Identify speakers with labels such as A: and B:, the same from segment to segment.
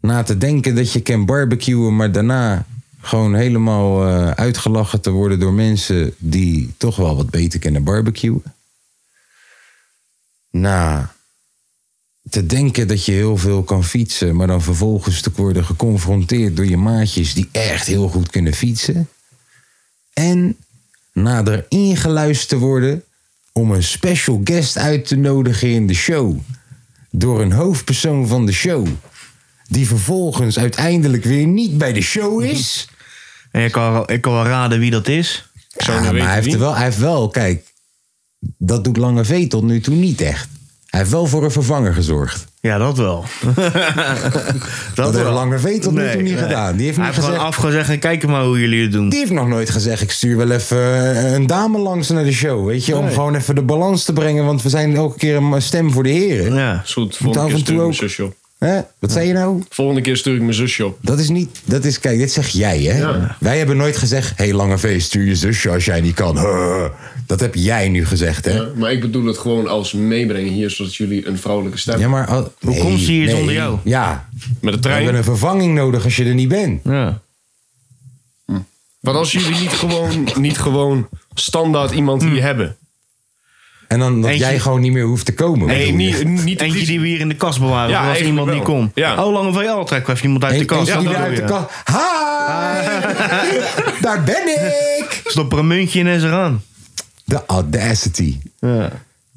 A: Na te denken dat je kan barbecuen, maar daarna gewoon helemaal eh, uitgelachen te worden door mensen die toch wel wat beter kennen barbecuen. Na te denken dat je heel veel kan fietsen, maar dan vervolgens te worden geconfronteerd door je maatjes die echt heel goed kunnen fietsen. En nader ingeluisterd te worden om een special guest uit te nodigen in de show. Door een hoofdpersoon van de show. Die vervolgens uiteindelijk weer niet bij de show
B: Mhm.
A: is.
B: En ik kan, wel- ik kan wel raden wie dat is.
A: Ja, Ah, maar hij heeft, er wel, hij heeft wel, kijk, dat doet Lange V tot nu toe niet echt. Hij heeft wel voor een vervanger gezorgd.
B: Ja, dat wel.
A: Dat heeft
B: wel.
A: Lange V tot nu toe niet gedaan. Die heeft
B: hij heeft
A: niet
B: gewoon
A: gezegd-
B: afgezegd en kijk maar hoe jullie het doen.
A: Die heeft nog nooit gezegd, ik stuur wel even eh, een dame langs naar de show. Weet je, om gewoon even de balans te brengen. Want we zijn elke keer een stem voor de heren.
B: Ja.
C: Is goed, volgende
A: af
C: keer
A: en toe
C: stuur ik mijn
A: ook-
C: zusje op.
A: Hè? Wat zei je nou?
C: Volgende keer stuur ik mijn zusje op.
A: Dat is niet, dat is, kijk, dit zeg jij, hè?
C: Ja.
A: Wij hebben nooit gezegd, hey, lange feest, stuur je zusje als jij niet kan. Huh. Dat heb jij nu gezegd, hè?
C: Ja, maar ik bedoel het gewoon als meebrengen hier, zodat jullie een vrouwelijke stem
A: Ja, maar... Hoe
B: komt ze hier zonder jou?
A: Ja,
C: Met de
A: we hebben
C: trein.
A: een vervanging nodig als je er niet bent.
B: Ja.
C: Want als jullie niet gewoon, niet gewoon standaard iemand hier hebben.
A: En dan dat
B: Eentje-
A: jij gewoon niet meer hoeft te komen.
C: Nee,
A: bedoel je?
C: niet, niet de
B: Eentje
C: politie.
B: die we hier in de kast bewaren.
C: Ja,
B: voor als
C: eigenlijk
B: iemand
C: wel.
B: niet komt.
C: Ja.
B: Oh, lange VL trek even iemand uit de
A: Eentje
B: kast.
A: die
B: Dat
A: weer
B: bedoel
A: uit de
B: je.
A: kast... Hi! Daar ben ik!
B: Stop er een muntje in en ze gaan.
A: De audacity.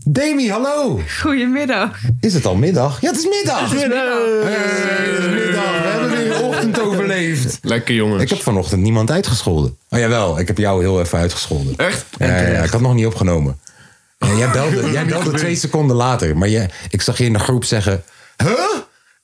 A: Demi, hallo!
D: Goedemiddag.
A: Is het al middag? Ja, het is middag! Hey, het is middag. We hebben weer de ochtend overleefd.
C: Lekker jongens.
A: Ik heb vanochtend niemand uitgescholden. Oh jawel, ik heb jou heel even uitgescholden.
C: Echt?
A: Ja, ja, ja, ik had nog niet opgenomen. Ja, jij belde, jij belde twee seconden later. Maar jij, ik zag je in de groep zeggen... Huh?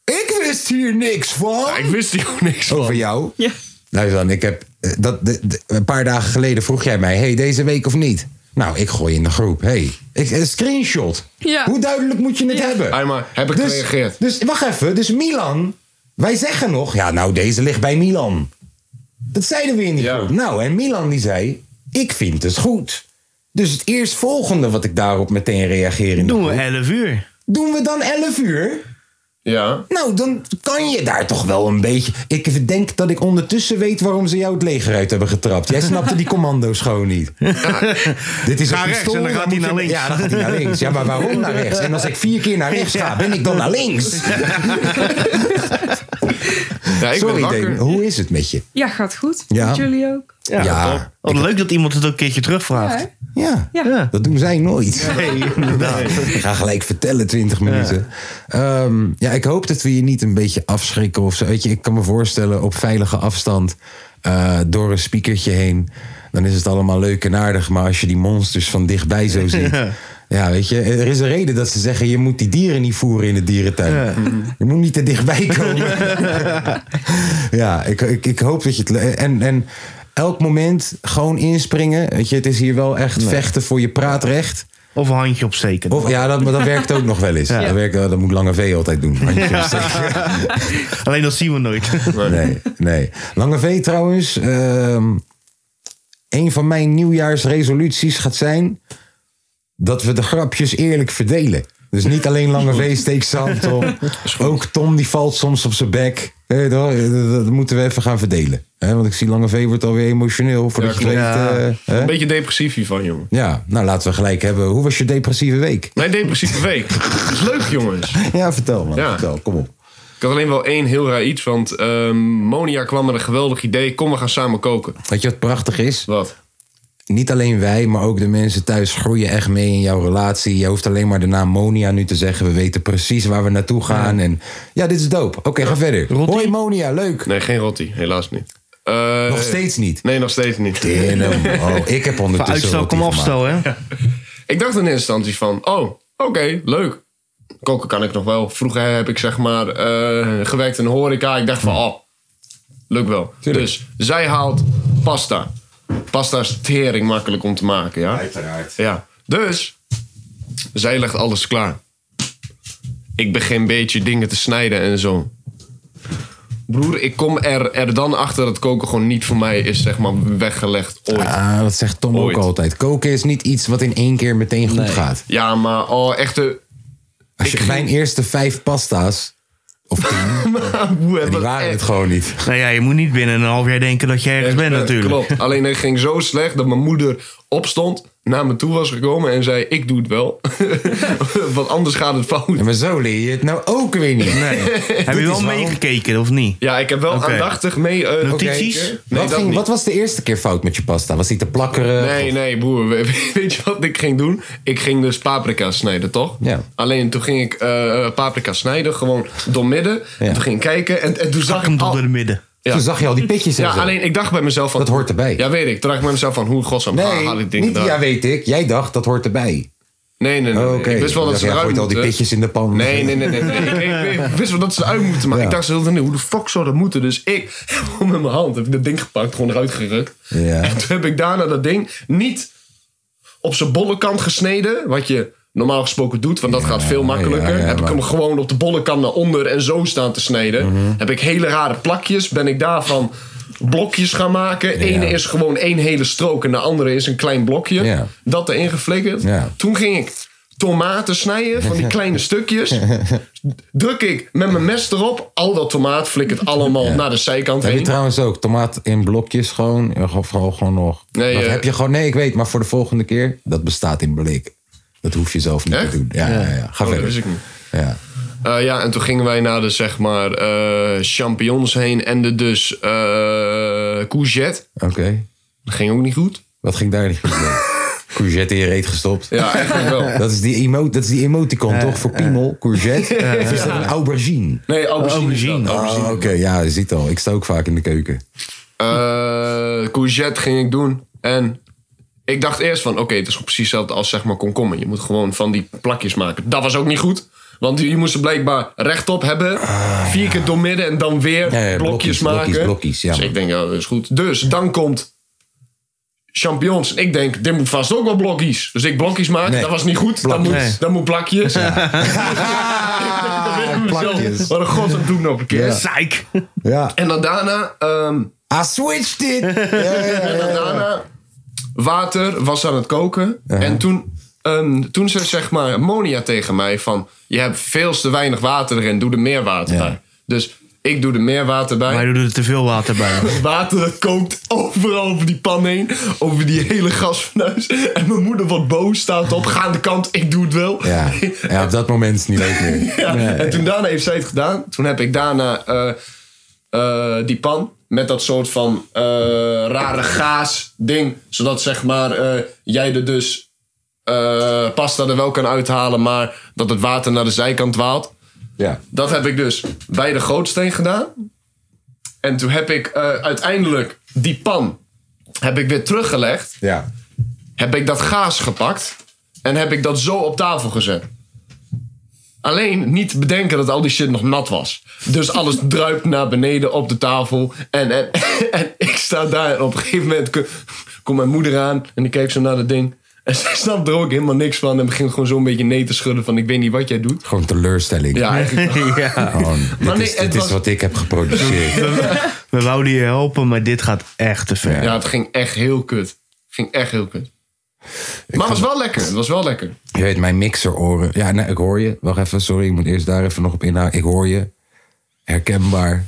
A: Ik wist hier niks van.
C: Ik wist hier ook niks van.
A: Over jou.
D: Ja.
A: Nou dan, ik heb... eh, Dat, de- de- een paar dagen geleden vroeg jij mij... Hey, deze week of niet? Nou, ik gooi in de groep. Hey, ik, een screenshot.
D: Ja.
A: Hoe duidelijk moet je het
D: Ja.
A: hebben?
C: Hey, maar heb ik
A: Dus-
C: gereageerd?
A: Dus wacht even, dus Milan, wij zeggen nog, ja, nou, deze ligt bij Milan. Dat zeiden we in die
C: Ja.
A: groep. Nou, en Milan die zei, ik vind het goed. Dus het eerstvolgende wat ik daarop meteen reageer in de
B: Doen we
A: groep,
B: 11 uur.
A: doen we dan 11 uur?
C: Ja.
A: Nou, dan kan je daar toch wel een beetje... Ik denk dat ik ondertussen weet waarom ze jou het leger uit hebben getrapt. Jij snapte die commando's gewoon niet. Dit is
B: Ga
A: een
B: rechts
A: pistool,
B: en dan gaat
A: moet
B: hij
A: je-
B: naar links.
A: Ja, dan gaat hij naar links. Ja, maar waarom naar rechts? En als ik vier keer naar rechts ga, ben ik dan naar links?
C: ja ik ben
A: Sorry,
C: wakker.
A: Deen, hoe is het met je?
D: Ja, gaat goed.
A: Ja.
D: Met jullie ook.
A: Ja, ja,
B: Wat leuk dat iemand het ook een keertje terugvraagt.
D: Ja. Ja.
B: Ja.
A: dat doen zij nooit.
B: Hey, inderdaad.
A: Ik ga gelijk vertellen, 20 minuten. Ja. ja, ik hoop dat we je niet een beetje afschrikken of zo. Weet je, ik kan me voorstellen op veilige afstand eh, door een speakertje heen. Dan is het allemaal leuk en aardig. Maar als je die monsters van dichtbij zo ziet. Ja. weet je, er is een reden dat ze zeggen: je moet die dieren niet voeren in de dierentuin.
E: Mm.
A: Je moet niet te dichtbij komen. Ja, ik, ik, ik hoop dat je het. le- En, en elk moment gewoon inspringen. Weet je, het is hier wel echt vechten voor je praatrecht.
B: Of een handje opsteken.
A: Of ja, dat, maar dat werkt ook nog wel eens.
B: Ja.
A: Dat, werkt, dat moet Lange V altijd doen. Handje opsteken.
B: Alleen dat zien we nooit.
A: Nee, nee. Lange V trouwens. ehm, een van mijn nieuwjaarsresoluties gaat zijn. dat we de grapjes eerlijk verdelen. Dus niet alleen Lange V steekt zijn hand op. Ook Tom die valt soms op zijn bek. Eh, dat, dat moeten we even gaan verdelen. Hè, want ik zie Lange V wordt alweer emotioneel. Voordat
C: Ja,
A: je het weet.
B: klopt.
A: eh, hè?
C: Een beetje depressief hiervan, jongen.
A: Ja, nou laten we gelijk hebben. Hoe was je depressieve week?
C: Mijn depressieve week. Dat is leuk, jongens.
A: Ja, vertel man.
C: Ja.
A: Vertel, kom op.
C: Ik had alleen wel één heel raar iets, want ehm, Monia kwam met een geweldig idee. Kom, we gaan samen koken.
A: Weet je wat prachtig is?
C: Wat?
A: Niet alleen wij, maar ook de mensen thuis groeien echt mee in jouw relatie. Je hoeft alleen maar de naam Monia nu te zeggen. We weten precies waar we naartoe gaan. En ja, dit is dope. Oké, ga verder.
B: Rotti?
A: Hoi Monia, leuk.
C: Nee, geen rotti. Helaas niet. Eh,
A: Nog steeds niet.
C: Nee, nog steeds niet.
A: Damn, oh, ik heb
B: Van
A: ondertussen
B: uitstel
A: rotti
B: kom
A: gemaakt.
B: afstel, hè?
C: Ik dacht in eerste instantie van, oh, oké, leuk. koken kan ik nog wel. Vroeger heb ik zeg maar eh, gewerkt in de horeca. Ik dacht van, oh, lukt wel. Dus zij haalt pasta. Pasta is tering makkelijk om te maken, ja?
A: Uiteraard.
C: Ja. Dus, zij legt alles klaar. Ik begin een beetje dingen te snijden en zo. Broer, ik kom er, er dan achter dat koken gewoon niet voor mij is, zeg maar, weggelegd ooit.
A: Ah, dat zegt Tom
C: Ooit.
A: ook altijd. Koken is niet iets wat in één keer meteen goed gaat.
C: Ja, maar oh, echt. eh,
A: Als je mijn eerste vijf pasta's, of tien,
C: Hoe hebben
A: die waren het gewoon niet.
B: Nou ja, je moet niet binnen een half jaar denken dat je ergens bent natuurlijk.
C: eh, Klopt. Alleen het ging zo slecht dat mijn moeder opstond, naar me toe was gekomen en zei: Ik doe het wel. Want anders gaat het fout.
A: Ja, maar zo leer je het nou ook weer niet.
B: Heb je wel
A: is waarom-
B: meegekeken of niet?
C: Ja, ik heb wel
B: Oké.
C: aandachtig mee. eh,
B: Notities?
C: gekeken. Nee,
A: wat,
C: dat
A: ging,
C: niet.
A: wat was de eerste keer fout met je pasta? Was die te plakkerig?
C: Nee, nee, broer. we- Weet je wat ik ging doen? Ik ging dus paprika snijden, toch?
A: Ja.
C: Alleen toen ging ik eh, paprika snijden, gewoon doormidden.
A: Ja.
C: En toen ging ik kijken en, en toen zag
B: Pak hem
C: ik
B: tot
C: al...
B: door de midden.
C: Ja.
A: Toen zag je al die pitjes en
C: Ja,
A: zo.
C: alleen ik dacht bij mezelf van...
A: Dat hoort erbij.
C: Ja, weet ik. Toen dacht ik bij mezelf van, hoe in godsnaam
A: nee,
C: haal ik dingen
A: niet
C: daar?
A: ja weet ik. Jij dacht, dat hoort erbij.
C: Nee, nee, nee.
A: Oké.
C: Ik wist wel dat
A: Ja,
C: ze
A: jij
C: eruit
A: gooit al die
C: moeten.
A: pitjes in de pan.
C: Nee, nee, nee, nee. nee. ik, ik- ik wist wel dat ze eruit moeten. Maar
A: Ja.
C: ik dacht ze hoe de fuck zou dat moeten? Dus ik heb gewoon met mijn hand heb ik dat ding gepakt, gewoon eruit gerukt.
A: Ja.
C: En toen heb ik daarna dat ding niet op zijn bolle kant gesneden, wat je normaal gesproken doet, want dat gaat veel makkelijker.
A: ja, ja,
C: heb ik
A: maar- Mhm.
C: hem gewoon op de bolle kant naar onder en zo staan te snijden. Heb ik hele rare plakjes, ben ik daarvan blokjes gaan maken. Ene is gewoon één hele strook en de andere is een klein blokje.
A: Ja.
C: Dat erin geflikkerd.
A: Ja.
C: Toen ging ik tomaten snijden van die kleine stukjes. Druk ik met mijn mes erop. Al dat tomaat flikkert allemaal naar de zijkant
A: Heb je
C: heen.
A: trouwens ook tomaat in blokjes gewoon? eh, Of gewoon, gewoon nog?
C: Nee,
A: dat
C: eh,
A: heb je gewoon, nee, ik weet, maar voor de volgende keer, dat bestaat in blik. Dat hoef je zelf niet
C: Echt?
A: te doen. Ja, ja. ja, Ga
C: Oh, dat
A: verder.
C: wist ik niet.
A: Ja.
C: Eh, ja, en toen gingen wij naar de zeg maar eh, champignons heen en de dus eh courgette.
A: Oké.
C: Dat ging ook niet goed.
A: Wat ging daar niet goed mee? Courgette in je reet gestopt.
C: Ja, eigenlijk wel.
A: Dat is die, emo dat is die emoticon, toch? Voor piemel, courgette. Of is dat een aubergine?
C: Nee, aubergine.
B: Aubergine.
C: is dat.
A: Ah, Oké, ja, je ziet al. Ik sta ook vaak in de keuken.
C: Eh, courgette ging ik doen. En ik dacht eerst van, oké, het is precies hetzelfde als zeg maar komkommer. Je moet gewoon van die plakjes maken. Dat was ook niet goed. Want je moest ze blijkbaar rechtop hebben. vier keer doormidden en dan weer
A: Ah, Ja, ja,
C: blokjes,
A: blokjes,
C: maken.
A: blokjes, blokjes, ja.
C: Dus ik denk, ja, dat is goed. Dus dan komt champignons. En ik denk, dit moet vast ook wel blokjes. Dus ik blokjes maken.
A: Nee.
C: Dat was niet goed. Dan moet,
B: Nee.
C: dan moet plakjes.
A: Ah,
C: Ah,
A: plakjes.
C: Wat een godsnaam doe ik nou op een keer.
B: Zeik!
A: Ja.
C: En dan daarna... ehm,
A: I switched it! Ja, ja, ja.
C: en dan daarna, water was aan het koken. En toen, ehm toen zei zeg maar Monia tegen mij van... Je hebt veel te weinig water erin, doe er meer water bij. Dus ik doe er meer water bij.
B: Maar je doet er te veel water bij.
C: Water dat kookt overal over die pan heen. Over die hele gasfornuis. En mijn moeder wordt boos, staat op. Ga aan de kant, ik doe het wel.
A: Ja. ja, op dat moment is het niet leuk meer.
C: Ja, En toen daarna heeft zij het gedaan. Toen heb ik daarna eh, eh, die pan met dat soort van eh, rare gaas ding. Zodat zeg maar eh, jij er dus eh, pasta er wel kan uithalen, maar dat het water naar de zijkant waalt.
A: Ja.
C: Dat heb ik dus bij de gootsteen gedaan. En toen heb ik eh, uiteindelijk die pan heb ik weer teruggelegd.
A: Ja.
C: Heb ik dat gaas gepakt. En heb ik dat zo op tafel gezet. Alleen niet bedenken dat al die shit nog nat was. Dus alles druipt naar beneden op de tafel. En, en, en ik sta daar. En op een gegeven moment ko- komt mijn moeder aan. En die keek zo naar dat ding. En zij snapt er ook helemaal niks van. En begint gewoon zo'n beetje nee te schudden. Van ik weet niet wat jij doet.
A: Gewoon teleurstelling.
C: Ja, eigenlijk.
B: ja.
A: Gewoon, dit
C: nee,
A: Oh, is,
C: het
A: dit is
C: was-
A: wat ik heb geproduceerd.
B: We wouden je helpen, maar dit gaat echt te ver.
C: Ja, het ging echt heel kut. Het ging echt heel kut. maar het was wel lekker. Het was wel lekker.
A: Je weet, mijn mixeroren. Ja, nee, ik hoor je. Wacht even, sorry. Ik moet eerst daar even nog op inhouden. Ik hoor je. Herkenbaar.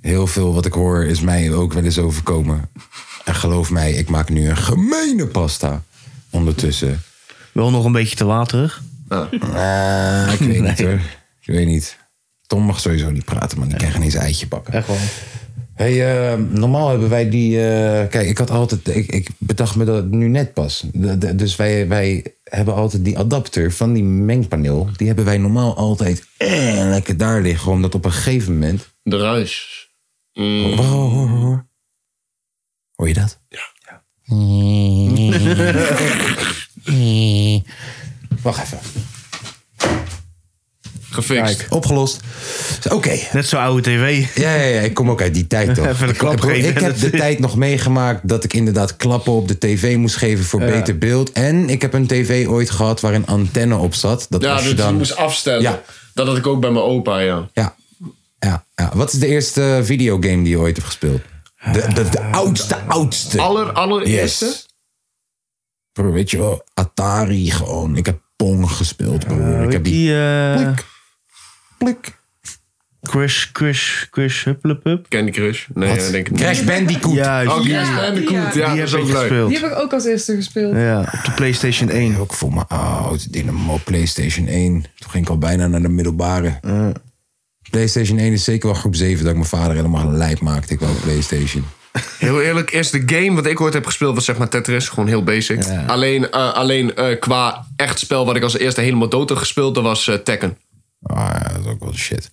A: Heel veel wat ik hoor is mij ook wel eens overkomen. En geloof mij, ik maak nu een gemene pasta. Ondertussen.
B: Wel nog een beetje te waterig.
A: Ah, ik weet niet hoor. Ik weet niet. Tom mag sowieso niet praten, man. Die kan geen eens eitje bakken.
B: Echt wel.
A: Hey, eh, normaal hebben wij die. eh, kijk, ik had altijd. Ik, ik bedacht me dat nu net pas. De- de- dus wij, wij hebben altijd die adapter van die mengpaneel. Die hebben wij normaal altijd eh, lekker daar liggen. Omdat op een gegeven moment.
C: De ruis. Mm.
A: Hoor, hoor, hoor, hoor. Hoor je dat? Ja. Wacht even.
C: Gefixt.
A: Kijk, opgelost. Oké.
B: Net zo oude tv.
A: Ja, ja, ja, ik kom ook uit die tijd toch.
B: Even een
A: Ik-
B: klap
A: ik,
B: geven.
A: ik heb de tijd nog meegemaakt dat ik inderdaad klappen op de tv moest geven voor beter beeld. En ik heb een tv ooit gehad waar een antenne op zat. Dat
C: Ja,
A: was
C: dus
A: je
C: je
A: dan.
C: moest afstellen.
A: Ja.
C: Dat had ik ook bij mijn opa, ja.
A: Ja, ja, ja. Wat is de eerste videogame die je ooit hebt gespeeld? De, de, de oudste, oudste.
C: Aller, allereerste?
A: Yes. Broer, weet je wel, Atari gewoon. Ik heb Pong gespeeld, broer. Ik heb die
B: Die eh
A: plik, plik.
B: Crash, Crash, Crash, hupplepup. hup.
C: Candy Crush? Nee, ja, denk ik niet.
A: Crash Bandicoot.
B: Ja,
C: Oh,
B: die,
C: Crash Bandicoot. Ja,
B: die
C: dat
B: heb
E: dus
C: is ook
B: ik
C: leuk.
B: gespeeld.
D: Die heb ik ook als eerste gespeeld.
B: Ja, op de PlayStation 1.
A: Ook voor mijn oud dynamo PlayStation 1. Toen ging ik al bijna naar de middelbare. PlayStation 1 is zeker wel groep 7 dat ik mijn vader helemaal lijp maakte. Ik wou een PlayStation.
C: Heel eerlijk, is de game wat ik ooit heb gespeeld was zeg maar Tetris. Gewoon heel basic. Alleen, eh, alleen eh, qua echt spel wat ik als eerste helemaal dood heb gespeeld, dat was eh, Tekken.
A: Ah ja, dat is ook wel shit.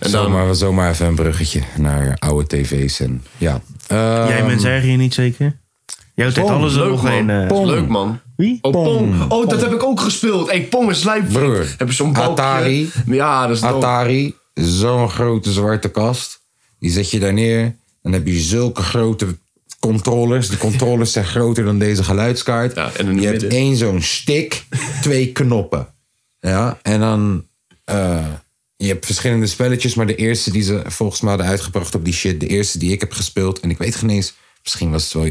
C: En dan-
A: Zomaar, zomaar even een bruggetje naar oude tv's. En, ja. Eh,
B: Jij bent zijn hier niet zeker? Jij deed alles er
C: Leuk
B: nog
C: man.
B: een. eh,
C: Pong. Leuk man.
B: Wie?
C: Oh, Pong. Oh, dat heb ik ook gespeeld. Hey, Pong is lijp.
A: Broer.
C: Heb je zo'n balkje?
A: Atari.
C: Ja, dat is dope.
A: Atari, zo'n grote zwarte kast. Die zet je daar neer. Dan heb je zulke grote controllers. De controllers zijn groter dan deze geluidskaart.
C: Ja, en in het
A: je hebt
C: midden.
A: één zo'n stick, twee knoppen. Ja, en dan... eh, je hebt verschillende spelletjes, maar de eerste die ze volgens mij hadden uitgebracht op die shit... de eerste die ik heb gespeeld, en ik weet geen eens... misschien was het wel...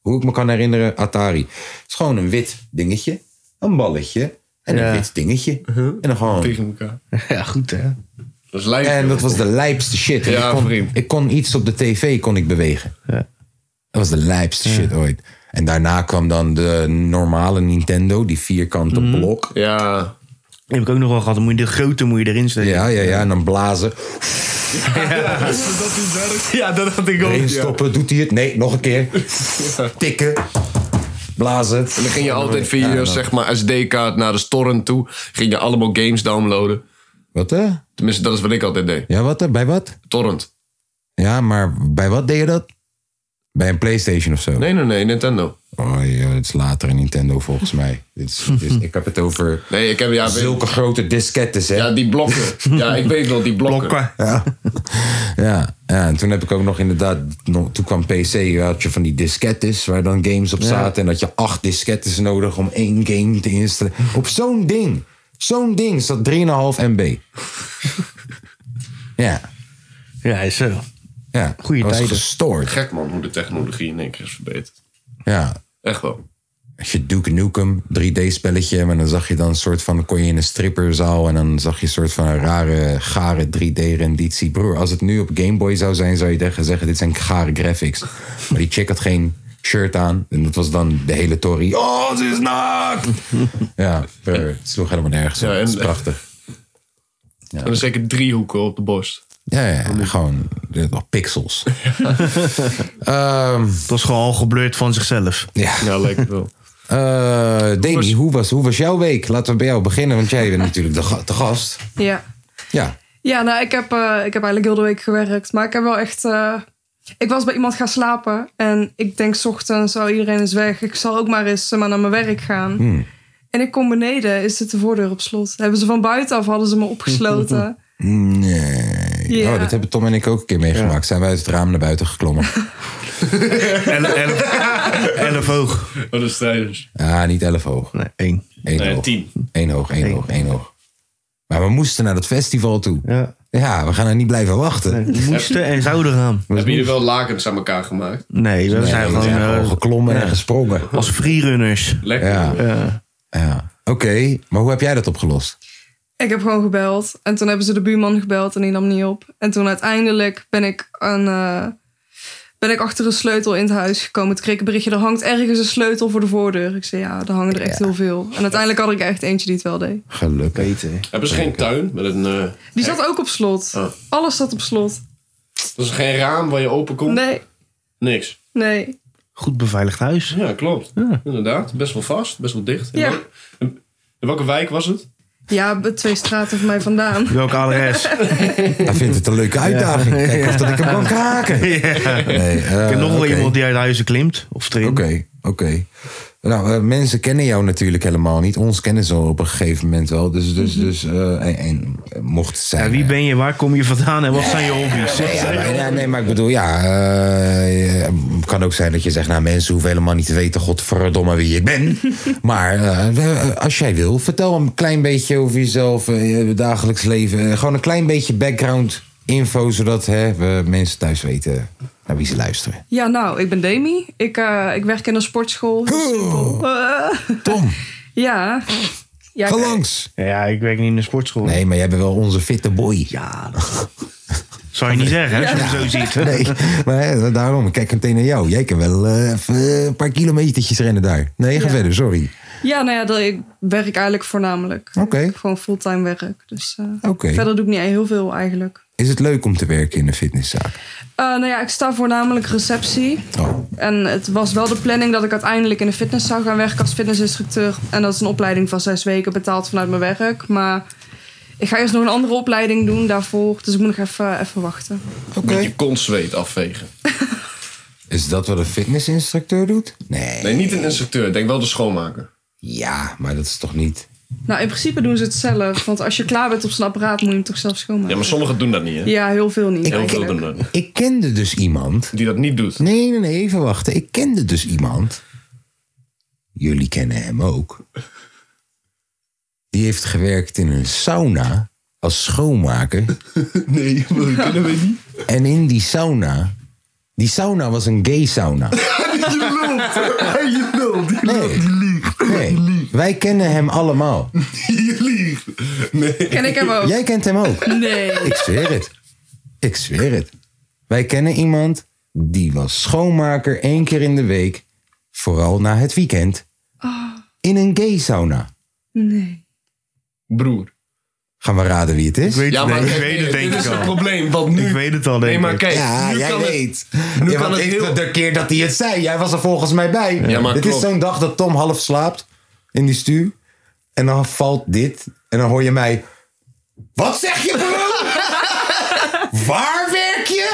A: hoe ik me kan herinneren, Atari. Het is gewoon een wit dingetje, een balletje... en een
B: Ja.
A: wit dingetje. En dan gewoon
C: Uh-huh. Tegen elkaar.
B: Ja, goed hè.
C: Dat is lijp.
A: en dat was de lijpste shit.
C: Ja,
A: ik, kon,
C: vriend.
A: ik kon iets op de tv kon ik bewegen. Dat was de lijpste shit ooit. En daarna kwam dan de normale Nintendo, die vierkante blok.
C: Ja.
B: Die heb ik ook nog wel gehad. Dan Mhm. moet je de grote moet je erin steken.
A: Ja, ja, ja. En dan blazen.
C: Ja, dat had ik ook.
A: Erin
C: Ja.
A: stoppen. Doet hij het? Nee, nog een keer. Tikken. Blazen.
C: En dan ging je altijd via je zeg maar, SD-kaart naar de storm toe. Ging je allemaal games downloaden.
A: Wat hè?
C: Tenminste, dat is wat ik altijd deed.
A: Ja, wat hè? Bij wat?
C: Torrent.
A: Ja, maar bij wat deed je dat? Bij een Playstation of zo?
C: Nee, nee, nee, Nintendo.
A: Oh ja, dit is later een Nintendo volgens mij. Dit is, dit is- ik heb het over
C: Nee, ik heb ja, weet-
A: zulke grote diskettes hè.
C: ja die blokken. ja, ik weet wel, die blokken.
B: Blokken.
A: Ja, ja, en toen heb ik ook nog inderdaad. nog- Toen kwam PC, had je van die diskettes waar dan games op zaten. En dat je acht diskettes nodig om één game te instellen. Op zo'n ding, zo'n ding zat 3,5 MB. ja,
B: Ja, is zo.
A: ja.
B: Goeie
A: Dat was
B: tijden.
A: gestoord.
C: Gek man, hoe de technologie in één keer is verbeterd.
A: Ja.
C: Echt wel.
A: Als je Duke Nukem, 3D-spelletje. Maar dan zag je dan een soort van. kon je in een stripperzaal. En dan zag je een soort van een rare, gare 3D-renditie. Broer, als het nu op Game Boy zou zijn, zou je tegen zeggen: dit zijn gare graphics. Maar die chick had geen shirt aan. En dat was dan de hele tory. Oh, ze is naakt! ja, broer, het sloeg helemaal nergens op.
C: Ja, en-
A: het is prachtig.
C: En dan zeker driehoeken op de borst.
A: Ja, ja, ja, gewoon eh, pixels. Ehm,
B: Het was gewoon al geblurred van zichzelf.
A: ja.
C: Ja, lijkt wel.
A: Eh Demi,
C: was-
A: hoe was, hoe was jouw week? Laten we bij jou beginnen, want jij bent natuurlijk de, ga- de gast.
D: Ja.
A: Ja.
D: Ja, nou, ik heb, eh, ik heb eigenlijk heel de week gewerkt. Maar ik heb wel echt... eh, ik was bij iemand gaan slapen. En ik denk, 's ochtends, oh, iedereen is weg. Ik zal ook maar eens eh, maar naar mijn werk gaan.
B: Hmm.
D: En ik kom beneden, is het de voordeur op slot. Hebben ze van buitenaf, hadden ze me opgesloten.
A: Nee.
D: Ja.
A: Oh, dat hebben Tom en ik ook een keer meegemaakt. Zijn we uit het raam naar buiten geklommen.
B: Elf, elf, elf hoog.
C: Wat een Oh, strijders.
A: ah, niet elf hoog.
B: Nee, één.
A: Eén
C: Nee,
A: hoog.
C: tien.
A: Eén hoog, één hoog, één hoog. Maar we moesten naar dat festival toe.
B: Ja.
A: Ja, we gaan er niet blijven wachten.
B: We moesten en zouden gaan.
C: Hebben jullie wel lakens aan elkaar gemaakt?
B: Nee, we zijn
A: we
B: gewoon
A: zijn gewoon
B: eh,
A: geklommen en gesprongen.
B: als freerunners.
C: Lekker.
A: Ja.
C: hoor.
A: Ja. Oké, maar hoe heb jij dat opgelost?
D: Ik heb gewoon gebeld. En toen hebben ze de buurman gebeld en die nam niet op. En toen uiteindelijk ben ik, aan, eh, ben ik achter een sleutel in het huis gekomen. Toen kreeg ik een berichtje, er hangt ergens een sleutel voor de voordeur. Ik zei, ja, er hangen er echt heel veel. En uiteindelijk had ik er echt eentje die het wel deed.
A: Gelukkig.
B: Beter.
C: Hebben ze geen tuin? Met een, eh,
D: Die zat ook op slot.
C: Oh.
D: Alles zat op slot.
C: dat is geen raam waar je open komt?
D: Nee,
C: Niks.
D: nee.
B: Goed beveiligd huis.
C: Ja, klopt. Inderdaad. Best wel vast, best wel dicht. In,
D: Ja.
C: welk- in- in welke wijk was het?
D: Ja, b- twee straten van mij vandaan.
B: Welk adres?
A: Hij vindt het een leuke uitdaging. Kijk of dat ik hem kan kraken.
B: Ja.
A: Nee, eh,
B: Ik ken nog wel
A: oké.
B: iemand die uit huizen klimt. Of erin.
A: Oké, oké. Nou, eh, mensen kennen jou natuurlijk helemaal niet. Ons kennen ze al op een gegeven moment wel. Dus, dus,
B: Mhm.
A: dus eh, en, en mocht het zijn.
B: Ja, wie ben je, waar kom je vandaan en wat zijn je hobby's?
A: Ja, maar- ja, nee, maar ik bedoel, ja. eh, eh, Het kan ook zijn dat je zegt, nou mensen hoeven helemaal niet te weten, godverdomme wie ik ben. Maar eh, eh, als jij wil, vertel een klein beetje over jezelf, eh, je dagelijks leven. Eh, gewoon een klein beetje background info, zodat hè, we mensen thuis weten naar wie ze luisteren.
D: Ja, nou, ik ben Demi. Ik, eh, ik werk in een sportschool. Heel simpel. Eh,
A: Tom,
D: ja. ja
A: ga
D: ik-
A: langs.
B: Ja, ik werk niet in de sportschool.
A: Nee, maar jij bent wel onze fitte boy.
B: Ja, dat zou je niet zeggen, hè, als je hem zo ziet.
A: Nee, maar hè, daarom, ik kijk meteen naar jou. Jij kan wel eh, even een paar kilometertjes rennen daar. Nee, ga
D: Ja.
A: verder, sorry.
D: Ja, nou ja, dat, ik werk eigenlijk voornamelijk.
A: Oké.
D: Ik Gewoon fulltime werk. Dus eh,
A: Oké.
D: verder doe ik niet heel veel eigenlijk.
A: Is het leuk om te werken in een
D: Eh,
A: fitnesszaak?
D: nou ja, ik sta voornamelijk receptie.
A: Oh.
D: En het was wel de planning dat ik uiteindelijk in de fitness zou gaan werken als fitnessinstructeur. En dat is een opleiding van zes weken betaald vanuit mijn werk. Maar ik ga eerst nog een andere opleiding doen daarvoor. Dus ik moet nog even, even wachten.
A: Oké.
C: Een beetje kontzweet afvegen.
A: Is dat wat een fitnessinstructeur doet? Nee.
C: Nee, niet een instructeur. Denk wel de schoonmaker.
A: Ja, maar dat is toch niet.
D: Nou, in principe doen ze het zelf. Want als je klaar bent op zo'n apparaat, moet je hem toch zelf
C: Ja,
D: schoonmaken.
C: maar sommigen doen dat niet, hè?
D: Ja, heel veel niet.
C: Heel veel
D: eigenlijk.
C: doen dat niet.
A: Ik kende dus iemand.
C: Die dat niet doet.
A: Nee, nee, nee, even wachten. Ik kende dus iemand. Jullie kennen hem ook. Die heeft gewerkt in een sauna als schoonmaker.
C: Nee, dat kunnen we niet.
A: En in die sauna. Die sauna was een gay sauna.
C: Je lult.
A: Nee. nee. Wij kennen hem allemaal.
C: Je liegt. Nee.
D: Ken ik hem ook?
A: Jij kent hem ook.
D: Nee.
A: Ik zweer het. Ik zweer het. Wij kennen iemand die was schoonmaker één keer in de week, vooral na het weekend, in een gay sauna.
D: Ah, Nee.
C: Broer.
A: Gaan we raden wie het
B: Ik
A: is?
B: weet,
C: Ja,
B: het,
C: maar
B: nee, ik
C: kijk,
B: weet het denk
C: dit
B: ik
C: is het
B: al.
C: probleem. Want nu...
B: Ik weet het al,
C: Nee,
B: denk
C: maar
B: ik.
C: kijk.
A: Ja,
C: nu
A: jij
C: kan het-
A: weet.
C: nu
A: ja,
C: kan
A: want
C: het
A: ik-
C: heel-
A: de keer dat hij het zei, jij was er volgens mij bij.
C: Ja, maar
A: dit
C: klopt.
A: is zo'n dag dat Tom half slaapt in die stuur. En dan valt dit. En dan hoor je mij. Wat zeg je, bro? Waar werk je?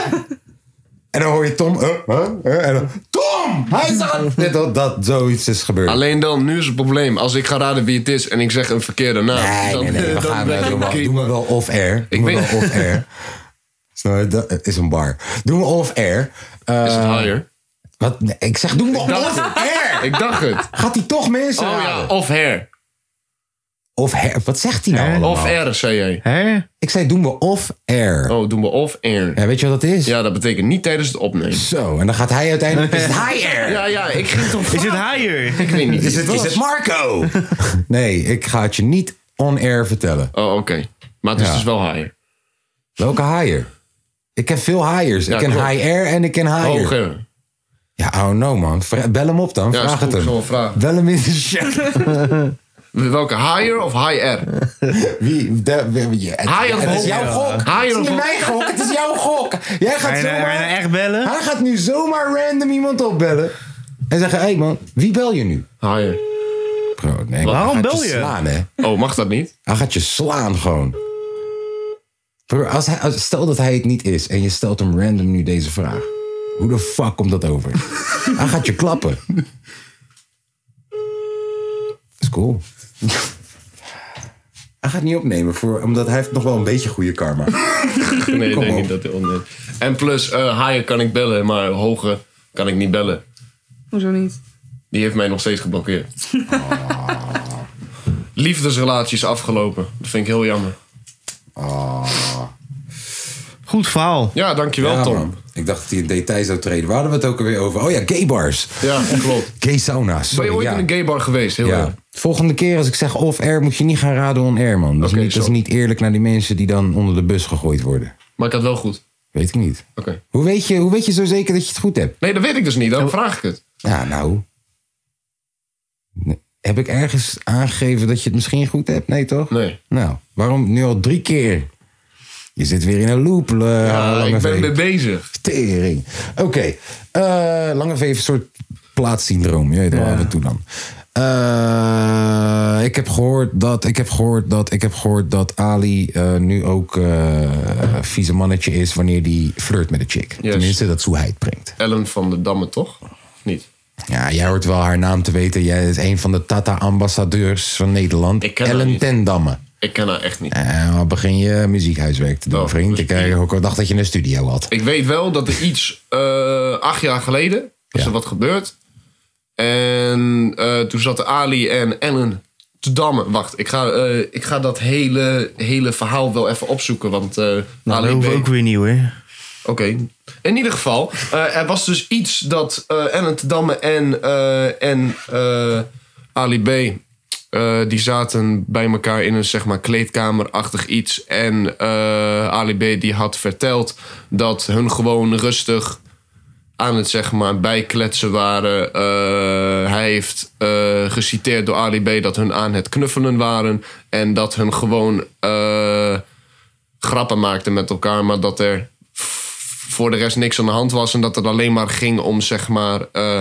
A: En dan hoor je Tom. "Eh, eh, eh," en dan, Tom! Hij is aan. Net dat, dat zoiets is gebeurd.
C: Alleen dan, nu is het probleem. Als ik ga raden wie het is en ik zeg een verkeerde naam.
A: Nee,
C: dan-
A: nee, nee. We
C: dan
A: gaan
C: ben
A: wel
C: ik
A: doen. We,
C: oké,
A: doen we
C: maar-
A: wel off-air.
C: Ik
A: Doen we
C: weet-
A: wel off-air. Snap je? Dat is een bar. Doen we off-air. Eh,
C: Is het higher?
A: wat? Nee, ik zeg, doen we
C: dacht-
A: off-air.
C: Ik dacht het.
A: Gaat hij toch mensen
C: Oh ja,
A: raden?
C: of hair.
A: Of her- wat zegt hij nou
B: Hè?
A: allemaal?
C: Of air, zei jij.
B: Hè?
A: Ik zei, doen we off-air.
C: Oh, doen we of air.
A: Ja, weet je wat dat is?
C: Ja, dat betekent niet tijdens het opnemen.
A: Zo, en dan gaat hij uiteindelijk... Is het high-air?
C: Ja, ja, ik ging toch...
B: Is het higher?
C: Ik weet niet.
A: Is, het, is het Marco? nee, ik ga het je niet on-air vertellen.
C: Oh, oké. Maar het is
A: Ja.
C: dus wel higher.
A: Welke higher? Ik ken veel highers.
C: Ja,
A: ik ken
C: klopt. Oh,
A: high-air en ik ken higher.
C: Hoger.
A: Ja, oh no man. Vra- bel hem op dan.
C: Ja, is
A: Vraag
C: goed,
A: het hem.
C: ik zal wel vragen.
A: Bel hem in de chat.
C: Welke, higher of high air?
A: Wie? De, wie- ja, het-
C: Higher of
A: het is
C: hoger?
A: jouw gok.
C: Higher
A: het is
C: of
A: niet
C: hoger?
A: mijn gok. Het is jouw gok. Jij
B: Ga
A: gaat
B: je nou- ga je nou
A: zomaar...
B: echt bellen?
A: Hij gaat nu zomaar random iemand opbellen. En zeggen, hé hey man, wie bel je nu?
C: Higher.
A: Bro, nee, man,
B: Waarom
A: hij gaat
B: bel je?
A: slaan, hè.
C: Oh, mag dat niet?
A: Hij gaat je slaan gewoon. Bro, als hij, als- stel dat hij het niet is en je stelt hem random nu deze vraag. Hoe de fuck komt dat over? hij gaat je klappen. is cool. hij gaat niet opnemen, voor, omdat hij heeft nog wel een beetje goede karma.
C: Nee, ik
A: Kom
C: denk
A: op.
C: niet dat hij onder. En plus, eh, higher kan ik bellen, maar hoger kan ik niet bellen.
D: Hoezo niet?
C: Die heeft mij nog steeds geblokkeerd.
A: Ah.
C: Liefdesrelaties afgelopen. Dat vind ik heel jammer.
B: Goed verhaal.
C: Ja, dankjewel
A: Ah. Ja,
C: Tom.
A: man. Ik dacht dat hij in detail zou treden. Waar hadden we het ook alweer over? Oh ja, gay bars.
C: Ja, klopt.
A: Gay sauna's.
C: Ben
A: Sorry,
C: je ooit
A: ja.
C: in een gaybar geweest? Heel
A: Ja.
C: erg.
A: Volgende keer als ik zeg off-air, moet je niet gaan raden on-air, man. Dat, is
C: Oké,
A: niet, dat is
C: zo.
A: niet eerlijk naar die mensen die dan onder de bus gegooid worden.
C: Maar ik had wel goed.
A: Weet ik niet.
C: Oké.
A: Hoe weet, je, hoe weet je zo zeker dat je het goed hebt?
C: Nee, dat weet ik dus niet.
A: Oh.
C: Dan vraag ik het.
A: Ja, nou. Nee. Heb ik ergens aangegeven dat je het misschien goed hebt? Nee, toch?
C: Nee.
A: Nou, waarom nu al drie keer? Je zit weer in een loop. eh,
C: Ja,
A: Lange
C: ik ben
A: V.
C: mee bezig.
A: Tering. Oké. eh, Lange V heeft een soort plaatssyndroom. Je weet wel, af en toe dan. Eh, ik heb gehoord dat, ik heb gehoord dat, ik heb gehoord dat Ali eh, nu ook eh, een vieze mannetje is wanneer die flirt met een chick.
C: Yes.
A: Tenminste, dat is hoe hij het brengt.
C: Ellen van der Damme, toch? Of niet?
A: Ja, jij hoort wel haar naam te weten. Jij is een van de Tata-ambassadeurs van Nederland.
C: Ik ken haar
A: Ellen
C: niet.
A: Tendamme.
C: Ik ken haar echt niet.
A: En dan nou, begin je muziekhuiswerk te doen,
C: Oh,
A: vriend. Ik, eh, ik dacht dat je een studio had.
C: Ik weet wel dat er iets eh, acht jaar geleden is
A: Ja.
C: er wat gebeurd. En eh, toen zaten Ali en Ellen te dammen. Wacht, ik ga, eh, ik ga dat hele, hele verhaal wel even opzoeken. Want eh,
B: Nou, dat
C: Ali
B: hoeven
C: weet-
B: we ook weer nieuw, hè?
C: Oké. In ieder geval, eh, er was dus iets dat eh Ellen te Damme en, eh, en eh, Ali B. eh, die zaten bij elkaar in een zeg maar kleedkamerachtig iets. En eh, Ali B. die had verteld dat hun gewoon rustig aan het zeg maar bijkletsen waren. Eh, hij heeft eh, geciteerd door Ali B. dat hun aan het knuffelen waren. En dat hun gewoon eh, grappen maakten met elkaar. Maar dat er voor de rest niks aan de hand was. En dat het alleen maar ging om, zeg maar, eh,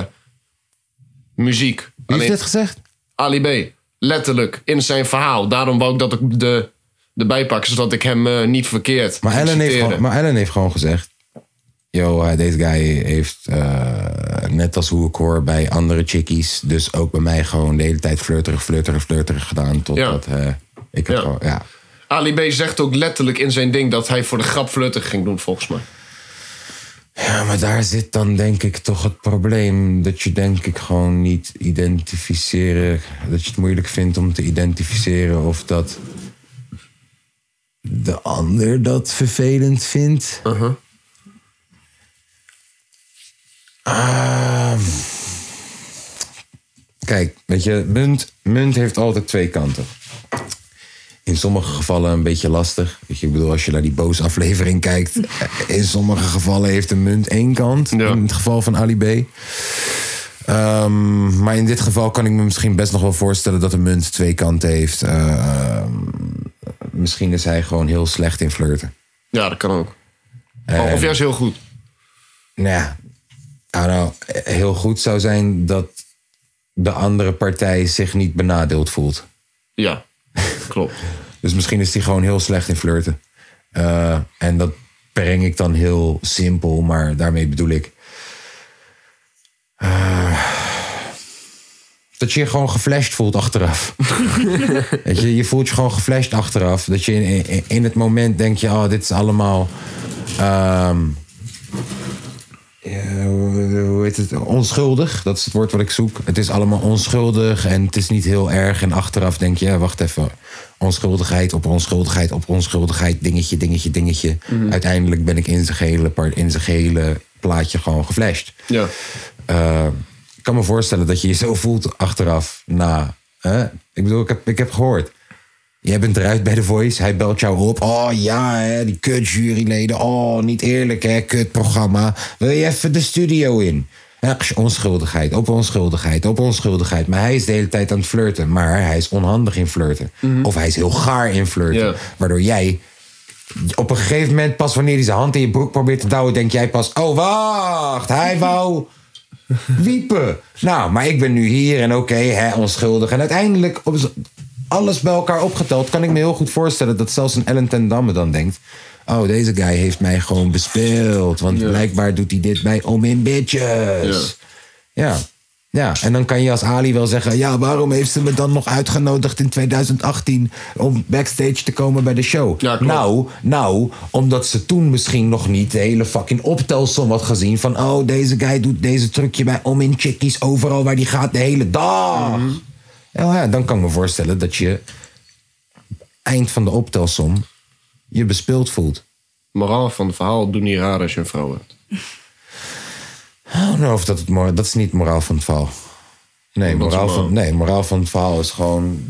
C: muziek.
A: Wie heeft
C: Alleen-
A: dit gezegd?
C: Ali B. Letterlijk, in zijn verhaal. Daarom wou ik dat ik de, erbij pak, zodat ik hem eh, niet verkeerd
A: Maar Ellen, heeft
C: citeerde.
A: gewoon, maar Ellen heeft gewoon gezegd... Yo, eh, deze guy heeft, eh, net als hoe ik hoor bij andere chickies... dus ook bij mij gewoon de hele tijd flirterig, flirterig, flirterig gedaan... totdat eh, ik heb
C: Ja.
A: gewoon... Ja.
C: Ali B. zegt ook letterlijk in zijn ding dat hij voor de grap flirtig ging doen, volgens mij.
A: ja, maar daar zit dan denk ik toch het probleem... dat je denk ik gewoon niet identificeren... dat je het moeilijk vindt om te identificeren of dat... de ander dat vervelend vindt. Ehm. kijk, weet je, munt, munt heeft altijd twee kanten. In sommige gevallen een beetje lastig. Weet je, ik bedoel, als je naar die boos aflevering kijkt. eh, In sommige gevallen heeft een munt één kant.
C: Ja.
A: In het geval van Ali B. Ehm, maar in dit geval kan ik me misschien best nog wel voorstellen dat een munt twee kanten heeft. Eh, misschien is hij gewoon heel slecht in flirten.
C: Ja, dat kan ook.
A: Eh,
C: of juist heel goed.
A: Nou ja, I don't know, heel goed zou zijn dat de andere partij zich niet benadeeld voelt.
C: Ja, klopt.
A: Dus misschien is hij gewoon heel slecht in flirten. Eh, en dat breng ik dan heel simpel, maar daarmee bedoel ik. eh, dat je je gewoon geflasht voelt achteraf. Weet je, je voelt je gewoon geflasht achteraf. Dat je in, in, in het moment denk je, oh, dit is allemaal. ehm, ja, hoe- hoe heet het? Onschuldig, dat is het woord wat ik zoek. Het is allemaal onschuldig en het is niet heel erg. En achteraf denk je, ja, wacht even. Onschuldigheid op onschuldigheid op onschuldigheid. Dingetje, dingetje, dingetje. Uiteindelijk ben ik in zijn gehele, par- in zijn gehele plaatje gewoon geflasht.
C: Ja.
A: Eh, ik kan me voorstellen dat je je zo voelt achteraf na. Hè? Ik bedoel, ik heb, ik heb gehoord. Jij bent eruit bij The Voice. Hij belt jou op. Oh ja, hè, die kut juryleden. Oh, niet eerlijk hè, kut programma. Wil je even de studio in? Ach, onschuldigheid, op onschuldigheid, op onschuldigheid. Maar hij is de hele tijd aan het flirten. Maar hij is onhandig in flirten. Of hij is heel gaar in flirten.
C: Ja.
A: Waardoor jij op een gegeven moment, pas wanneer hij zijn hand in je broek probeert te douwen, denk jij pas: Oh, wacht, hij wou wiepen. Nou, maar ik ben nu hier en oké, hè, onschuldig. En uiteindelijk, op z- alles bij elkaar opgeteld, kan ik me heel goed voorstellen dat zelfs een Ellen ten Damme dan denkt... Oh, deze guy heeft mij gewoon bespeeld. Want blijkbaar doet hij dit bij om in bitches. Ja. ja. en dan kan je als Ali wel zeggen... Ja, waarom heeft ze me dan nog uitgenodigd in 2018... om backstage te komen bij de show?
C: Ja, klopt.
A: nou, nou, omdat ze toen misschien nog niet de hele fucking optelsom had gezien. Van, oh, deze guy doet deze trucje bij om in chickies overal waar die gaat de hele dag.
C: Mhm.
A: Ja, Nou ja, dan kan ik me voorstellen dat je eind van de optelsom je bespeeld voelt.
C: Moraal van het verhaal, doe niet raar als je een vrouw hebt.
A: Oh, nou, of dat, het mor- dat is niet moraal van het verhaal. Nee
C: Dat is
A: moraal,
C: moraal.
A: van, nee, moraal van het verhaal is gewoon...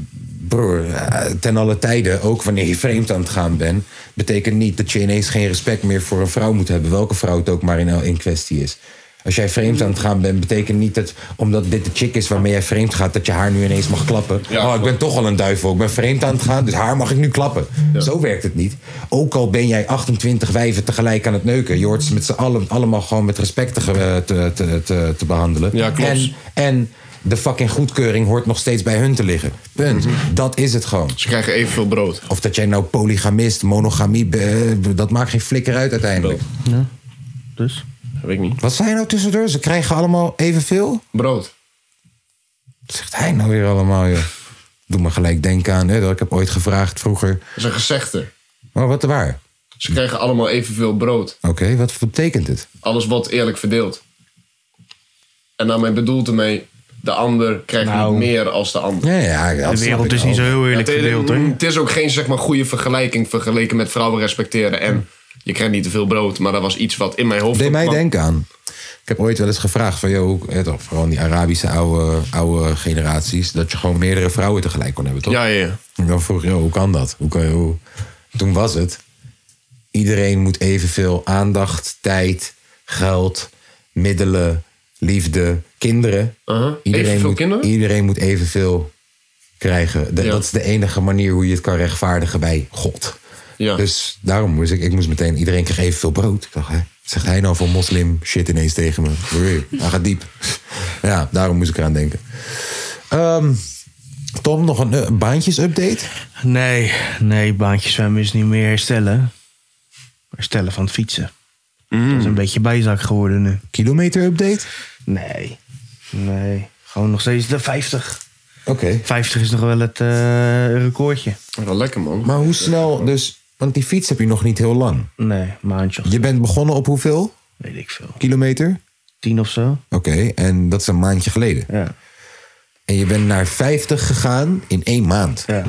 A: Broer, eh, ten alle tijden, ook wanneer je vreemd aan het gaan bent... betekent niet dat je ineens geen respect meer voor een vrouw moet hebben. Welke vrouw het ook maar in, in kwestie is. Als jij vreemd aan het gaan bent, betekent niet dat... omdat dit de chick is waarmee jij vreemd gaat... dat je haar nu ineens mag klappen.
C: Ja,
A: oh, ik ben toch al een duivel. Ik ben vreemd aan het gaan, dus haar mag ik nu klappen. Zo werkt het niet. Ook al ben jij 28 wijven tegelijk aan het neuken. Je hoort ze met z'n allen allemaal gewoon met respect te, ge- eh, te, te, te, te behandelen.
C: Ja, klopt.
A: En, en de fucking goedkeuring hoort nog steeds bij hun te liggen. Punt. Dat is het gewoon.
C: Mhm. Ze krijgen evenveel brood.
A: Of dat jij nou eh, polygamist, monogamie, be- be- dat maakt geen flikker uit uiteindelijk.
B: Dus?
C: Weet ik niet.
A: Wat zijn nou tussendoor? Ze krijgen allemaal evenveel?
C: Brood.
A: Wat zegt hij nou weer allemaal, joh? Doe me gelijk denken aan, hè, dat ik heb ooit gevraagd vroeger.
C: Dat is een gezegde.
A: Maar wat waar?
C: Ze krijgen allemaal evenveel brood.
A: Oké, wat betekent het?
C: Alles wat eerlijk verdeeld. En daarmee bedoelt ermee... De ander krijgt niet meer als de ander.
A: Ja, ja, ja, dat
E: Nou. De
A: snap
E: wereld
A: ik
E: is
A: wel.
E: niet zo heel eerlijk
C: het,
E: verdeeld, hoor.
C: het is ook geen zeg maar, goede vergelijking vergeleken met vrouwen respecteren. En je krijgt niet te veel brood, maar dat was iets wat in mijn hoofd...
A: deed mij
C: opkwam.
A: denken aan. Ik heb ooit wel eens gevraagd van, joh, hè, toch, vooral in die Arabische oude, oude generaties, dat je gewoon meerdere vrouwen tegelijk kon hebben, toch?
C: Ja, ja, ja.
A: En dan vroeg ik, joh, hoe kan dat? Hoe kan je, hoe... Toen was het, iedereen moet evenveel aandacht, tijd, geld, middelen, liefde, kinderen.
C: Uh-huh.
A: Iedereen
C: Evenveel
A: moet,
C: kinderen?
A: Iedereen moet evenveel krijgen. De-
C: Ja.
A: Dat is de enige manier hoe je het kan rechtvaardigen bij God.
C: Ja.
A: Dus daarom moest ik, ik moest meteen, iedereen kreeg evenveel brood. Ik dacht, hè, wat zegt hij nou voor moslim shit ineens tegen me? Wee, Hij gaat diep. Ja, daarom moest ik eraan denken. Ehm, Tom, nog een eh, baantjes-update?
E: Nee, nee, baantje zwemmen is niet meer herstellen. Herstellen van het fietsen.
C: Mm.
E: Dat is een beetje bijzak geworden nu.
A: Kilometer-update?
E: Nee, nee. Gewoon nog steeds de 50.
A: Oké.
E: 50 is nog wel het eh, recordje.
C: Wel lekker, man.
A: Maar hoe snel dus... Want die fiets heb je nog niet heel lang.
E: Nee, maandje of
A: Je bent begonnen op hoeveel
E: weet ik veel.
A: kilometer?
E: 10 of zo.
A: Oké, en dat is een maandje geleden.
E: Ja.
A: En je bent naar 50 gegaan in één maand.
E: ja.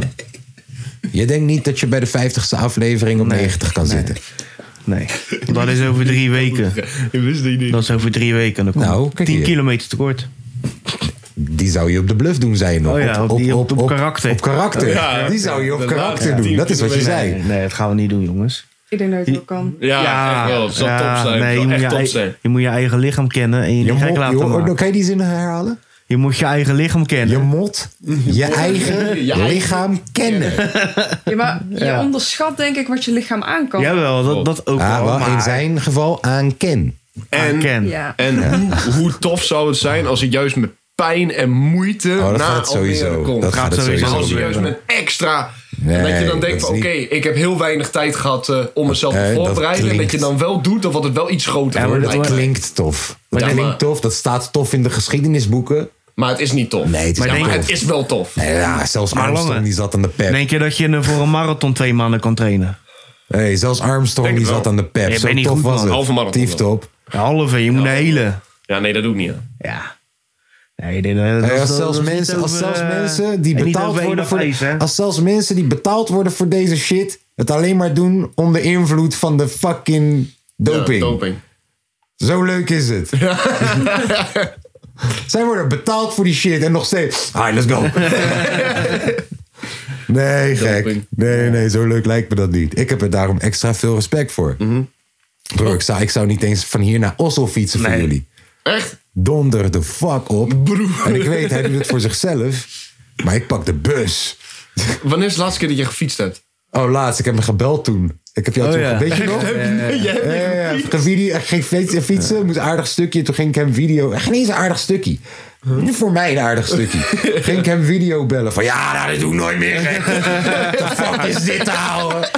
A: Je denkt niet dat je bij de 50ste aflevering op 90 kan zitten.
E: Nee. Want dat is over drie weken.
C: Ik wist die niet.
E: Dat is over drie weken. Dan komt
A: Nou, kijk
E: 10
A: hier.
E: kilometer tekort.
A: Die zou je op de bluff doen, zei je nog.
E: Oh ja, op die- op- op karakter.
A: Op karakter.
C: Ja,
A: die zou je op
C: inderdaad.
A: karakter
C: Ja.
A: doen. Dat is wat je
C: Nee.
A: zei.
E: Nee, nee, dat gaan we niet doen, jongens.
D: Ik denk dat het wel kan.
C: Ja, echt wel. Het zou
E: ja,
C: top zijn.
E: nee,
C: Het
E: je,
C: zou
E: moet
C: echt
E: je,
C: top
E: ei-
C: zijn.
E: je moet je eigen lichaam kennen en je,
A: Je
E: niet gek
A: mot-
E: laten
A: joh,
E: maken.
A: kan je die zin herhalen?
E: Je moet je eigen lichaam kennen.
A: Je mot, je eigen
C: Je eigen-
A: lichaam kennen.
D: Ja, maar je onderschat denk ik wat je lichaam aan kan.
E: Jawel, dat, dat ook
A: Ah,
E: wel.
A: wel,
E: maar
A: in zijn geval aan ken.
C: En,
E: ken.
D: Ja.
C: en Hoe, hoe tof zou het zijn als hij juist met pijn en moeite
A: Oh, dat
C: na
A: gaat het
C: Almere
A: sowieso.
C: komt.
A: Dat gaat het
E: Gaat
A: sowieso.
C: maar als hij juist
A: gebeuren.
C: met extra...
A: Nee,
C: dat je dan denkt
A: dat
C: van,
A: is
C: oké, ik heb heel weinig tijd gehad eh, om mezelf
A: Eh,
C: te
A: dat
C: voorbereiden. en dat
A: klinkt-
C: je dan wel doet, dan wordt het wel iets groter.
E: Ja, maar
C: wordt,
A: Dat
C: lijkt mij.
A: klinkt tof. Dat
C: Ja, maar-
A: klinkt tof. Dat staat tof in de geschiedenisboeken.
C: Maar het is niet tof.
A: Nee, het is
C: Ja,
A: niet
C: maar
A: tof.
C: het is wel tof.
A: Nee, Ja, Ah, zelfs
E: Maar
A: Armstrong
E: Lange.
A: die zat aan de pep.
E: Denk je dat je een- voor een marathon twee maanden kan trainen?
A: Hey, zelfs Armstrong
C: Denk
A: die
C: het
A: zat
C: wel.
A: aan de pep.
E: Nee,
A: Zo
E: ben niet
A: tof
E: goed,
A: was
E: man.
A: het.
C: Halve marathon
A: Tief top.
E: Een halve, je moet een hele.
C: Ja, nee, dat doe ik niet. aan.
E: Ja. Nee, dit- dat,
A: Hey,
E: dat-
A: Eh, als
E: dat-
A: zelfs
E: dat is niet
A: mensen- als
E: over,
A: zelfs
E: eh,
A: mensen die
E: en niet
A: betaald
E: over één
A: worden
E: of
A: voor
E: vijf,
A: de-
E: hè?
A: als zelfs mensen die betaald worden voor deze shit, het alleen maar doen onder invloed van de fucking
C: Ja,
A: doping.
C: doping.
A: Zo leuk is het. Zij worden betaald voor die shit en nog steeds. Ah, let's go. nee, gek.
C: Doping.
A: Nee, nee, zo leuk lijkt me dat niet. Ik heb er daarom extra veel respect voor.
C: Mhm.
A: Bro, ik zou, ik zou niet eens van hier naar Oslo fietsen voor
E: Nee.
A: jullie.
C: Echt?
A: Donder de fuck op.
C: Broer.
A: En ik weet, hij doet het voor zichzelf. Maar ik pak de bus.
C: Wanneer is de laatste keer dat je gefietst hebt?
A: Oh, laatst, ik heb me gebeld toen. Ik heb jou
E: Oh,
A: toen.
E: ja.
A: Weet je nog? Ja, ja, ja. Ik ging video- ik ging fietsen, fietsen moest een aardig stukje. Toen ging ik hem video. Echt niet eens een aardig stukje. Voor mij een aardig stukje. ging ik hem video bellen van ja, nou, dat doe ik nooit meer. Wat de fuck is dit nou? te houden?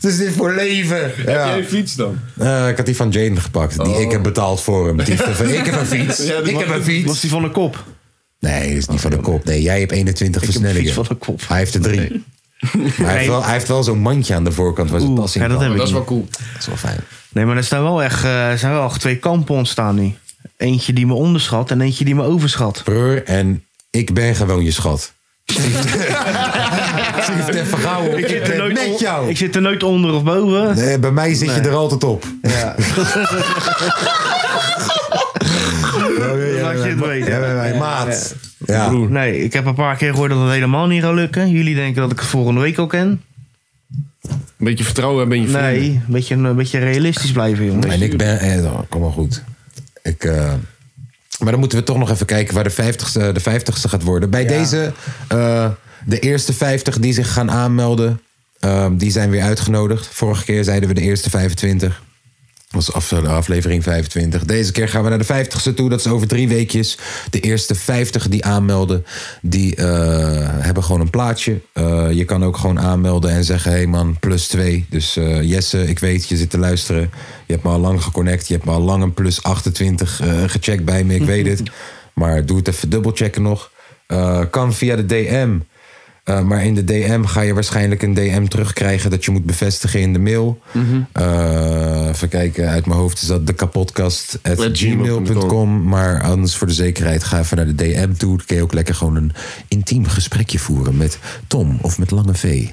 A: Het is dit voor leven. Ja.
C: Heb jij fiets dan?
A: Eh, ik had die van Jaden gepakt. Die ik heb betaald voor hem. Die van, ik heb een fiets.
C: Ja, die
A: ik heb
C: was-
A: een fiets.
E: Was Oh. die van de kop?
A: Nee, dat is niet van de kop. Nee, jij hebt 21
E: heb
A: versnellingen.
E: fiets van de kop.
A: Hij heeft er drie. Maar hij, heeft wel, hij heeft wel zo'n mandje aan de voorkant waar zijn
E: Oeh,
A: pas in
E: ja, dat
A: kan.
E: heb
C: Dat
E: ik
C: is wel cool.
A: Dat is wel fijn.
E: Nee, maar er staan wel echt, eh, er zijn wel echt twee kampen ontstaan nu. Eentje die me onderschat en eentje die me overschat.
A: Broer, en ik ben gewoon je schat. Ze heeft even gauw op. Ik ben met jou.
E: Ik zit er nooit onder of boven.
A: Nee, bij mij zit je er altijd op.
E: Laat je het weten.
A: Ja, bij mij, maat. Ja.
E: Nee, ik heb een paar keer gehoord dat het helemaal niet gaat lukken. Jullie denken dat ik het volgende week al ken.
C: Een beetje vertrouwen hebben in je vrienden.
E: Nee, een beetje, een beetje realistisch blijven, jongens.
A: En ik ben... eh, oh, kom maar goed. Ik... eh, maar dan moeten we toch nog even kijken waar de 50ste, de 50ste gaat worden. Bij deze, eh, de eerste 50 die zich gaan ehm, aanmelden, eh, die zijn weer uitgenodigd. Vorige keer zeiden we de eerste 25. Dat was af, de aflevering 25. Deze keer gaan we naar de 50ste toe. Dat is over drie weekjes. De eerste 50 die aanmelden, die eh, hebben gewoon een plaatje. Eh, je kan ook gewoon aanmelden en zeggen: hé hey man, plus twee. Dus eh, Jesse, ik weet, je zit te luisteren. Je hebt me al lang geconnect. Je hebt me al lang een plus 28 eh, gecheckt bij me. Ik weet het. Maar doe het even dubbelchecken nog. Eh, kan via de DM. Eh, maar in de DM ga je waarschijnlijk een DM terugkrijgen dat je moet bevestigen in de mail.
C: Mhm.
A: Eh, even kijken, uit mijn hoofd is dat de kapotkast.gmail.com. Maar anders voor de zekerheid ga even naar de DM toe. Dan kun je ook lekker gewoon een intiem gesprekje voeren met Tom of met Lange V.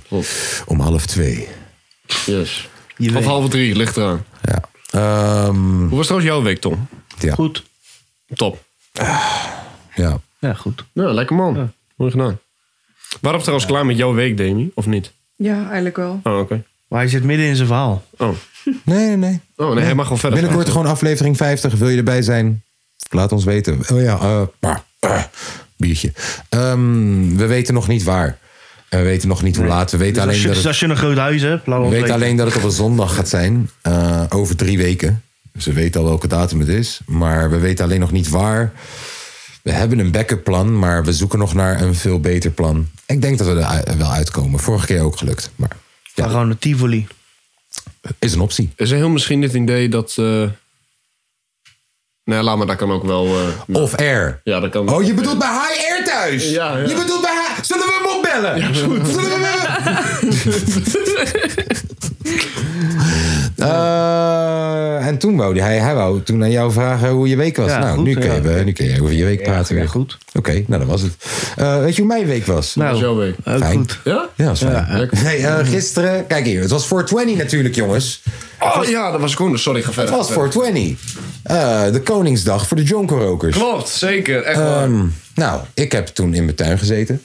A: Om half twee.
C: Yes.
B: Je
C: Of
B: weet.
C: half drie, ligt eraan.
A: Ja. Ehm,
C: Hoe was trouwens jouw week, Tom?
A: ja. Ah.
B: Goed.
C: Top.
A: ja.
B: Ja, goed.
C: Ja, lekker man. Mooi gedaan. Waarom trouwens klaar met jouw week, Demi? Of niet?
D: Ja, eigenlijk wel.
C: Oh, oké.
B: Maar hij zit midden in zijn verhaal.
C: Oh.
A: Nee, nee, nee.
C: oh, nee, hij mag gewoon verder.
A: Binnenkort gewoon aflevering 50. Wil je erbij zijn? Laat ons weten. Oh ja, eh, maar, eh, biertje. Ehm, we weten nog niet waar. En we weten nog niet hoe laat. We weten,
B: Dus als,
A: alleen,
B: je,
A: dat
B: dus
A: het,
B: als je een groot huis hebt, laat
A: we
B: ons
A: weten
B: weten.
A: alleen dat het op een zondag gaat zijn. eh, over drie weken. Dus we weten al welke datum het is. Maar we weten alleen nog niet waar. We hebben een backup plan, maar we zoeken nog naar een veel beter plan. Ik denk dat we er u- wel uitkomen. Vorige keer ook gelukt. Maar
B: Maar
A: ja,
B: Gewoon een Tivoli.
A: is een optie.
C: Is er heel misschien het idee dat... eh, Nee, laat maar, dat kan ook wel... eh,
A: Of air.
C: Ja, dat kan.
A: Oh, je bedoelt bij High Air thuis?
C: Ja, ja.
A: Je bedoelt bij High... Zullen we hem opbellen? Ja, goed. Zullen we hem... Eh, en toen wou die- hij, hij wou toen aan jou vragen hoe je week was.
B: Ja,
A: nou,
B: goed,
A: nu, kun
B: ja.
A: je, we- nu kun je over je week praten
B: ja,
A: weer.
B: goed.
A: Oké, nou dat was het. Eh, weet je hoe mijn week was?
B: Nou,
C: jouw week?
B: ook
A: Fijn.
B: goed.
C: eh, Ja?
A: ja, dat is fijn.
C: lekker.
A: Hey, eh, gisteren, kijk hier, het was 420 natuurlijk jongens.
C: Oh ja, dat was gewoon. Sorry, ga
A: Het
C: verder.
A: was 420. Eh, de Koningsdag voor de jonkerokers.
C: Klopt, zeker. Echt waar.
A: Ehm, nou, ik heb toen in mijn tuin gezeten.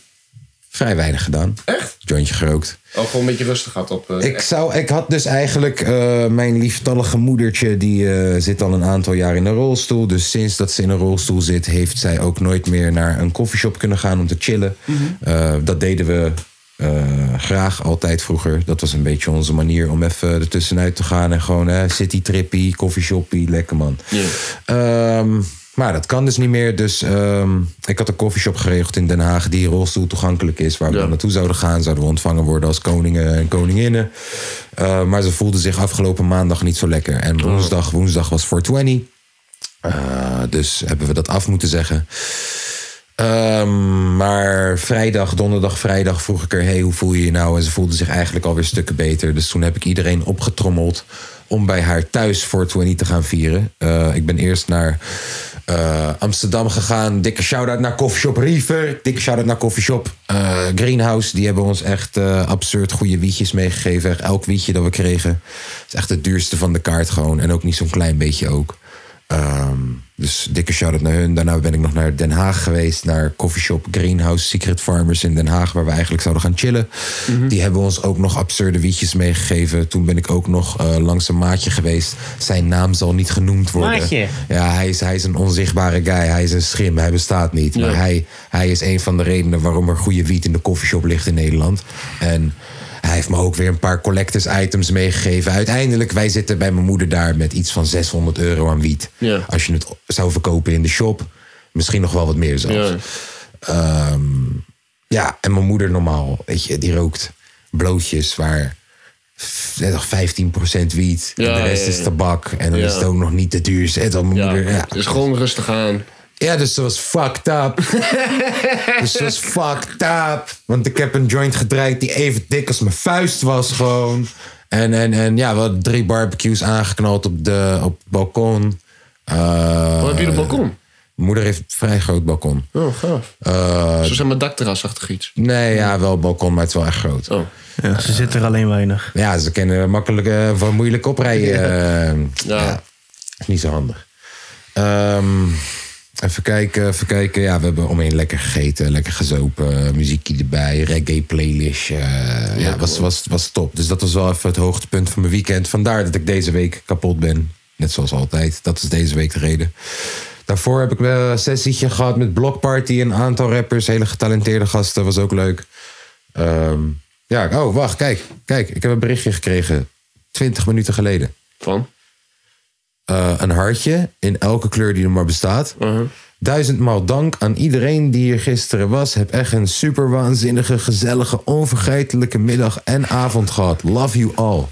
A: Vrij weinig gedaan.
C: Echt?
A: Jointje gerookt.
C: Oh, gewoon een beetje rustig gaat op. eh,
A: Ik, zou, ik had dus eigenlijk eh, mijn lieftallige moedertje, die eh, zit al een aantal jaar in een rolstoel. Dus sinds dat ze in een rolstoel zit, heeft zij ook nooit meer naar een koffieshop kunnen gaan om te chillen. Eh, dat deden we eh, graag altijd vroeger. Dat was een beetje onze manier om even ertussenuit te gaan. En gewoon eh, citytrippie, koffieshoppie, lekker man. Ehm, maar dat kan dus niet meer. Dus ehm, ik had een koffieshop geregeld in Den Haag die rolstoel toegankelijk is. Waar we dan naartoe zouden gaan. Zouden we ontvangen worden als koningen en koninginnen. Eh, maar ze voelden zich afgelopen maandag niet zo lekker. En woensdag, woensdag was 420. Eh, dus hebben we dat af moeten zeggen. Ehm, maar vrijdag, donderdag, vrijdag vroeg ik er: hey, hoe voel je je nou? En ze voelde zich eigenlijk alweer stukken beter. Dus toen heb ik iedereen opgetrommeld om bij haar thuis 420 te gaan vieren. Eh, ik ben eerst naar eh, Amsterdam gegaan. Dikke shout-out naar Coffeeshop River. Dikke shout-out naar Coffeeshop eh, Greenhouse. Die hebben ons echt eh, absurd goede wietjes meegegeven. Echt elk wietje dat we kregen. is echt het duurste van de kaart gewoon. En ook niet zo'n klein beetje ook. Ehm, dus dikke shout-out naar hun. Daarna ben ik nog naar Den Haag geweest. Naar coffeeshop Greenhouse Secret Farmers in Den Haag. Waar we eigenlijk zouden gaan chillen. Die hebben ons ook nog absurde wietjes meegegeven. Toen ben ik ook nog eh, langs een maatje geweest. Zijn naam zal niet genoemd worden.
B: Maatje?
A: Ja, hij is, hij is een onzichtbare guy. Hij is een schim. Hij bestaat niet. Maar hij, hij is een van de redenen waarom er goede wiet in de koffieshop ligt in Nederland. En hij heeft me ook weer een paar collectors items meegegeven. Uiteindelijk, wij zitten bij mijn moeder daar met iets van 600 euro aan wiet.
C: Ja.
A: Als je het zou verkopen in de shop, misschien nog wel wat meer zelfs.
C: Ja.
A: Ehm, ja, en mijn moeder normaal, weet je, die rookt blootjes waar f- net nog 15% wiet en
C: Ja,
A: de rest
C: ja, ja.
A: is tabak. En dan
C: Ja.
A: is het ook nog niet de duurste. En dan mijn
C: ja,
A: moeder, ja.
C: het is gewoon rustig aan.
A: Ja, dus ze was fucked up. dus ze was fucked up. Want ik heb een joint gedraaid die even dik als mijn vuist was gewoon. En, en, en ja, we hadden drie barbecues aangeknald op, de, op het balkon. Eh,
C: Wat Oh, heb je op het balkon?
A: Moeder heeft een vrij groot balkon. Eh,
C: Oh, gaaf. Zo zijn maar dakterrasachtig iets.
A: Nee, ja, wel balkon, maar het is wel echt groot.
C: Oh.
B: Ja, ze zitten er alleen weinig.
A: Ja, ze kennen makkelijk eh, van moeilijk oprijden. eh,
C: Ja.
A: ja. Is niet zo handig. Ehm, even kijken, even kijken. Ja, we hebben omheen lekker gegeten, lekker gezopen. eh, Muziekie erbij, reggae playlist. eh, ja, was, was, was top. Dus dat was wel even het hoogtepunt van mijn weekend. Vandaar dat ik deze week kapot ben. Net zoals altijd. Dat is deze week de reden. Daarvoor heb ik eh, een sessietje gehad met Block Party. Een aantal rappers, hele getalenteerde gasten. Was ook leuk. Ehm, ja, oh, wacht, kijk. Kijk, ik heb een berichtje gekregen. 20 minuten geleden.
C: Van?
A: eh, een hartje in elke kleur die er maar bestaat.
C: Uh-huh.
A: Duizendmaal dank aan iedereen die hier gisteren was. Heb echt een super waanzinnige, gezellige, onvergetelijke middag en avond gehad. Love you all.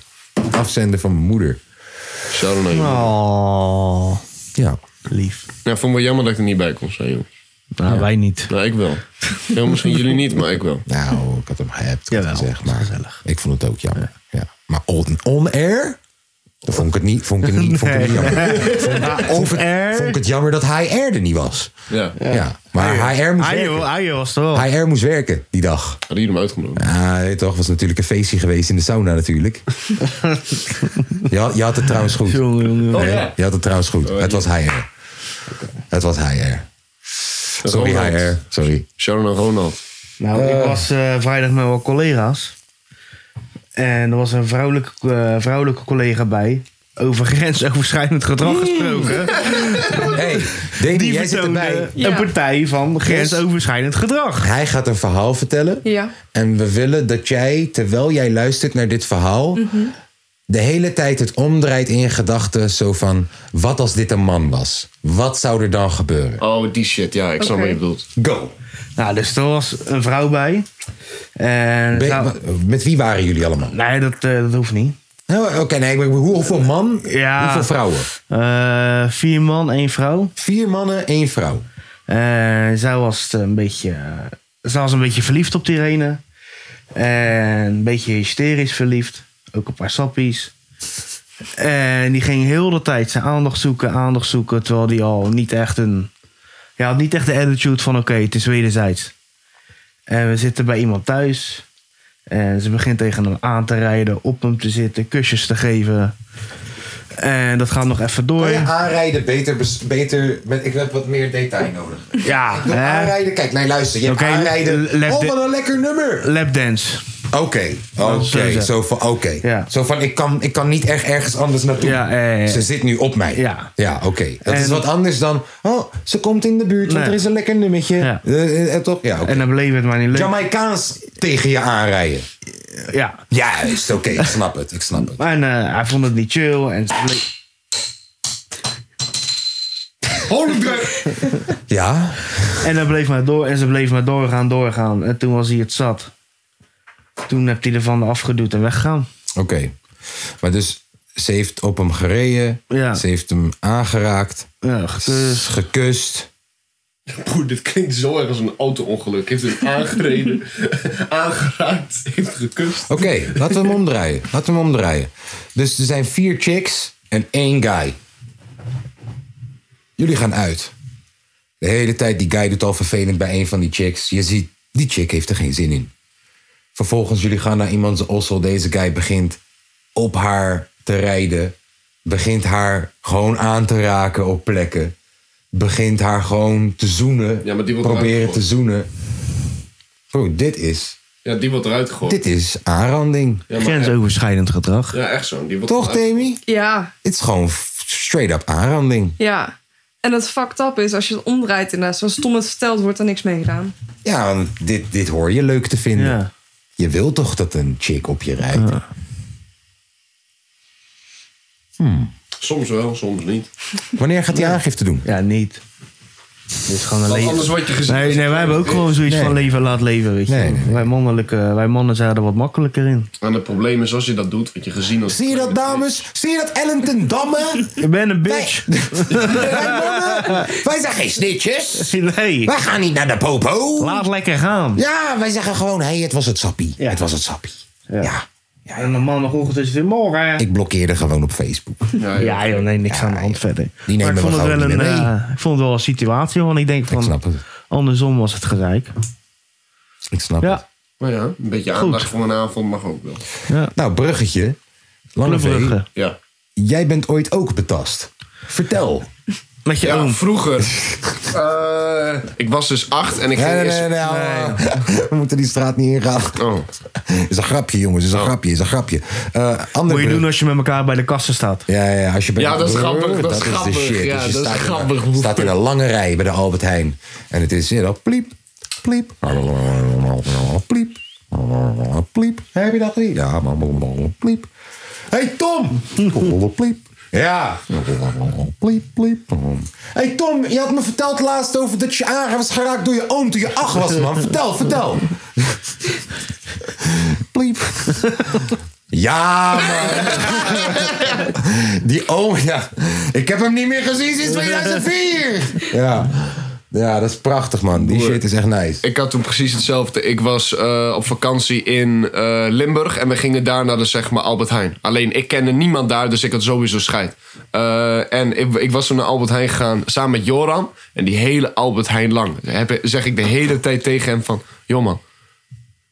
A: Afzenden van mijn moeder.
C: Shout out naar je.
E: Oh,
A: Ja.
E: lief.
C: Ja, vond ik wel jammer dat ik er niet bij kon zijn, joh.
E: Nou, wij niet.
C: Nou, ik wel. Ja, misschien jullie niet, maar ik wel.
A: Nou, ik had hem gehapt, had ik
E: Jawel,
A: gezegd.
E: dat is
A: Maar
E: gezellig.
A: ik vond het ook jammer. Ja. Maar on, on air? Dan vond ik het niet, vond ik het niet, vond ik het niet jammer. Vond, vond, ik
E: air?
A: het, vond ik het jammer dat hij er niet was.
C: Ja.
A: Ja. Maar HR moest
E: Ayo,
A: werken.
E: Ayo was toch?
A: HR moest werken die dag.
C: Hadden jullie hem uitgenodigd?
A: Ja, weet je toch, was natuurlijk een feestje geweest in de sauna natuurlijk. je, had, je had het trouwens goed.
E: Jongen, jongen.
C: Oh
A: Nee, Je had het trouwens goed. het was HR. Het was HR. Sorry
C: Ronald.
A: HR, sorry.
C: Shout out naar Ronald.
E: Nou, ik was eh, vrijdag met wat collega's. En er was een vrouwelijke, eh, vrouwelijke collega bij. Over grensoverschrijdend gedrag gesproken.
A: Hey, Dani,
E: Die
A: jij zit erbij.
E: vertoonde een
D: Ja.
E: partij van grensoverschrijdend gedrag.
A: Dus- Hij gaat een verhaal vertellen.
D: Ja.
A: En we willen dat jij, terwijl jij luistert naar dit verhaal,
D: Mhm.
A: de hele tijd het omdraait in je gedachten. Zo van: wat als dit een man was? Wat zou er dan gebeuren?
C: Oh, die shit. Ja, ik snap
D: Oké.
C: wat je bedoelt.
A: Go!
E: Nou, dus er was een vrouw bij. En
A: Ben-
E: nou,
A: wa- met wie waren jullie allemaal?
E: nee, dat, eh, dat hoeft niet.
A: Nou, Oké, nee, maar hoeveel man,
E: Ja.
A: hoeveel vrouwen?
E: Eh, vier man, één vrouw.
A: Vier mannen, één vrouw.
E: En zij was een beetje, eh, zij was een beetje verliefd op die ene. En een beetje hysterisch verliefd. Ook een paar sappies. En die ging heel de tijd zijn aandacht zoeken, aandacht zoeken. Terwijl die al niet echt een... Ja, had niet echt de attitude van oké, het is wederzijds. En Eh, we zitten bij iemand thuis. En ze begint tegen hem aan te rijden, op hem te zitten, kusjes te geven. En dat gaat nog even door.
A: Kan je aanrijden beter, bes- beter met, ik heb wat meer detail nodig.
E: Ja,
A: Door
E: hè?
A: aanrijden, kijk, nee, luister, je hebt
E: Oké,
A: aanrijden.
E: let
A: Oh,
E: de-
A: wat een lekker nummer!
E: Lapdance.
A: Oké, oké.
E: zo zeggen.
A: Zo van, oké.
E: Ja.
A: Zo van, ik kan, ik kan niet echt ergens anders naartoe.
E: Ja, ja, ja, ja.
A: Ze zit nu op mij.
E: Ja.
A: oké. Dat is
E: En-
A: wat anders dan, oh, ze komt in de buurt, want
E: Nee.
A: er is een lekker nummertje.
E: Ja.
A: Eh, eh, eh, toch? Ja, oké.
E: En dan bleef het maar niet leuk.
A: Jamaicaans tegen je aanrijden.
E: Ja.
A: Juist, oké, ik snap het, ik snap het.
E: En eh, hij vond het niet chill. En ze bleef-
A: Ja?
E: en dat bleef maar door. En ze bleef maar doorgaan, doorgaan. En toen was hij het zat. Toen heb hij ervan afgedoet en weggegaan.
A: Oké. Maar dus, ze heeft op hem gereden.
E: Ja.
A: Ze heeft hem aangeraakt.
E: Ja,
A: s-
E: gekust.
A: Gekust.
C: Broer, dit klinkt zo erg als een auto-ongeluk. Heeft hem aangereden, aangeraakt, heeft gekust.
A: Oké, laten we hem omdraaien. Laten we hem omdraaien. Dus er zijn vier chicks en één guy. Jullie gaan uit. De hele tijd, die guy doet al vervelend bij een van die chicks. Je ziet, die chick heeft er geen zin in. Vervolgens, jullie gaan naar iemands ossel. Deze guy begint op haar te rijden. Begint haar gewoon aan te raken op plekken. Begint haar gewoon te zoenen.
C: Ja, maar die wordt
A: Proberen
C: eruit
A: te zoenen. Bro, dit is,
C: Ja, die wordt eruit gegooid.
A: dit is aanranding.
C: Ja, maar echt,
E: Grensoverschrijdend gedrag.
C: ja, echt zo. Die wordt
A: Toch,
C: eruit-
A: Demi?
D: Ja,
A: Het is gewoon f- straight up aanranding.
D: ja. En het fucked up is als je het omdraait inderdaad. Zoals Tom het vertelt, wordt er niks mee gedaan.
A: Ja, want dit, dit hoor je leuk te vinden.
E: Ja.
A: Je wil toch dat een chick op je rijdt?
C: Soms wel, soms niet.
A: Wanneer gaat hij aangifte doen?
E: Ja, niet. Dit is gewoon een
C: Want
E: leven.
C: anders word je gezien.
E: Nee, nee, wij hebben ook gewoon zoiets
A: Nee.
E: van leven laat leven, weet je.
A: Nee, nee, nee.
E: Wij, mannelijke, wij mannen zijn er wat makkelijker in.
C: En het probleem is, als je dat doet, word je gezien als...
A: Zie je dat, dames? Zie je dat, Ellen ten Damme?
E: Ik ben een bitch.
A: Wij mannen, wij zijn geen snitjes.
E: Nee.
A: Wij gaan niet naar de popo.
E: Laat lekker gaan.
A: Ja, wij zeggen gewoon, hé, hey, het was het sappie.
E: Ja.
A: Het was het sappie. Ja.
E: En de maandagochtend is het weer morgen.
A: Ik blokkeerde gewoon op Facebook.
C: Ja, ja.
E: Ja, joh, nee, niks aan de hand verder.
A: Die nemen
E: maar ik
A: we
E: vond het
A: gewoon
E: wel een,
A: niet meer mee.
E: eh, ik vond het wel een situatie, want ik denk
A: Ik
E: van
A: snap het.
E: andersom was het gezeik.
A: Ik snap het.
E: Ja,
C: Maar Nou ja, een beetje aandacht voor een avond mag ook wel.
A: Nou, bruggetje. Lange V,
E: Clubbrugge.
C: Ja.
A: jij bent ooit ook betast. Vertel.
E: Met je
C: Ja,
E: oom.
C: vroeger. Eh, ik was dus acht en ik ging
A: Nee, nee,
C: eerst...
A: nee, nee, We moeten die straat niet ingaan.
C: Oh.
A: Is een grapje, jongens. Is een grapje, is een grapje. Eh ander
E: Moet je
A: brug-
E: doen als je met elkaar bij de kassen staat.
A: Ja, ja, als je bij Oh,
C: Ja, dat is grappig, dat is
A: de
C: grappig.
A: shit.
C: Ja,
A: Dus je
C: dat is
A: staat
C: grappig.
A: In, een- staat in een lange rij bij de Albert Heijn. En het is, je weet wel, pliep, pliep, pliep, pliep. Heb je dat niet? Ja, pliep. Hé, hey, Tom! Pliep. Ja. Pliep, pliep. hey Tom, je had me verteld laatst over dat je aan was geraakt door je oom toen je acht was, man. Vertel, vertel. Pliep. Ja, man. Die oom, ja. Ik heb hem niet meer gezien sinds 2004. Ja. Ja, dat is prachtig, man. Die shit is echt nice.
C: Ik had toen precies hetzelfde. Ik was eh, op vakantie in eh, Limburg en we gingen daar naar de zeg maar Albert Heijn. Alleen ik kende niemand daar, dus ik had sowieso scheid. Eh, en ik, ik was toen naar Albert Heijn gegaan samen met Joran. En die hele Albert Heijn lang. Heb, zeg ik de hele tijd tegen hem van... Joh man,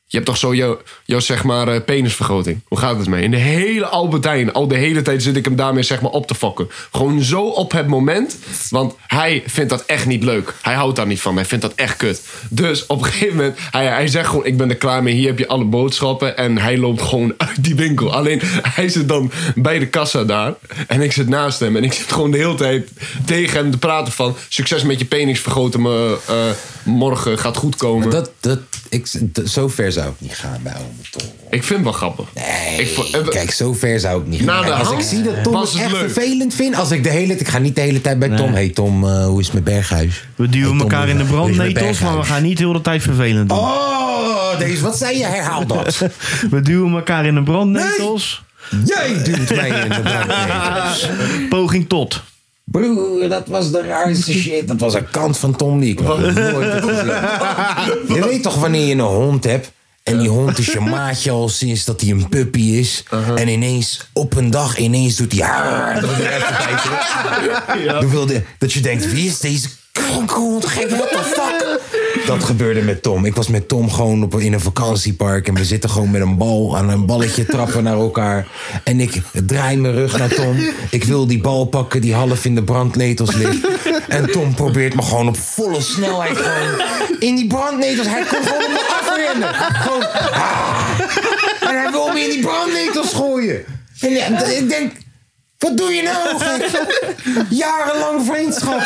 C: je hebt toch zo jouw, jouw zeg maar, eh, penisvergroting. Hoe gaat het mee? In de hele Albertijn, al de hele tijd zit ik hem daarmee zeg maar, op te fokken. Gewoon zo op het moment. Want hij vindt dat echt niet leuk. Hij houdt daar niet van. Hij vindt dat echt kut. Dus op een gegeven moment, hij, hij zegt gewoon: Ik ben er klaar mee. Hier heb je alle boodschappen. En hij loopt gewoon uit die winkel. Alleen hij zit dan bij de kassa daar. En ik zit naast hem. En ik zit gewoon de hele tijd tegen hem te praten: van... Succes met je penisvergroting. me morgen gaat goed komen.
A: Dat, dat, ik, d- zo ver zou ik niet gaan bij oom Tom.
C: Ik vind het wel grappig. ik vo- eh,
A: Kijk, zo ver zou ik niet
C: Na
A: gaan.
C: de
A: Kijk, als ik
C: hand
A: zie dat Tom
C: was
A: het
C: het
A: echt
C: leuk.
A: vervelend vind, als ik de hele tijd... Ik ga niet de hele tijd bij Tom. hey Tom, eh, hoe is het met Berghuis?
B: We duwen
A: Hey, Tom,
B: elkaar in de
A: hoe is het met
B: brandnetels, maar we
A: Berghuis?
B: gaan niet heel de tijd vervelend doen.
A: Oh, deze, wat zei je? Herhaal dat.
B: We duwen elkaar in de brandnetels.
A: Jij duwt mij in de brandnetels.
B: Poging tot.
A: Broer, dat was de raarste shit. Dat was een kant van Tom die ik nog nooit heb gezien. Je weet toch wanneer je een hond hebt... En die hond is je maatje al sinds dat hij een puppy is. En ineens, op een dag, ineens doet hij... "Haar." Dat, er even bij terug. Dan wilde, dat je denkt, wie is deze kankerhond? Gek, what the fuck? Dat gebeurde met Tom. Ik was met Tom gewoon op, in een vakantiepark. En we zitten gewoon met een bal aan een balletje trappen naar elkaar. En ik draai mijn rug naar Tom. Ik wil die bal pakken die half in de brandnetels ligt. En Tom probeert me gewoon op volle snelheid gewoon in die brandnetels. Hij komt gewoon op me afrennen. Gewoon, ah. En hij wil me in die brandnetels gooien. En ja, ik denk, wat doe je nou? gek? Jarenlang vriendschap.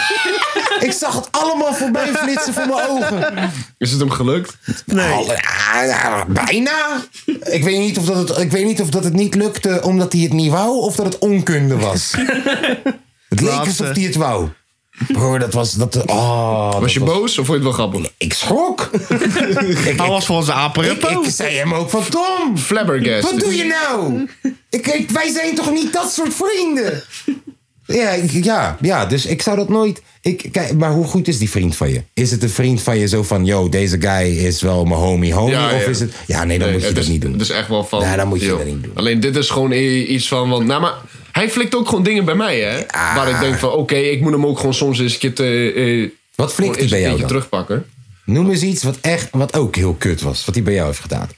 A: Ik zag het allemaal voorbij flitsen voor mijn ogen.
C: Is het hem gelukt?
A: Alle- ah, ja, bijna. Ik weet niet of, dat het, ik weet niet of dat het niet lukte omdat hij het niet wou of dat het onkunde was. Het leek
B: Laatste.
A: alsof hij het wou. Broer, dat was. Dat, oh, dat
C: Was je boos of vond je het wel grappig?
A: Ik schrok. ik,
B: Hij
A: ik,
B: was volgens de
A: ik,
B: apen.
A: ik zei hem ook van Tom.
C: Flabbergast.
A: Wat doe je nou? Ik, ik- wij zijn toch niet dat soort vrienden? Ja, ik- ja, ja, dus ik zou dat nooit. Ik, kijk, maar hoe goed is die vriend van je? Is het een vriend van je zo van, yo, deze guy is wel mijn homie, homie?
C: Ja,
A: of
C: ja.
A: is het. Ja, nee, dan moet je
C: het
A: dat
C: is-
A: niet doen.
C: Het is echt wel van...
A: Ja, dan moet je
C: joh.
A: dat niet doen.
C: Alleen dit is gewoon i- iets van... Want, nou, maar hij flikt ook gewoon dingen bij mij, hè?
A: Ah.
C: Waar ik denk van, oké, ik moet hem ook gewoon soms eens een keer... Te, eh,
A: Wat
C: gewoon
A: flikt hij
C: eens
A: bij
C: een
A: jou
C: keertje
A: dan?
C: terugpakken.
A: Noem eens iets wat, echt, wat ook heel kut was, wat hij bij jou heeft gedaan.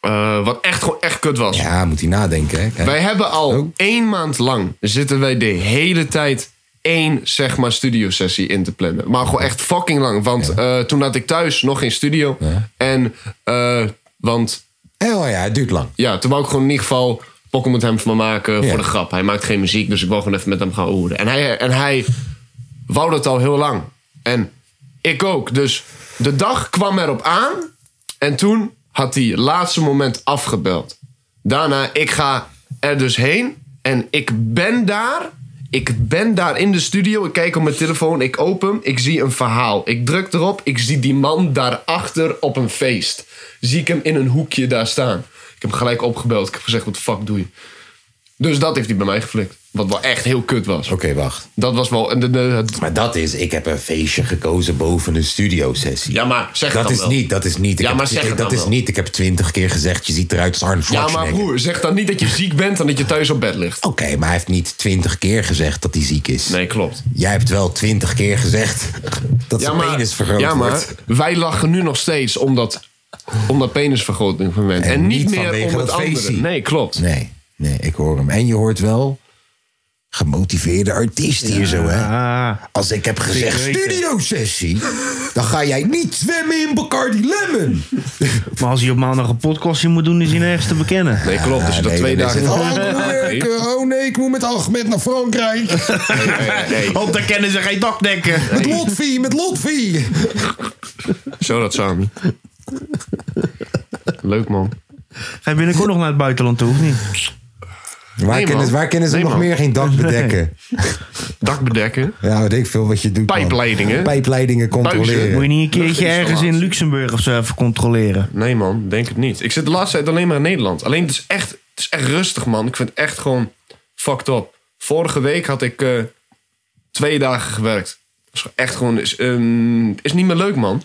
C: Eh, wat echt gewoon echt kut was.
A: Ja, moet hij nadenken, hè? Kijk.
C: Wij hebben al
A: Oh.
C: één maand lang zitten wij de hele tijd één zeg maar studiosessie in te plannen. Maar gewoon echt fucking lang. Want eh, toen had ik thuis nog geen studio. En eh, want
A: Oh ja, het duurt lang.
C: ja, toen wou ik gewoon in ieder geval pokken met hem van maken
A: Ja.
C: voor de grap. Hij maakt geen muziek, dus ik wou gewoon even met hem gaan oeren. En hij, en hij wou dat al heel lang. En ik ook. Dus de dag kwam erop aan. En toen had hij het laatste moment afgebeld. Daarna, ik ga er dus heen. En ik ben daar. Ik ben daar in de studio. Ik kijk op mijn telefoon. Ik open hem. Ik zie een verhaal. Ik druk erop. Ik zie die man daarachter op een feest. Zie ik hem in een hoekje daar staan. Ik heb hem gelijk opgebeld. Ik heb gezegd, wat de fuck doe je? Dus dat heeft hij bij mij geflikt. Wat wel echt heel kut was.
A: Oké, wacht.
C: Dat was wel... en de- de- het-
A: Maar dat is, ik heb een feestje gekozen boven een studiosessie.
C: ja, maar zeg het
A: Dat
C: dan
A: is
C: wel.
A: niet, dat is niet. Ik
C: Ja,
A: heb-
C: maar zeg
A: ik-
C: het
A: dat
C: dan
A: is
C: wel.
A: niet. Ik heb twintig keer gezegd, je ziet eruit als Arnold
C: Ja, maar
A: Schwarzenegger.
C: broer, zeg dan niet dat je ziek bent en dat je thuis op bed ligt.
A: Oké, maar hij heeft niet twintig keer gezegd dat hij ziek is.
C: Nee, klopt.
A: Jij hebt wel twintig keer gezegd dat zijn penis vergroot
C: ja, maar
A: wordt.
C: wij lachen nu nog steeds om dat, om dat penisvergroting van
A: En
C: mensen. En,
A: niet
C: niet
A: vanwege
C: meer om
A: dat
C: het andere.
A: feestje.
C: Nee, klopt.
A: Nee, nee, ik hoor hem. En je hoort wel gemotiveerde artiest hier zo, hè?
B: Ah,
A: Als ik heb gezegd
B: weten.
A: studiosessie, dan ga jij niet zwemmen in Bacardi Lemon.
B: maar als hij op maandag een podcastje moet doen, is hij nergens te bekennen.
C: Nee, klopt. Dus je
A: Ah,
C: dat
A: nee,
C: twee
A: dan is
C: dagen...
A: het, Oh, broer, oh nee, ik moet met Ahmed naar Frankrijk. Oh,
C: Nee, nee.
B: Want daar kennen ze geen dakdekken.
A: Met Lotfi, met Lotfi.
C: Zo dat samen. Leuk, man.
B: Ga je binnenkort nog naar het buitenland toe, of niet?
A: Waar,
C: Nee,
A: kunnen,
C: man.
A: waar kunnen ze
C: Nee,
A: nog
C: man.
A: meer geen dak bedekken?
C: Dakbedekken.
A: Ja, weet ik veel wat je doet. man.
C: Pijpleidingen.
A: Pijpleidingen
C: Buizen.
A: controleren.
B: Moet je niet een
C: Dat
B: keertje
C: is
B: ergens
C: wel
B: in
C: laat.
B: Luxemburg of zo even controleren?
C: Nee man, denk het niet. Ik zit de laatste tijd alleen maar in Nederland. Alleen het is echt, het is echt rustig man. Ik vind het echt gewoon fucked up. Vorige week had ik eh, twee dagen gewerkt. Dat is echt gewoon... Is, ehm, is niet meer leuk man.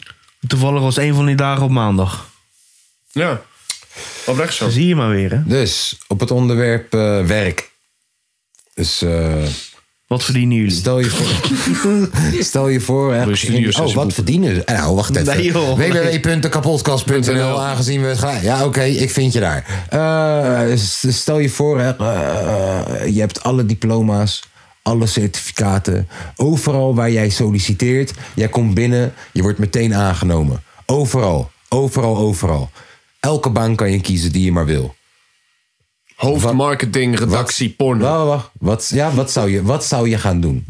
B: Toevallig was een van die dagen op maandag.
C: Ja. Oprecht zo.
B: Dat zie je maar weer, hè?
A: Dus, op het onderwerp eh, werk. Dus eh,
B: Wat verdienen jullie?
A: stel je voor... stel je voor... hè,
C: Goeie studio,
A: oh, wat
C: sessieboeken.
A: verdienen ze? Eh, Nou, wacht even.
B: Nee, joh.
A: www.kapotkast.nl Aangezien we het gaan... Ja, oké, ik vind je daar. Eh, s- stel je voor, hè, eh, je hebt alle diploma's, alle certificaten. Overal waar jij solliciteert, jij komt binnen, je wordt meteen aangenomen. Overal, overal, overal. Elke baan kan je kiezen die je maar wil.
C: Hoofdmarketing, redactie, porno.
A: Wacht, wacht. Wat, ja, wat, zou je, wat zou je gaan doen?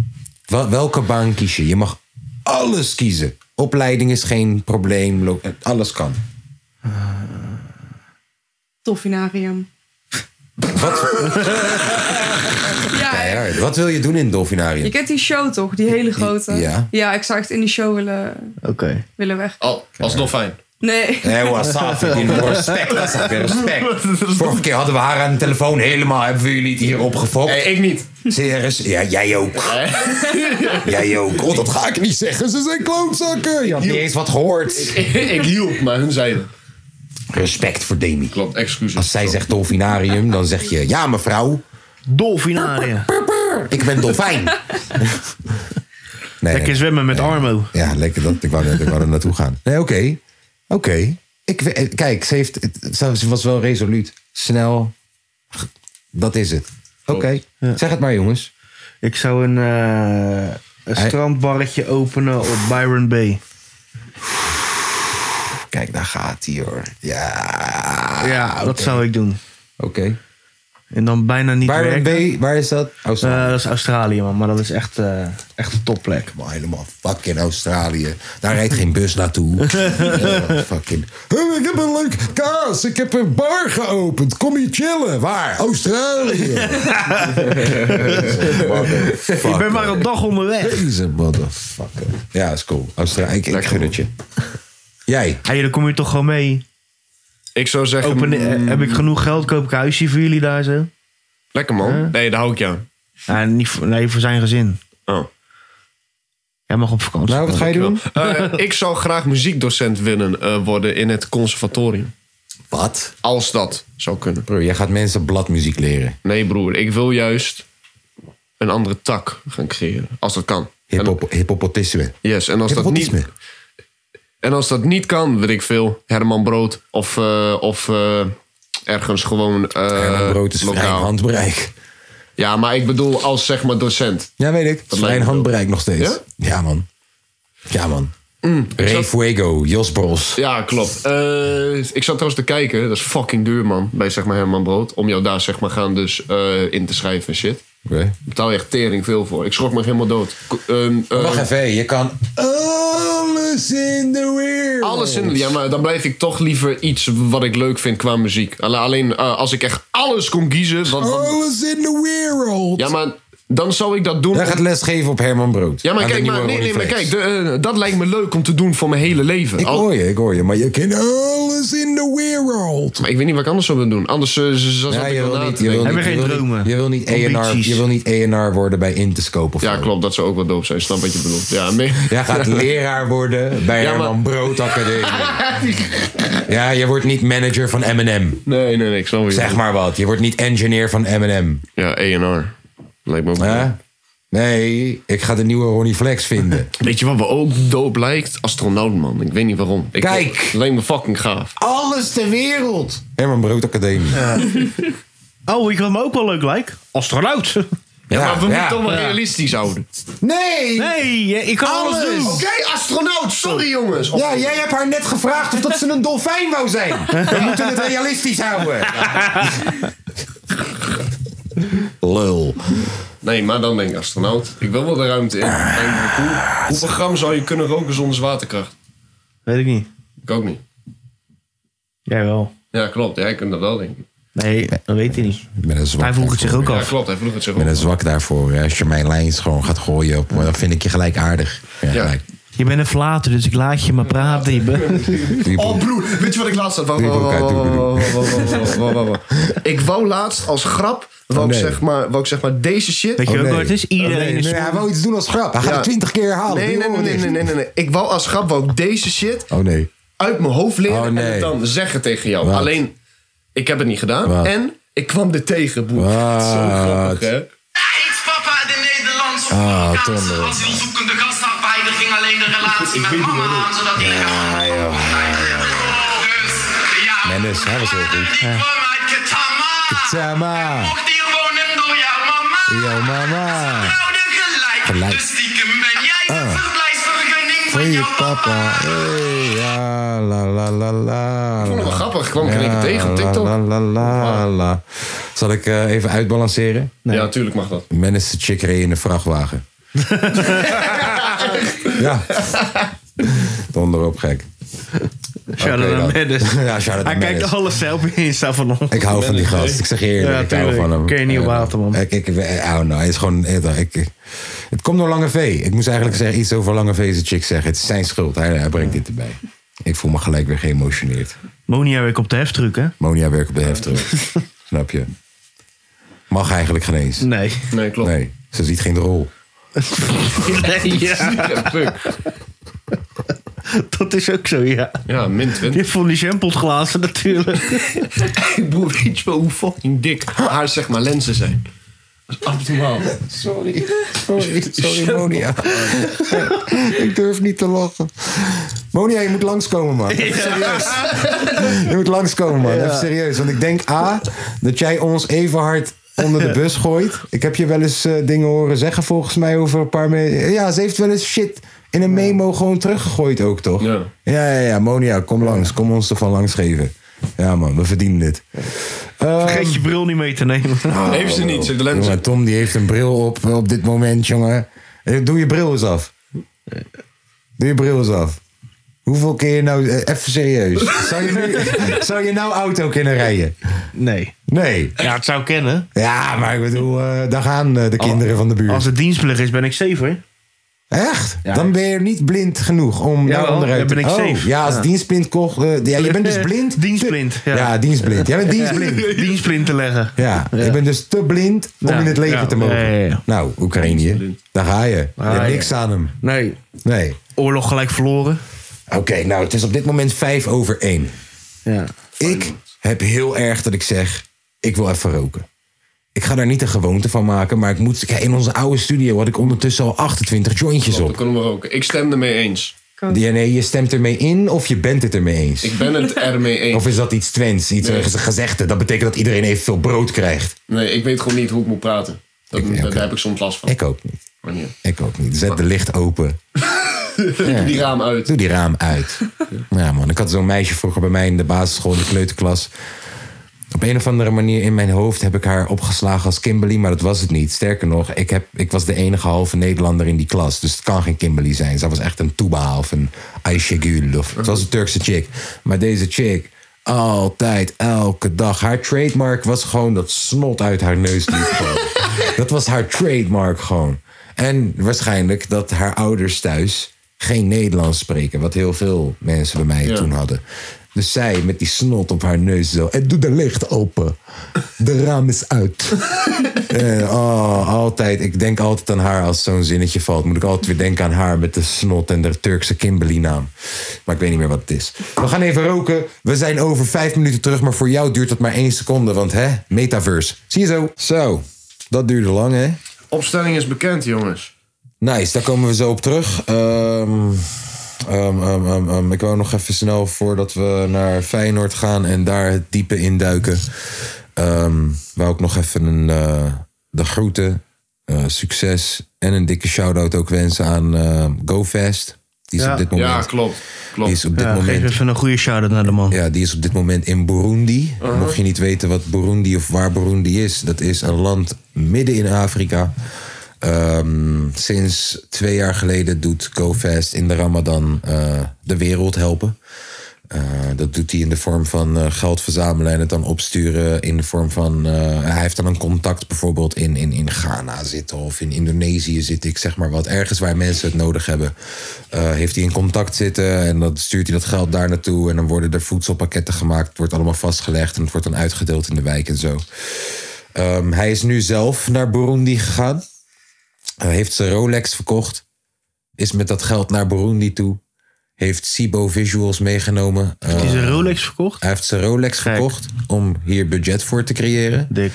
A: Wel- welke baan kies je? Je mag alles kiezen. Opleiding is geen probleem. lo- Alles kan.
D: Dolfinarium. Wat? ja,
A: Ja, ja. Wat wil je doen in het dolfinarium?
D: je kent die show toch? Die hele grote.
A: Oh, Ja.
D: ik zou echt in die show willen,
B: Oké.
D: willen weg.
C: Al, als dolfijn.
D: Nee.
A: Hé, wasafi, respect, wasafi, respect. Vorige keer hadden we haar aan de telefoon helemaal. Hebben we jullie het hier opgefokt?
C: Nee, ik niet.
A: Serieus? Ja, jij ook. Jij ook. Oh, dat ga ik niet zeggen. Ze zijn klootzakken. Je had niet eens wat gehoord.
C: ik hielp, maar hun zeiden.
A: Respect voor Demi.
C: Klopt,
A: Als
C: excuses.
A: zij zegt dolfinarium, dan zeg je... Ja, mevrouw.
B: Dolfinarium.
A: Ik ben dolfijn. Nee,
B: Lekker
A: nee.
B: zwemmen met Armo.
A: Ja, lekker dat. Ik wou, net- ik wou er naartoe gaan. Nee, oké. Oké. Ik we- eh, Kijk, ze, heeft, het- ze ze was wel resoluut. Snel. Dat is het. Oké. Zeg het maar, jongens.
B: Ik zou een, eh, een
A: Hij-
B: strandbarretje openen op Byron Bay.
A: Kijk, daar gaat hij hoor. Ja.
B: ja, dat zou ik doen.
A: Oké.
B: En dan bijna niet
A: Waar
B: werken.
A: B, waar is dat? Australië.
B: Eh, dat is Australië, man. Maar dat is echt, eh, echt een topplek.
A: Maar helemaal fucking Australië. Daar rijdt geen bus naartoe. Eh, fucking. Huh, ik heb een leuk kaas. Ik heb een bar geopend. Kom hier chillen. Waar? Australië.
B: Ik ben maar een dag onderweg.
A: Deze motherfucker. Ja, is cool. Australië. Ik, ik gun het je. Jij.
B: Hey, dan kom je toch gewoon mee.
C: Ik zou zeggen... mm,
B: Open, eh, heb ik genoeg geld, koop ik een huisje voor jullie daar zo.
C: Lekker man. Nee, daar hou ik jou.
B: Ja, niet voor, nee, voor zijn gezin.
C: Oh.
B: Jij mag op vakantie.
A: Nou, wat ga je doen?
C: Eh, ik zou graag muziekdocent willen eh, worden in het conservatorium.
A: Wat?
C: Als dat zou kunnen.
A: Bro, jij gaat mensen bladmuziek leren.
C: Nee, broer, ik wil juist een andere tak gaan creëren. Als dat kan.
A: Hiphop- Hippopotisme.
C: En- yes, en als dat niet.
A: Hippopotisme.
C: En als dat niet kan, weet ik veel. Herman Brood of, eh, of eh, ergens gewoon. eh,
A: Herman Brood is vrij
C: lokaal.
A: handbereik.
C: Ja, maar ik bedoel als zeg maar docent.
A: Ja, weet ik.
C: lijkt
A: Vrij
C: me wel.
A: handbereik nog steeds. Ja,
C: Ja?
A: man. Ja, man. Ray Fuego, Jos Bros.
C: Ja, klopt. Eh, ik zat trouwens te kijken. Dat is fucking duur, man. Bij zeg maar Herman Brood. Om jou daar zeg maar gaan dus eh, in te schrijven en shit.
A: Oké.
C: betaal je echt tering veel voor. Ik schrok me helemaal dood. Ko- ehm, ehm,
A: Wacht even, je kan alles in de wereld.
C: alles in. Ja, maar dan blijf ik toch liever iets wat ik leuk vind qua muziek. Alle- Alleen eh, als ik echt alles kon kiezen.
A: Oh,
C: Want, want-
A: Alles in de wereld.
C: ja, maar dan zou ik dat doen.
A: Jij gaat lesgeven op Herman Brood.
C: ja, maar
A: Aan de
C: kijk, maar,
A: nieuwe
C: nee, nee, maar
A: Ronnie
C: kijk
A: Flex.
C: de, eh, dat lijkt me leuk om te doen voor mijn hele leven.
A: Ik
C: Al-
A: hoor je, ik hoor je. Maar je kent alles in de wereld.
C: maar ik weet niet wat ik anders zou willen doen. Anders eh, z- zat
A: Ja,
C: ik
A: je
C: wel
A: wil
C: na
A: niet,
C: te
A: je wil
C: denken.
A: niet,
B: Hebben
A: je
B: geen
A: wil
B: dromen,
A: niet, je wil niet ENR,
B: ambities.
A: je wil niet ENR worden bij Interscope of
C: Ja,
A: zo.
C: klopt. Dat zou ook wel doof zijn. Snap wat je bedoelt. Ja, nee.
A: Jij gaat leraar worden bij
C: Ja, maar-
A: Herman Brood Academie. ja, je wordt niet manager van M&M.
C: nee, nee, nee. Ik snap wat je
A: Zeg maar wat. Je wordt niet engineer van M&M.
C: bedoelt. Ja, A&R. Lijkt me ook
A: Hè?
C: leuk.
A: Nee, ik ga de nieuwe Ronnie Flex vinden.
C: Weet je wat we ook doop lijkt? Astronaut, man. Ik weet niet waarom. Ik
A: Kijk.
C: Het lijkt me fucking gaaf.
A: Alles ter wereld. Herman Brood Academie. Ja,
B: Oh, ik wat me ook wel leuk lijkt. Astronaut.
C: Ja, maar we
A: ja.
C: moeten toch wel realistisch houden.
A: Nee!
B: Nee, je- ik kan alles,
A: Alles.
B: doen.
C: Oké, astronaut. Sorry, jongens.
A: Ja, jij hebt haar net gevraagd of dat ze een dolfijn wou zijn. We moeten het realistisch houden. Lul.
C: Nee, maar dan denk ik astronaut. Ik wil wel de ruimte in.
A: Ah.
C: Denk ik, hoe, hoeveel gram zou je kunnen roken zonder zwaartekracht?
B: Weet ik niet.
C: Ik ook niet.
B: Jij wel.
C: Ja, klopt. Jij kunt dat wel, denk ik.
B: Nee, dat weet hij niet.
A: Met een zwak
B: Hij vroeg het zich
A: daarvoor.
B: ook
C: Ja,
B: af.
C: klopt. Hij vroeg het zich
A: Ik ben
C: ook.
A: er zwak daarvoor. Als je mijn lijns gewoon gaat gooien, op, dan vind ik je gelijk aardig. Ja,
C: Ja.
A: gelijk.
E: Je bent een flater, dus ik laat je maar praten. Je bent-
C: Oh broer, weet je wat ik laatst had? Wauw,
A: Die
C: wauw,
A: broek uit,
C: wauw,
A: doe, doe,
C: wauw, wauw, wauw, wauw, wauw. Ik wou laatst als grap, wou,
A: Oh,
C: ik,
A: nee. Oh,
C: zeg maar, wou ik zeg maar deze shit...
E: Weet je ook wat het is? Iedereen
A: nee,
E: is
A: nee, Hij wil iets doen als grap. Hij gaat
C: Ja.
A: het twintig keer herhalen.
C: nee,
A: Die
C: nee, nee,
A: horen
C: nee,
A: niks.
C: nee, nee, nee, nee. Ik wou als grap wou ik deze shit
A: Oh nee.
C: uit mijn hoofd leren
A: Oh,
C: en
A: nee.
C: het dan zeggen tegen jou.
A: Wat?
C: Alleen, ik heb het niet gedaan.
A: Wat?
C: En ik kwam dit tegen, broer.
A: Wat?
C: Zo grappig, hè?
F: Eens papa de Nederlandse of
A: Ah,
F: Amerikaanse
A: Tom, eh.
F: asielzoekende gastarbeider ging alleen de relatie met mama aan, zodat ik...
A: Ja, joh.
F: Dus, ja,
A: Mennis, hij was heel goed.
F: die kwam uit Ketama.
A: Tama.
F: Mocht hier wonen door jouw mama.
A: Yo mama.
F: Trouwde gelijk.
A: Gelijk.
F: Dus stiekem ben jij de
A: Ah.
F: verblijfsvergunning
A: Voor
F: van
A: je
F: jouw
A: papa.
F: papa.
A: Hey, ja, la la la la.
C: Ik vond het wel grappig. Ik kwam ik in één keer tegen op
A: Ja,
C: TikTok.
A: La, la, la, la. Zal ik eh, even uitbalanceren?
C: Ja, tuurlijk mag dat.
A: Men is de chick reed in een vrachtwagen. ja. Donder op gek.
B: Shout
A: Oké,
B: out
A: dan.
B: naar Mendes.
A: Ja, shout out
B: Hij
A: naar Mendes.
B: kijkt alle filmpjes in Insta van ons.
A: Ik hou van die
C: Mendes,
A: gast.
C: nee.
A: Ik zeg je eerlijk,
B: Ja,
A: ik hou
B: tuurlijk.
A: van hem.
B: Kun je niet op
A: Eh,
B: water, man.
A: Ik, ik, ik hou nou, het is gewoon... Ik, ik- het komt door Lange V. Ik moest eigenlijk zeggen, iets over Lange V's chick zeggen. Het is zijn schuld. Hij, hij brengt dit erbij. Ik voel me gelijk weer geëmotioneerd.
B: Monia weer op de heftruck, hè?
A: Monia werkt op de heftruck. Snap je? Mag eigenlijk geen eens.
B: Nee.
C: Nee, klopt.
A: Nee, ze ziet geen rol.
B: ja,
C: Fuck.
B: dat is ook zo, ja.
C: Ja, min 20.
B: Je vond die shampoosglazen natuurlijk.
C: Broer, weet je wel hoe fucking dik haar zeg maar lenzen zijn?
A: Sorry. Sorry, sorry Monia. ik durf niet te lachen. Monia, je moet langskomen, man. Even serieus. Je moet langskomen, man. Even serieus. Want ik denk, A, dat jij ons even hard onder de bus gooit. Ik heb je wel eens eh, dingen horen zeggen, volgens mij, over een paar... me- Ja, ze heeft wel eens shit in een memo gewoon teruggegooid ook, toch?
C: Ja.
A: Ja, ja, ja. Monia, kom langs. Kom ons ervan langs geven. Ja, man. We verdienen dit. Ehm,
B: Vergeet je bril niet mee te nemen.
C: Heeft ze niet, ze heeft de lenzen.
A: Ah, Jongen, Tom die heeft een bril op eh, op dit moment, jongen. Eh, Doe je bril eens af. Doe je bril eens af. Hoeveel keer nou... eh, Even serieus. Zou je, nu- zou je nou auto kunnen rijden?
B: Nee.
A: Nee.
B: Ja, het zou Oh. kennen.
A: Ja, maar ik bedoel, eh, daar gaan eh, de kinderen van de buurt.
B: Als het dienstplicht is, ben ik safe, hoor.
A: Echt?
B: Ja.
A: Dan ben je niet blind genoeg om
B: Jawel,
A: daar onderuit
B: dan ben ik
A: oh,
B: safe.
A: Ja, als
B: Ja.
A: dienstblind kocht... eh, ja, je bent dus blind?
B: Dienstblind,
A: Ja.
B: ja.
A: dienstblind. Jij bent dienstblind.
B: Dienstplint te leggen.
A: Ja, je bent dus te blind om
B: Ja.
A: in het leven
B: Ja.
A: te mogen.
B: Ja, ja, ja.
A: Nou, Oekraïne, daar ga je. Je
B: Ah,
A: hebt
B: ja.
A: niks aan hem.
B: Nee.
A: Nee.
B: Oorlog gelijk verloren.
A: Oké, nou, het is op dit moment vijf over één.
B: Ja.
A: Ik heb heel erg dat ik zeg, ik wil even roken. Ik ga daar niet een gewoonte van maken, maar ik moet... Kijk, in onze oude studio had ik ondertussen al 28 jointjes
C: Dan
A: op.
C: kunnen we roken. Ik stem ermee eens.
A: Ja, nee, je stemt ermee in of je bent het ermee eens.
C: Ik ben het ermee eens.
A: Of is dat iets Twents, iets
C: Nee.
A: een gezegde? Dat betekent dat iedereen evenveel brood krijgt.
C: Nee, ik weet gewoon niet hoe ik moet praten. Dat,
A: Ik-
C: dat-
A: oké.
C: Daar heb ik soms last van.
A: Ik ook niet.
C: Maar niet.
A: Ik ook niet. Zet de licht open.
C: Die raam uit.
A: Doe die raam uit. Ja, man. Ik had zo'n meisje vroeger bij mij in de basisschool, in de kleuterklas. Op een of andere manier in mijn hoofd heb ik haar opgeslagen als Kimberly, maar dat was het niet. Sterker nog, ik, heb, ik was de enige halve Nederlander in die klas. Dus het kan geen Kimberly zijn. Zij was echt een Tuba of een Ayşegül. Of, het was een Turkse chick. Maar deze chick, altijd, elke dag. Haar trademark was gewoon dat snot uit haar neus liep. gewoon. dat was haar trademark gewoon. En waarschijnlijk dat haar ouders thuis geen Nederlands spreken. Wat heel veel mensen bij mij toen hadden. Dus zij met die snot op haar neus zo. En doe de licht open. De raam is uit. Eh, oh, altijd. Ik denk altijd aan haar als zo'n zinnetje valt. Moet ik altijd weer denken aan haar met de snot en de Turkse Kimberly-naam. Maar ik weet niet meer wat het is. We gaan even roken. We zijn over vijf minuten terug. Maar voor jou duurt dat maar één seconde. Want hè, metaverse. Zie je zo. Zo. Dat duurde lang, hè?
C: Opstelling is bekend, jongens.
A: Nice, daar komen we zo op terug. Ehm, ehm, ehm, ehm, ehm, ik wou nog even snel voordat we naar Feyenoord gaan en daar het diepe induiken. Ehm wou ik nog even een, eh, de groeten, eh, succes en een dikke shout-out ook wensen aan eh GoFast. Die is
B: Ja.
A: op dit moment.
C: Ja, klopt.
A: Die
C: klopt.
A: is op dit
B: Ja, geef
A: moment
B: even een goede shout-out naar de man.
A: ja, die is op dit moment in Burundi.
C: Uh-huh.
A: Mocht je niet weten wat Burundi of waar Burundi is, dat is een land midden in Afrika. Ehm, sinds twee jaar geleden doet GoFast in de Ramadan eh, de wereld helpen. Eh, dat doet hij in de vorm van eh, geld verzamelen en het dan opsturen. In de vorm van. eh, hij heeft dan een contact bijvoorbeeld in, in, in Ghana zitten of in Indonesië zit ik, zeg maar wat. Ergens waar mensen het nodig hebben. eh, heeft hij in contact zitten en dan stuurt hij dat geld daar naartoe. En dan worden er voedselpakketten gemaakt. Het wordt allemaal vastgelegd en het wordt dan uitgedeeld in de wijk en zo. Ehm, hij is nu zelf naar Burundi gegaan. Eh, heeft zijn Rolex verkocht. Is met dat geld naar Burundi toe. Heeft Sibo Visuals meegenomen. Eh,
B: Is een Rolex verkocht?
A: hij heeft zijn Rolex verkocht om hier budget voor te creëren.
B: Dik.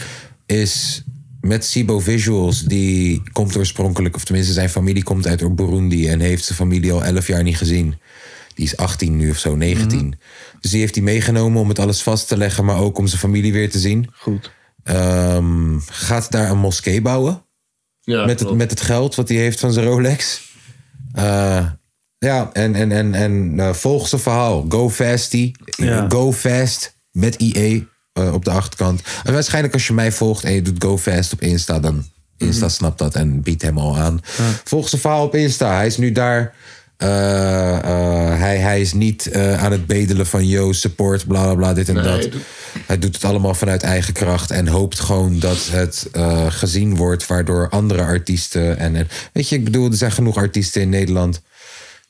A: Is met Sibo Visuals, die komt oorspronkelijk, of tenminste zijn familie komt uit Burundi en heeft zijn familie al 11 jaar niet gezien. Die is 18 nu of zo, 19.
B: Mhm.
A: Dus die heeft hij meegenomen om het alles vast te leggen, maar ook om zijn familie weer te zien.
B: Goed.
A: Ehm, gaat daar een moskee bouwen
C: Ja,
A: met, het,
C: klopt.
A: met het geld wat hij heeft van zijn Rolex. Eh, ja, en, en, en, en eh, volg zijn verhaal. Go fasty.
E: Ja.
A: Go fast met IE eh, op de achterkant. En waarschijnlijk als je mij volgt en je doet go fast op Insta, dan Insta
C: Mhm.
A: snapt dat en biedt hem al aan. Volg zijn verhaal op Insta. Hij is nu daar. Eh, eh, hij, hij is niet eh, aan het bedelen van yo, support, bla bla bla, dit en
C: Nee,
A: dat.
C: hij doet-
A: Hij doet het allemaal vanuit eigen kracht en hoopt gewoon dat het eh, gezien wordt, waardoor andere artiesten. En, en- weet je, ik bedoel, er zijn genoeg artiesten in Nederland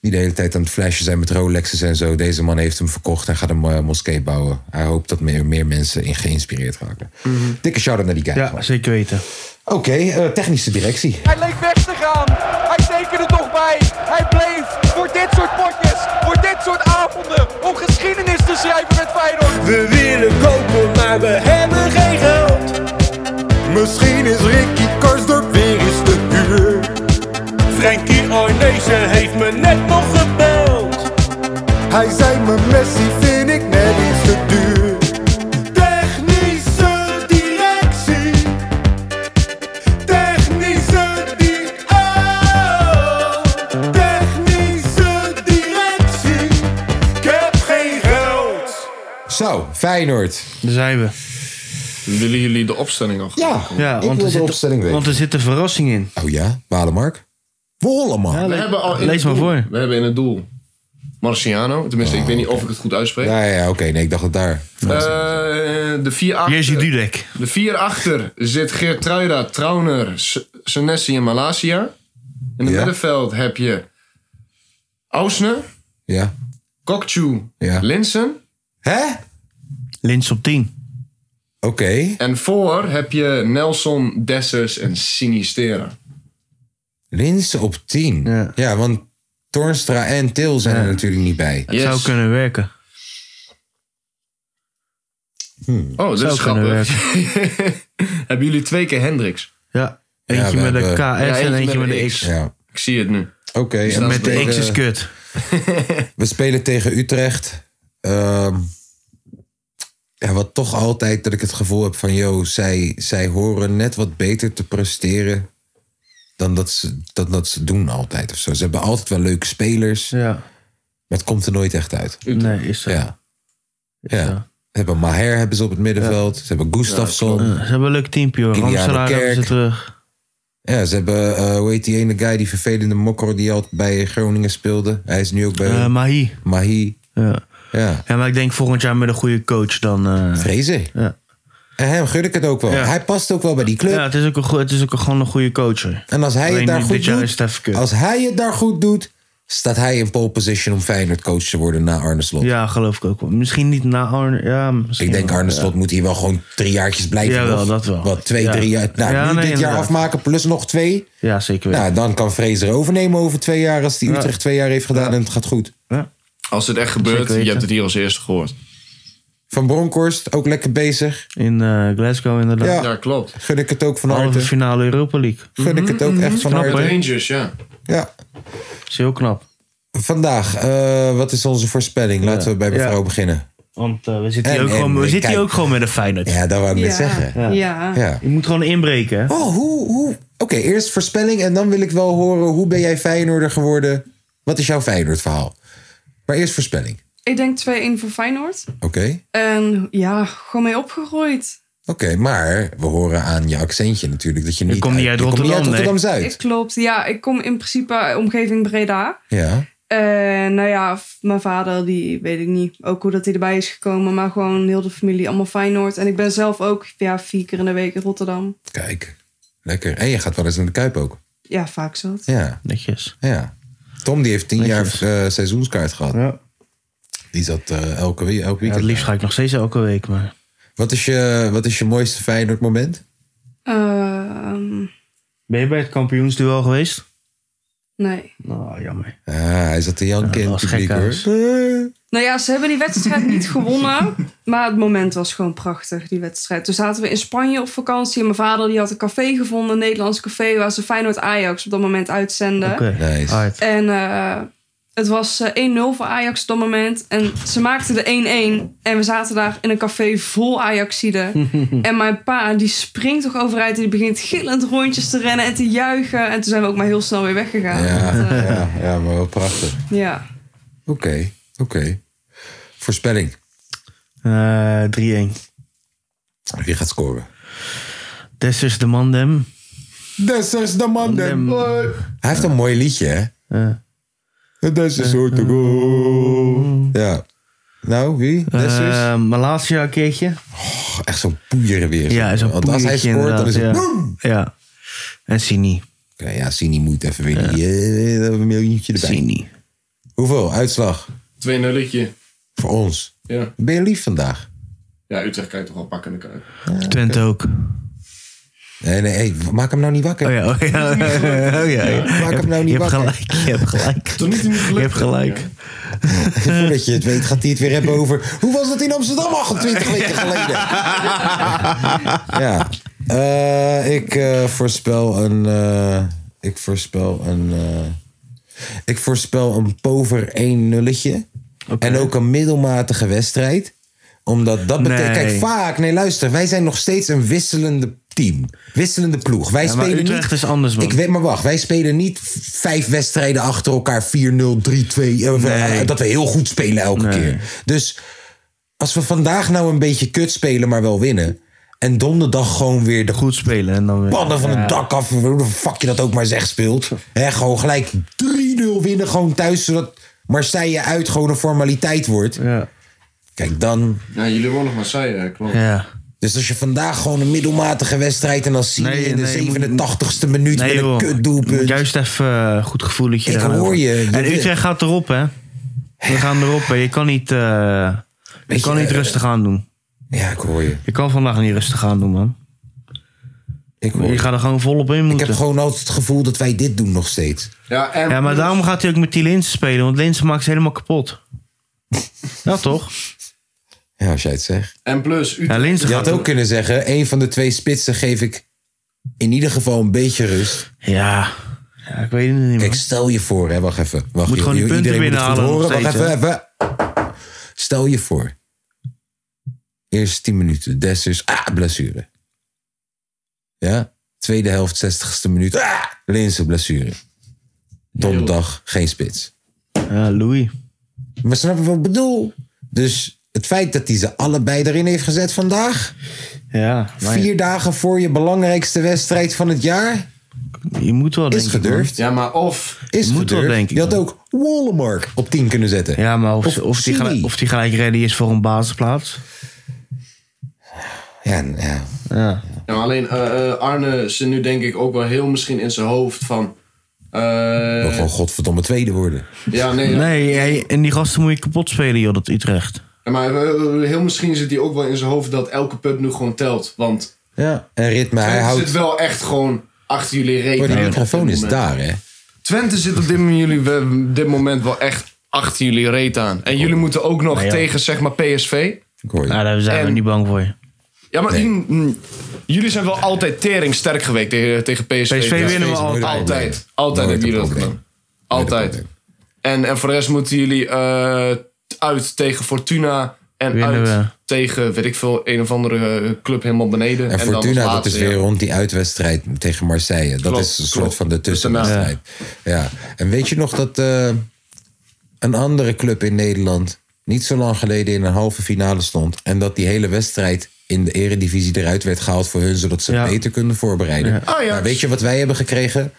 A: die de hele tijd aan het flashen zijn met Rolexes en zo. Deze man heeft hem verkocht en gaat een eh, moskee bouwen. Hij hoopt dat meer, meer mensen in geïnspireerd raken. Dikke shout-out naar die guy.
B: Mhm. Ja,
A: gewoon.
B: zeker weten.
A: Oké, eh, technische directie.
G: Hij leek weg te gaan. Hij tekende toch bij. Hij bleef voor dit soort potjes, voor dit soort avonden, om geschiedenis te schrijven met Feyenoord.
H: We willen kopen, maar we hebben geen geld. Misschien is Ricky Karsdorp weer eens te duur. Frankie Arnezen heeft me net nog gebeld. Hij zei me Messi vind ik net iets te duur. Technische directie. Technische di- oh. Technische directie. Ik heb geen geld.
A: Zo, Feyenoord.
B: Daar zijn we.
C: Willen jullie de opstelling al?
A: Ja,
B: Ja,
A: ik
B: want,
A: wil
B: er
A: de opstelling
B: zit,
A: weten.
B: want er zit een verrassing in.
A: Oh ja, Walemark? Wollemark.
C: We
B: le-
C: hebben al in
B: lees
C: het
B: maar
C: doel-
B: voor.
C: We hebben in het doel Marciano. Tenminste, ik weet niet of ik het goed uitspreek.
A: Ah, Ja, ja, ja, oké. Nee, ik dacht dat daar.
C: Eh, de vier
B: Jerzy
C: achter,
B: Dudek.
C: de vier achter zit Geertruida, Trauner, S- Senesi en Malasia. In het
A: Ja.
C: middenveld heb je Ausne,
A: Ja.
C: Kokchu,
A: Ja.
C: Linsen.
A: Hè?
B: Lins op 10.
A: Oké.
C: En voor heb je Nelson, Dessers en Sinistera.
A: Linsen op 10. Ja,
B: Ja.
A: want Tornstra en Til zijn er natuurlijk niet bij.
C: Yes.
B: Zou kunnen werken.
A: Hmm.
C: Oh, dat
B: Zou
C: is
B: kunnen
C: grappig. hebben jullie twee keer Hendricks?
B: Ja.
A: Ja,
B: Eentje
A: we
B: met de
A: hebben-
B: KS
C: Ja,
B: en eentje met de X.
A: Ja.
C: Ik zie het nu. Dus
A: Oké. en we
C: dat
B: Met de
A: spelen-
B: X is kut.
A: We spelen tegen Utrecht. Ehm, ja, wat toch altijd dat ik het gevoel heb van... Yo, zij, zij horen net wat beter te presteren... dan dat ze, dat, dat ze doen altijd of zo. Ze hebben altijd wel leuke spelers...
B: Ja.
A: maar het komt er nooit echt uit.
B: Nee, is zo.
A: Ja. Ja. Ze hebben Maher hebben ze op het middenveld. Ze hebben Gustafsson.
B: Ja, ze hebben een leuk teampje hoor.
A: Kilian de
B: Ramselaar hebben ze
A: Kerk.
B: terug.
A: Ja, ze hebben, eh, hoe heet die ene guy, die vervelende mokker die altijd bij Groningen speelde. Hij is nu ook bij
B: Eh Mahi.
A: Mahi.
B: Ja.
A: Ja,
B: ja, maar ik denk volgend jaar met een goede coach dan... eh,
A: vrezen.
B: Ja.
A: En hem gun ik het ook wel.
B: Ja.
A: Hij past ook wel bij die club.
B: ja, het is ook, een goe- het is ook een, gewoon een goede coach hoor.
A: En als hij
B: Alleen
A: het daar
B: dit
A: goed
B: jaar is het
A: doet,
B: even kut.
A: als hij het daar goed doet, staat hij in pole position om Feyenoord coach te worden na Arne Slot.
B: Ja, geloof ik ook wel. Misschien niet na Arne... Ja, misschien
A: Ik denk
B: wel.
A: Arne Slot moet hier wel gewoon drie jaartjes blijven.
B: Jawel,
A: nog.
B: dat wel.
A: Wat, twee,
B: Ja.
A: drie jaar. Nou,
B: Ja,
A: nu
B: nee,
A: dit jaar
B: inderdaad.
A: afmaken, plus nog twee.
B: Ja, zeker weten.
A: Nou, dan kan Fraser overnemen over twee jaar als die Utrecht twee jaar heeft gedaan en het gaat goed.
C: Als het echt gebeurt,
B: Zeker weten.
C: je hebt het hier als eerste gehoord.
A: Van Bronkhorst, ook lekker bezig.
B: In eh, Glasgow inderdaad.
A: Ja.
C: Ja, klopt.
A: Gun ik het ook van
B: Halve
A: harte.
B: finale Europa League. Mhm,
A: Gun ik het ook echt van
B: Knap,
A: harte.
B: hè?
C: Rangers, ja.
A: Ja.
B: Is heel knap.
A: Vandaag, eh, wat is onze voorspelling? Laten we bij mevrouw
B: Ja.
A: beginnen.
B: Want eh, we zitten, hier
A: En-
B: ook,
A: en
B: gewoon, we
A: kijk.
B: zitten hier ook gewoon met een Feyenoord.
A: Ja, dat wou ik net zeggen.
D: Ja.
A: Ja.
B: Je moet gewoon inbreken. hè?
A: Oh, hoe, hoe? Oké, eerst voorspelling en dan wil ik wel horen hoe ben jij Feyenoorder geworden? Wat is jouw Feyenoord verhaal? Maar eerst voorspelling.
D: Ik denk 2-1 voor Feyenoord.
A: Oké,
D: En ja, gewoon mee opgegroeid.
A: oké, maar we horen aan je accentje natuurlijk dat je niet,
B: komt niet uit
A: je komt niet
B: Rotterdam, nee.
A: Rotterdam-Zuid.
D: Ik klopt. Ja, ik kom in principe uit omgeving Breda.
A: Ja,
D: Eh, En nou ja, f- mijn vader, die weet ik niet ook hoe dat hij erbij is gekomen. Maar gewoon heel de familie, allemaal Feyenoord. En ik ben zelf ook ja, vier keer in de week in Rotterdam.
A: Kijk, lekker. En je gaat wel eens naar de Kuip ook.
D: Ja, vaak zo.
A: Ja.
E: Netjes.
A: Ja. Tom die heeft tien jaar eh, seizoenskaart gehad. Die zat eh, elke, wie- elk weekend.
E: het liefst ga ik nog steeds elke week, maar...
A: Wat is je, wat is je mooiste Feyenoord moment?
D: Ehm,
E: Ben je bij het kampioensduel geweest?
D: nee.
E: Nou, jammer.
A: Ah, hij zat te janken
E: in
A: het publiek,
D: Nou ja, ze hebben die wedstrijd niet gewonnen. Maar het moment was gewoon prachtig, die wedstrijd. Toen zaten we in Spanje op vakantie. En mijn vader die had een café gevonden, een Nederlands café. Waar ze Feyenoord Ajax op dat moment uitzenden.
A: Nice.
D: En eh, het was eh, 1-0 voor Ajax op dat moment. En ze maakten de 1-1. En we zaten daar in een café vol Ajaxiden. en mijn pa, die springt toch overuit. En die begint gillend rondjes te rennen en te juichen. En toen zijn we ook maar heel snel weer weggegaan.
A: Ja,
D: Want, eh,
A: ja, ja, maar wel prachtig.
D: ja.
A: Oké, oké. Voorspelling.
E: Eh, 3-1.
A: Wie gaat scoren?
E: This is the mandem.
A: This is the mandem. Hij heeft een mooi liedje, hè? This is how to go. Ja. Nou, wie? This is?
E: Eh Malasia een keertje.
A: Oh, echt zo'n poeieren weer.
E: Eh, Ja, zo'n
A: Want als hij
E: poeiertje
A: scoort, dan is het...
E: inderdaad,
A: boem.
E: Ja. ja. En Sini.
A: Oké, ja, Sini moet even weer die, eh, een miljoentje erbij.
E: Sini.
A: Hoeveel? Uitslag?
C: 2-0-tje.
A: Voor ons.
C: Ja.
A: Ben je lief vandaag?
C: ja, Utrecht kan je toch wel pakken in de kuip.
E: Twente ook.
A: Nee, nee, hey, maak hem nou niet wakker.
E: Oh ja, oh ja. Oh ja, oh ja.
A: Maak hem nou
E: Je
A: niet
E: hebt
A: wakker.
E: gelijk, je hebt gelijk. Je hebt gelijk.
A: Voordat je het weet, gaat hij het weer hebben over... Hoe was het in Amsterdam 28 weken geleden? ja. Eh, ik eh, voorspel een... eh, ik voorspel een... eh, ik voorspel een pover 1 nulletje. En ook een middelmatige wedstrijd. Omdat dat betekent...
E: Nee.
A: Kijk, vaak... Nee, luister. Wij zijn nog steeds een wisselende team. Wisselende ploeg. Wij
E: Ja, maar
A: spelen
E: Utrecht
A: niet...
E: is anders, man.
A: Ik weet maar wacht. Wij spelen niet v- vijf wedstrijden achter elkaar 4-0, 3-2. eh, we-
E: Nee.
A: Dat we heel goed spelen elke
E: Nee.
A: keer. Dus als we vandaag nou een beetje kut spelen, maar wel winnen. En donderdag gewoon weer de
E: Goed spelen en dan weer.
A: pannen van
E: Ja.
A: het dak af. Hoe de fuck je dat ook maar zegt speelt. Hè, gewoon gelijk 3-0 winnen gewoon thuis. Zodat Marseille uit gewoon een formaliteit wordt.
E: Ja.
A: Kijk dan.
C: Ja, jullie wonen nog Marseille, hè, klopt.
E: Ja.
A: Dus als je vandaag gewoon een middelmatige wedstrijd. En dan zie je
E: Nee,
A: in de
E: nee, je moet-
A: 87ste minuut
E: Nee,
A: met een
E: joh. Je moet
A: kutdoelpunt.
E: Juist even eh, goed gevoeletje.
A: Ik
E: daarover.
A: hoor je, je
E: En
A: wil-
E: Utrecht gaat erop, hè? We gaan erop, hè? Je kan niet, eh, je
A: Weet
E: kan
A: je,
E: niet
A: eh,
E: rustig aan doen.
A: Ja, ik hoor je.
E: Je kan vandaag niet rustig aan doen, man.
A: Ik hoor
E: Je
A: je.
E: gaat er gewoon volop in
A: Ik
E: moeten.
A: heb gewoon altijd het gevoel dat wij dit doen nog steeds.
C: Ja, en
E: Ja, maar daarom gaat hij ook met die Linsen spelen, want Linsen maakt ze helemaal kapot. Ja, toch?
A: Ja, als jij het zegt.
C: En plus, Utrecht.
E: Ja, Linsen
A: Je
E: gaat
A: had ook kunnen zeggen, een van de twee spitsen geef ik in ieder geval een beetje rust.
E: Ja. ja, ik weet het niet
A: Kijk,
E: meer.
A: stel je voor, hè, wacht even. Wacht,
E: Moet gewoon die punten
A: iedereen moet het goed
E: binnenhalen
A: horen.
E: nog
A: Wacht
E: steeds,
A: even, even. Stel je voor. Eerst 10 minuten, Dessers, ah, blessure. Ja, tweede helft, 60ste minuut, ah, Linse, blessure. Donderdag, geen spits.
E: Ja, Louis.
A: Maar snap je wat ik bedoel? Dus het feit dat hij ze allebei erin heeft gezet vandaag.
E: Ja, maar
A: Vier dagen voor je belangrijkste wedstrijd van het jaar.
E: je moet wel
A: Is
E: denken. man.
A: gedurfd.
C: Ja, maar of.
A: Is
E: moet wel,
A: gedurfd.
E: denk ik,
A: je had ook Wallenmark op 10 kunnen zetten.
E: Ja, maar of,
A: Of
E: of, die,
A: Sini.
E: gelijk, of die gelijk ready is voor een basisplaats.
A: Ja, n- ja.
E: Ja.
C: Ja, maar alleen eh, eh, Arne zit nu denk ik ook wel heel misschien in zijn hoofd van.
A: Wil
C: eh
A: gewoon godverdomme tweede worden.
C: ja, nee. ja.
E: Nee, hey, en die gasten moet je kapot spelen, joh, dat Utrecht.
C: Ja, Maar eh, heel misschien zit hij ook wel in zijn hoofd dat elke put nu gewoon telt. Want
A: Ja. En ritme, hij
C: Twente
A: houdt...
C: zit wel echt gewoon achter jullie reet.
A: Oh, die
C: aan op
A: microfoon
C: dit
A: is
C: moment.
A: daar, hè?
C: Twente zit op dit moment, jullie, we- dit moment wel echt achter jullie reet aan. En jullie moeten ook nog tegen zeg maar PSV.
A: Ik hoor je.
E: Nou, daar zijn we
C: En-
E: niet bang voor. je.
C: Ja, maar mm, mm, jullie zijn wel altijd tering sterk geweest tegen, tegen PSV.
E: PSV
C: Ja.
E: winnen we
A: steeds
E: altijd.
A: moeilijker.
C: Altijd. Altijd
A: Nooit
C: hebben jullie
A: een
C: dat
A: probleem.
C: gedaan. Altijd. En, en voor de rest moeten jullie eh, uit tegen Fortuna. En
E: Winnen
C: uit
E: we.
C: tegen, weet ik veel, een of andere eh, club helemaal beneden.
A: En,
C: dan als
A: Fortuna, dat
C: laatste,
A: is weer
C: ja.
A: rond die uitwedstrijd tegen Marseille. Dat
C: Klopt,
A: is een
C: klopt.
A: soort van de
C: Dus daarna-
A: tussenwedstrijd. Ja. En weet je nog dat eh, een andere club in Nederland niet zo lang geleden in een halve finale stond. En dat die hele wedstrijd in de eredivisie eruit werd gehaald voor hun, zodat ze
E: Ja.
A: beter kunnen voorbereiden. Nou,
C: Ajax.
A: Maar weet je wat wij hebben gekregen?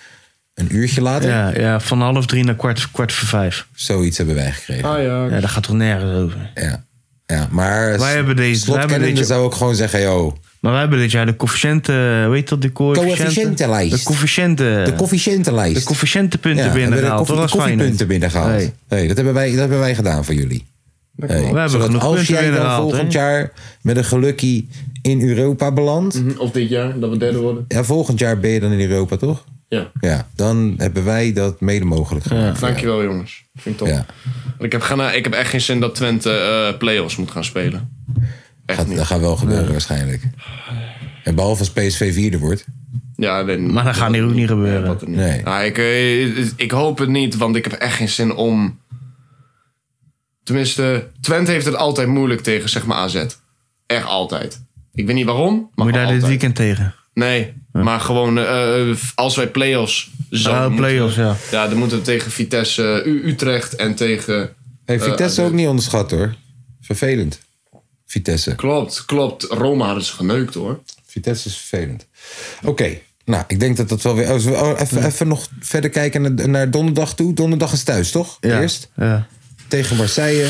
A: Een uurtje later?
E: Ja, ja, van half drie naar kwart, kwart voor vijf.
A: Zoiets hebben wij gekregen.
C: Ah ja.
E: Ja, daar gaat toch nergens over.
A: Ja. Ja, maar
E: Wij hebben deze- wij hebben
A: slotkennende
E: dit-
A: zou ook gewoon zeggen, yo,
E: Maar wij hebben dit jaar de coëfficiënten, weet dat, de coëfficiënten?
A: Coëfficiëntenlijst.
E: De coëfficiënten.
A: de coëfficiëntenlijst.
E: De coëfficiëntenpunten
A: hebben we de
E: binnengehaald.
A: koffie-
E: Dat was
A: de
E: fijn.
A: koffiepunten binnengehaald.
E: Nee.
A: Nee, dat, hebben wij, dat hebben wij gedaan voor jullie. Nee.
E: We hebben
A: Zodat
E: genoeg
A: als
E: punten
A: jij dan
E: binnengehaald,
A: volgend
E: hè?
A: jaar met een gelukkie in Europa belandt...
E: Mhm.
C: Of dit jaar, dat we derde worden.
A: Ja, volgend jaar ben je dan in Europa, toch?
C: Ja.
A: Ja, dan hebben wij dat mede mogelijk gemaakt.
C: Dankjewel jongens. Vind ik top.
A: Ja.
C: Want Ik, heb, gaan, ik heb echt geen zin dat Twente eh, play-offs moet gaan spelen. Echt
A: Gaat,
C: niet.
A: dat gaat wel gebeuren waarschijnlijk. En behalve als PSV vierde wordt.
C: Ja, nee,
E: Maar dat gaat hier ook niet gebeuren.
C: Wat er niet.
A: Nee.
C: Nou, ik, eh, ik hoop het niet, want ik heb echt geen zin om... Tenminste, Twente heeft het altijd moeilijk tegen, zeg maar, AZ. Echt altijd. Ik weet niet waarom,
E: Moet
C: maar
E: je daar
C: altijd.
E: dit weekend tegen?
C: Nee, maar gewoon eh, eh, als wij play-offs zouden
E: Oh,
C: moeten-
E: play-offs, ja.
C: Ja, dan moeten we tegen Vitesse, eh, U- Utrecht en tegen...
A: Hey, Vitesse
C: eh,
A: ook niet onderschat hoor. Vervelend. Vitesse.
C: Klopt, klopt. Roma Dus hadden ze geneukt hoor.
A: Vitesse is vervelend. Oké. Nou, ik denk dat dat wel weer... oh, zullen we- oh, even, even nog verder kijken naar, naar donderdag toe. Donderdag is thuis, toch?
E: Ja.
A: Eerst
E: Ja.
A: tegen Marseille.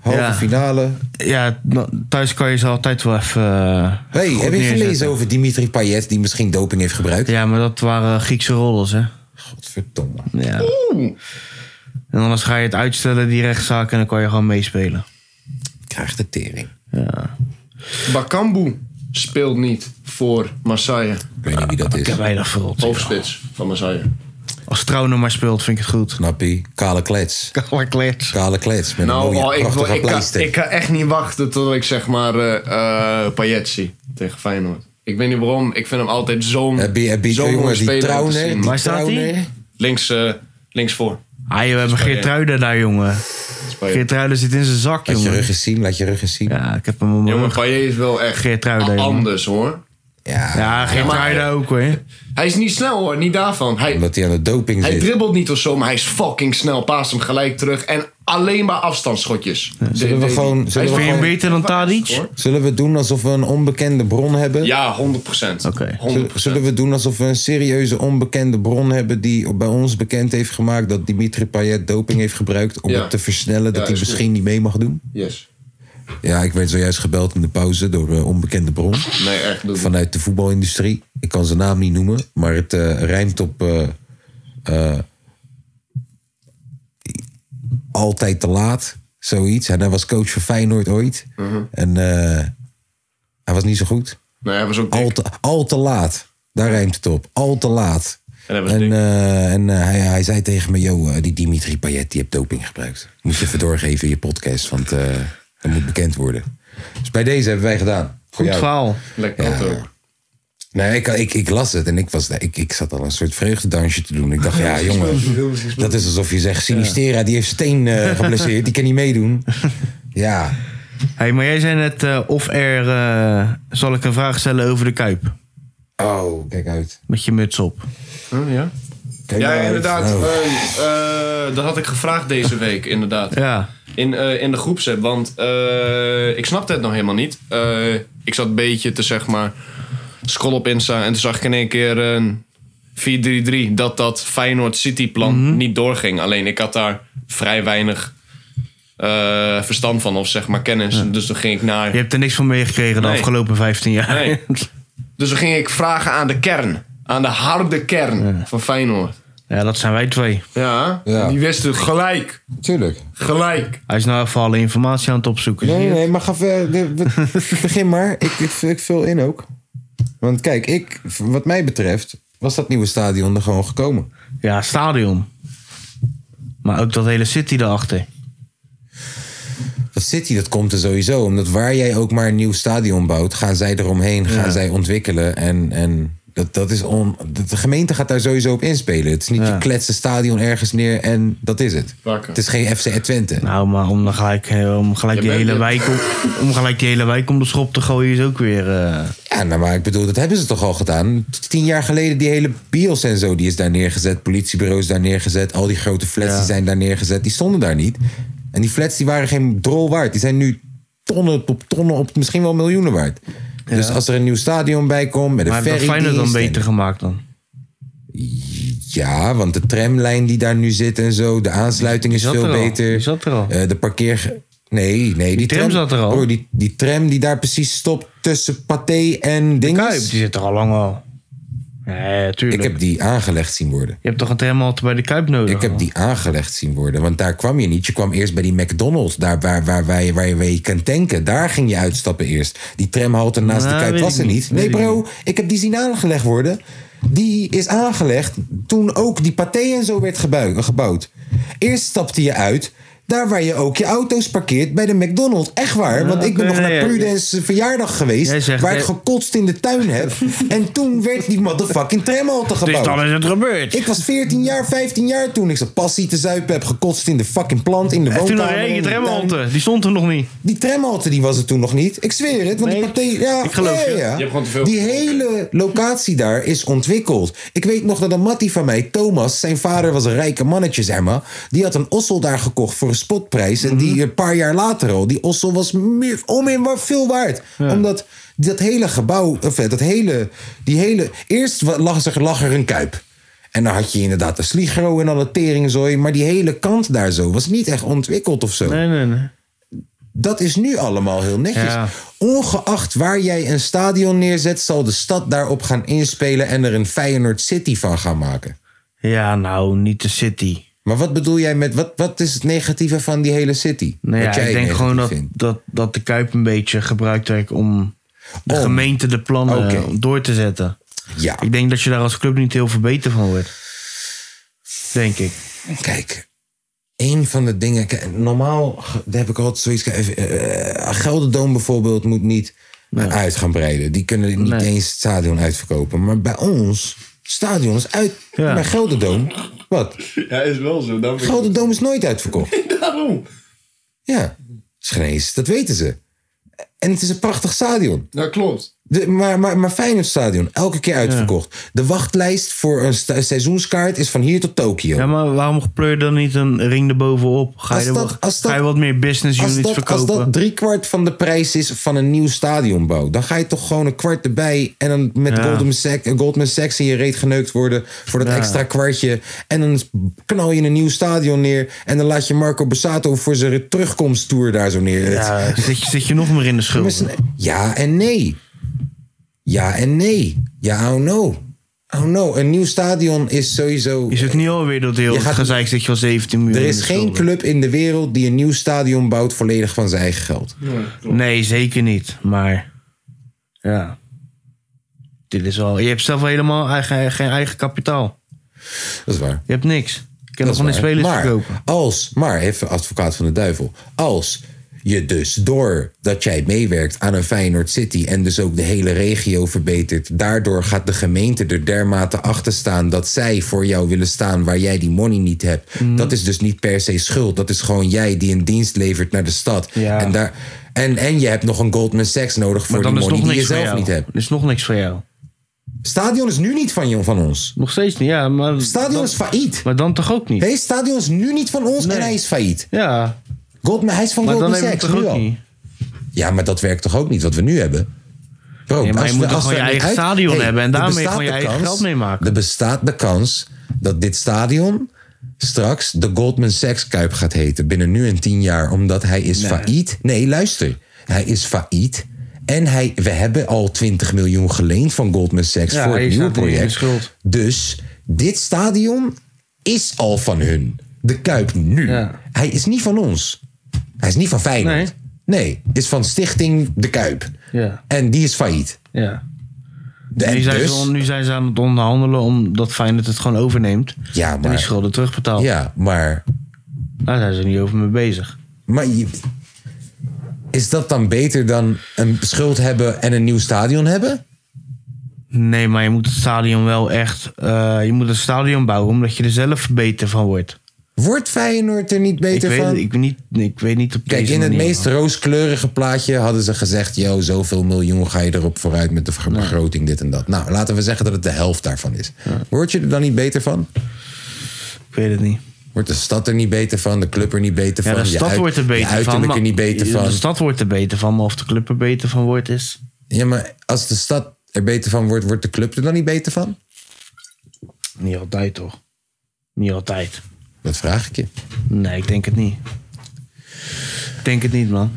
A: Halve
E: Ja.
A: finale.
E: Ja, nou, thuis kan je ze altijd wel even. eh,
A: Hey,
E: goed
A: heb je
E: neerzetten.
A: gelezen over Dimitri Payet... die misschien doping heeft gebruikt?
E: Ja, maar dat waren Griekse rollers, hè?
A: Godverdomme.
E: Ja. En anders ga je het uitstellen, die rechtszaak, en dan kan je gewoon meespelen.
A: Ik krijg de tering.
C: Bakambu speelt niet voor Marseille.
A: Ik weet niet wie dat is.
E: Ik heb weinig verrot.
C: Hoofdspits van Marseille.
E: Als Trouwen maar speelt, vind ik het goed.
A: Knappie. Kale klets.
E: Kale klets.
A: Kale klets. Met
C: Nou,
A: een mooie,
C: oh, ik, wil-
A: prachtige
C: ik, kan,
A: pleister.
C: ik kan echt niet wachten tot ik zeg maar eh eh Payet zie tegen Feyenoord. Ik weet niet waarom. Ik vind hem altijd zo'n
A: Heb je, heb je
C: zo'n mooie
A: jongens die
C: speler om te zien.
A: trouwen?
C: Maar
A: Die
E: Waar staat die?
A: trouwen?
C: Links, eh, links voor.
E: Ah, joh, we hebben Geertruiden daar, jongen.
C: Dat is Payet.
E: Geertruiden zit in zijn zak,
A: Laat je
E: jongen.
A: rug eens zien, laat je rug eens zien. Ja,
E: Ja, ik heb hem
C: Jongen,
E: omhoog.
C: Payet is wel echt
E: Geertruiden, jongen.
C: anders hoor.
E: Ja, Geertruiden
C: Ja, maar-
E: ook, hoor.
C: Hij is niet snel hoor, niet daarvan. Hij,
A: omdat hij aan de doping
C: Hij
A: zit.
C: dribbelt niet of zo, maar hij is fucking snel. Paast hem gelijk terug. En alleen maar afstandsschotjes.
A: Zullen we
C: De- de-
A: gewoon-
C: Hij is
A: zullen we
E: Vind
C: weer
E: je
A: gewoon-
E: hem beter dan
C: een-
E: Tadic?
C: hoor.
A: Zullen we doen alsof we een onbekende bron hebben?
C: Ja, 100%.
E: Oké.
C: 100%.
A: Zullen, zullen we doen alsof we een serieuze onbekende bron hebben die bij ons bekend heeft gemaakt dat Dimitri Payet doping heeft gebruikt om
C: Ja.
A: het te versnellen dat
C: Ja,
A: hij
C: is goed.
A: misschien niet mee mag doen?
C: Yes.
A: Ja, ik werd zojuist gebeld in de pauze door een onbekende bron
C: Nee, echt. doe het niet.
A: vanuit de voetbalindustrie. Ik kan zijn naam niet noemen, maar het eh, rijmt op eh, eh, altijd te laat, zoiets. En hij was coach van Feyenoord ooit
C: Mhm.
A: en eh, hij was niet zo goed.
C: Nee, hij was ook
A: Al
C: dik.
A: te, al te laat. Daar rijmt het op. Al te laat.
C: En hij was
A: En,
C: dik.
A: eh, en eh, hij, hij zei tegen me, yo, eh, die Dimitri Payet, die heeft doping gebruikt. Moet je even doorgeven in je podcast, want eh, dat moet bekend worden. Dus bij deze hebben wij gedaan. Voor
E: Goed
A: jou.
E: verhaal.
C: Lekker
A: Ja.
C: dat ook.
A: Nee, ik, ik, ik las het en ik, was, ik, ik zat al een soort vreugdedansje te doen. Ik dacht, ja jongen, dat is alsof je zegt... Sinistera, die heeft zijn teen eh, geblesseerd, die kan niet meedoen. Ja,
E: hey, maar jij zei net eh, off-air... eh, zal ik een vraag stellen over de Kuip?
A: oh, kijk uit.
E: Met je muts op.
C: Hm, ja?
A: Kijk
C: ja,
A: uit.
C: inderdaad.
A: Oh.
C: eh, eh, dat had ik gevraagd deze week, inderdaad.
E: Ja.
C: In, eh, in de groepsapp, want eh, ik snapte het nog helemaal niet. Eh, ik zat een beetje te zeg maar scroll op Insta en toen zag ik in één keer een 4-3-3 dat dat Feyenoord City plan
E: Mhm.
C: niet doorging. Alleen ik had daar vrij weinig eh, verstand van of zeg maar kennis. Dus toen ging ik naar
E: Je hebt er niks van meegekregen de
C: Nee.
E: afgelopen 15 jaar.
C: Nee. dus toen ging ik vragen aan de kern, aan de harde kern van Feyenoord.
E: Ja, dat zijn wij twee.
C: Ja,
A: Ja.
C: die wisten gelijk,
A: Tuurlijk.
C: gelijk.
E: Hij is nou even alle informatie aan het opzoeken.
A: Nee,
E: zie je?
A: nee, maar ga verder. Begin maar. Ik, ik, ik vul in ook. Want kijk, ik, wat mij betreft, was dat nieuwe stadion er gewoon gekomen.
E: Ja, stadion. Maar ook dat hele city daarachter.
A: Dat City, dat komt er sowieso. Omdat waar jij ook maar een nieuw stadion bouwt, gaan zij eromheen, gaan zij ontwikkelen. En, en dat, dat is on, dat- de gemeente gaat daar sowieso op inspelen. Het is niet je kletsen stadion ergens neer en dat is het.
C: Wakker.
A: Het is geen FC Twente.
E: Nou, maar om dan gelijk, eh, om gelijk,
C: Je
E: die,
C: bent
E: hele
C: het.
E: wijk om, om gelijk die hele wijk om de schop te gooien is ook weer... eh,
A: Ja, nou, maar ik bedoel, dat hebben ze toch al gedaan? Tien jaar geleden, die hele bios en zo, die is daar neergezet. Politiebureaus daar neergezet. Al die grote flats die zijn daar neergezet. Die stonden daar niet. En die flats die waren geen drol waard. Die zijn nu tonnen op tonnen, op misschien wel miljoenen waard. Dus als er een nieuw stadion bij komt, met een
E: maar heeft dat
A: ferry
E: Feyenoord dan beter gemaakt dan?
A: Ja, want de tramlijn die daar nu zit en zo, de aansluiting is
E: Die zat
A: veel
E: er al.
A: beter.
E: Die zat er al.
A: Eh, de parkeer. Nee, nee. Die,
E: tram zat er al.
A: Broer, die, die tram die daar precies stopt tussen Pathé en Dinges.
E: Kuip, die zit er al lang al.
A: Nee, tuurlijk. Ik heb die aangelegd zien worden.
E: Je hebt toch een helemaal altijd bij de Kuip nodig?
A: Ik heb die aangelegd zien worden, want daar kwam je niet. Je kwam eerst bij die McDonald's, daar waar, waar, waar, je- waar, je, waar je kan tanken. Daar ging je uitstappen eerst. Die tramhalte naast
E: Nou,
A: de Kuip
E: weet
A: was
E: ik
A: er
E: niet.
A: niet. Nee
E: Weet ik
A: bro, ik heb die zien aangelegd worden. Die is aangelegd toen ook die paté en zo werd gebui- gebouwd. Eerst stapte je uit... Daar waar je ook je auto's parkeert bij de McDonald's. Echt waar, want ik ben
E: oké,
A: nog
E: nee,
A: naar
E: ja.
A: Prudence verjaardag
E: Jij
A: geweest.
E: zegt,
A: Waar ik
E: eh,
A: gekotst in de tuin heb. en toen werd die motherfucking tramhalte gebouwd.
E: Dus dan is het gebeurd.
A: Ik was 14 jaar, 15 jaar toen ik zijn passie te zuipen heb gekotst in de fucking plant, in de
E: En
A: woonkamer.
E: toen nog één
A: in
E: keer
A: de tuin.
E: tramhalte. Die stond er nog niet.
A: Die tramhalte die was er toen nog niet. Ik zweer het, want die partij... Ja,
E: ik geloof
A: ja, ja,
E: je. Je
A: ja.
E: hebt gewoon te veel
A: Die hele locatie daar is ontwikkeld. Ik weet nog dat een mattie van mij, Thomas, zijn vader was een rijke mannetje, zeg maar. Die had een ossel daar gekocht voor een spotprijs. En
E: Mhm.
A: die een paar jaar later al, die ossel was meer, om in wat veel waard. Omdat dat hele gebouw, of eh, dat hele, die hele... Eerst wa- lag er, lag er een kuip. En dan had je inderdaad de sligro en alle teringzooi. Maar die hele kant daar zo was niet echt ontwikkeld of zo.
E: Nee, nee, nee.
A: Dat is nu allemaal heel netjes.
E: Ja.
A: Ongeacht waar jij een stadion neerzet, zal de stad daarop gaan inspelen en er een Feyenoord City van gaan maken.
E: Ja, nou, niet de city.
A: Maar wat bedoel jij met wat, wat is het negatieve van die hele city?
E: Nou ja,
A: Wat jij
E: ik denk
A: negatief
E: gewoon dat,
A: vindt?
E: dat, dat de Kuip een beetje gebruikt werd om de
A: Om.
E: gemeente de plannen
A: Oké.
E: eh, door te zetten.
A: Ja.
E: Ik denk dat je daar als club niet heel veel beter van wordt. Denk ik.
A: Kijk, een van de dingen. kijk, normaal ge- daar heb ik altijd zoiets. Even, eh, Gelderdoom bijvoorbeeld moet niet eh, uit gaan breiden. Die kunnen niet eens het stadion uitverkopen. Maar bij ons, stadion is uit. Maar Gelderdoom, wat?
C: Ja, is wel zo. Daarom vind ik-
A: Gelderdoom is nooit uitverkocht.
C: Daarom.
A: Ja, Schnees, dat weten ze. En het is een prachtig stadion.
C: Dat klopt.
A: De, maar, maar, maar Feyenoord stadion, elke keer uitverkocht. De wachtlijst voor een sta- seizoenskaart is van hier tot Tokio.
E: Ja, maar waarom pleur je dan niet een ring erbovenop? Ga je,
A: Als
E: er
A: dat-
E: wat,
A: als dat-
E: ga je wat meer business
A: als,
E: units
A: dat, als
E: verkopen?
A: dat driekwart van de prijs is van een nieuw stadionbouw... dan ga je toch gewoon een kwart erbij... en dan met
E: Ja.
A: Goldman, Sachs, eh, Goldman Sachs in je reet geneukt worden... voor dat
E: Ja.
A: extra kwartje. En dan knal je een nieuw stadion neer... en dan laat je Marco Borsato voor zijn terugkomsttour daar zo neer.
E: Ja, zit, je, zit je nog meer in de schuld?
A: Ja en nee. Ja en nee. Ja, oh no. Oh no. Een nieuw stadion is sowieso...
E: Is het niet alweer dat heel
A: Je
E: het
A: gaat-
E: gezeik zit je al 17 miljoen
A: Er
E: in
A: is
E: de
A: geen
E: schulden?
A: club in de wereld die een nieuw stadion bouwt volledig van zijn eigen geld.
E: Nee, zeker niet. Maar ja, dit is wel. Je hebt zelf helemaal eigen, geen eigen kapitaal.
A: Dat is waar.
E: Je hebt niks. Je kan
A: Dat
E: nog
A: is
E: van de
A: waar.
E: spelers
A: maar,
E: verkopen.
A: Als, maar, even advocaat van de duivel. Als je dus doordat jij meewerkt aan een Feyenoord City... en dus ook de hele regio verbetert... daardoor gaat de gemeente er dermate achter staan... dat zij voor jou willen staan waar jij die money niet hebt.
E: Mm.
A: Dat is dus niet per se schuld. Dat is gewoon jij die een dienst levert naar de stad.
E: Ja.
A: En, daar, en, en je hebt nog een Goldman Sachs nodig voor
E: Maar
A: die
E: dan is
A: money
E: nog
A: die je
E: niks van
A: zelf
E: jou.
A: niet hebt.
E: Er is nog niks van jou.
A: Stadion is nu niet van, je- van ons.
E: Nog steeds niet, ja. Maar
A: Stadion
E: dan-
A: is failliet.
E: Maar dan toch ook niet?
A: Nee, stadion is nu niet van ons en hij is failliet.
E: Ja,
A: Goldman, hij is van
E: maar dan
A: Goldman
E: heb je het
A: Sachs
E: toch
A: nu
E: ook
A: al.
E: niet?
A: Ja, maar dat werkt toch ook niet wat we nu hebben? Bro,
E: Nee, maar
A: als
E: je
A: we-
E: moet er
A: als
E: gewoon
A: we
E: je
A: niet
E: eigen
A: uit-
E: stadion
A: Hey,
E: hebben
A: er
E: en daarmee
A: bestaat
E: gewoon je
A: de
E: eigen
A: kans-
E: geld mee maken.
A: Er bestaat de kans dat dit stadion straks de Goldman Sachs Kuip gaat heten. Binnen nu en tien jaar, omdat hij is failliet. Nee, luister. Hij is failliet. En hij, we hebben al 20 miljoen geleend van Goldman Sachs
E: Ja,
A: voor
E: hij
A: het nieuwe
E: staat niet in de
A: project.
E: schuld.
A: Dus dit stadion is al van hun. De Kuip nu.
E: Ja.
A: Hij is niet van ons. Hij is niet van Feyenoord. Nee, is van Stichting De Kuip.
E: Ja,
A: En die is failliet.
E: ja.
A: De, en
E: nu, zijn
A: dus-
E: ze, nu zijn ze aan het onderhandelen omdat Feyenoord het gewoon overneemt.
A: ja,
E: En die
A: maar,
E: schulden terugbetaalt.
A: ja, maar,
E: Daar zijn ze niet over mee bezig.
A: maar je- is dat dan beter dan een schuld hebben en een nieuw stadion hebben?
E: Nee, maar je moet het stadion wel echt... eh, je moet een stadion bouwen omdat je er zelf beter van wordt.
A: Wordt Feyenoord er niet
E: Ik
A: beter
E: weet,
A: van?
E: het- ik, weet niet, ik weet niet op
A: Kijk,
E: deze
A: in het
E: manier.
A: meest rooskleurige plaatje hadden ze gezegd... yo, zoveel miljoen ga je erop vooruit met de begroting, dit en dat. Nou, laten we zeggen dat het de helft daarvan is. Word je er dan niet beter van?
E: Ik weet het niet.
A: Wordt de stad er niet beter van? De club er niet beter
E: Ja,
A: van?
E: de
A: je
E: stad
A: uit-
E: wordt er
A: je
E: beter van.
A: uiterlijk
E: maar-
A: er niet beter
E: De
A: van?
E: stad wordt er beter van, maar of de club er beter van wordt is...
A: Ja, maar als de stad er beter van wordt, wordt de club er dan niet beter van?
E: Niet altijd toch? Niet altijd.
A: Dat vraag ik je.
E: Nee, ik denk het niet. Ik denk het niet, man.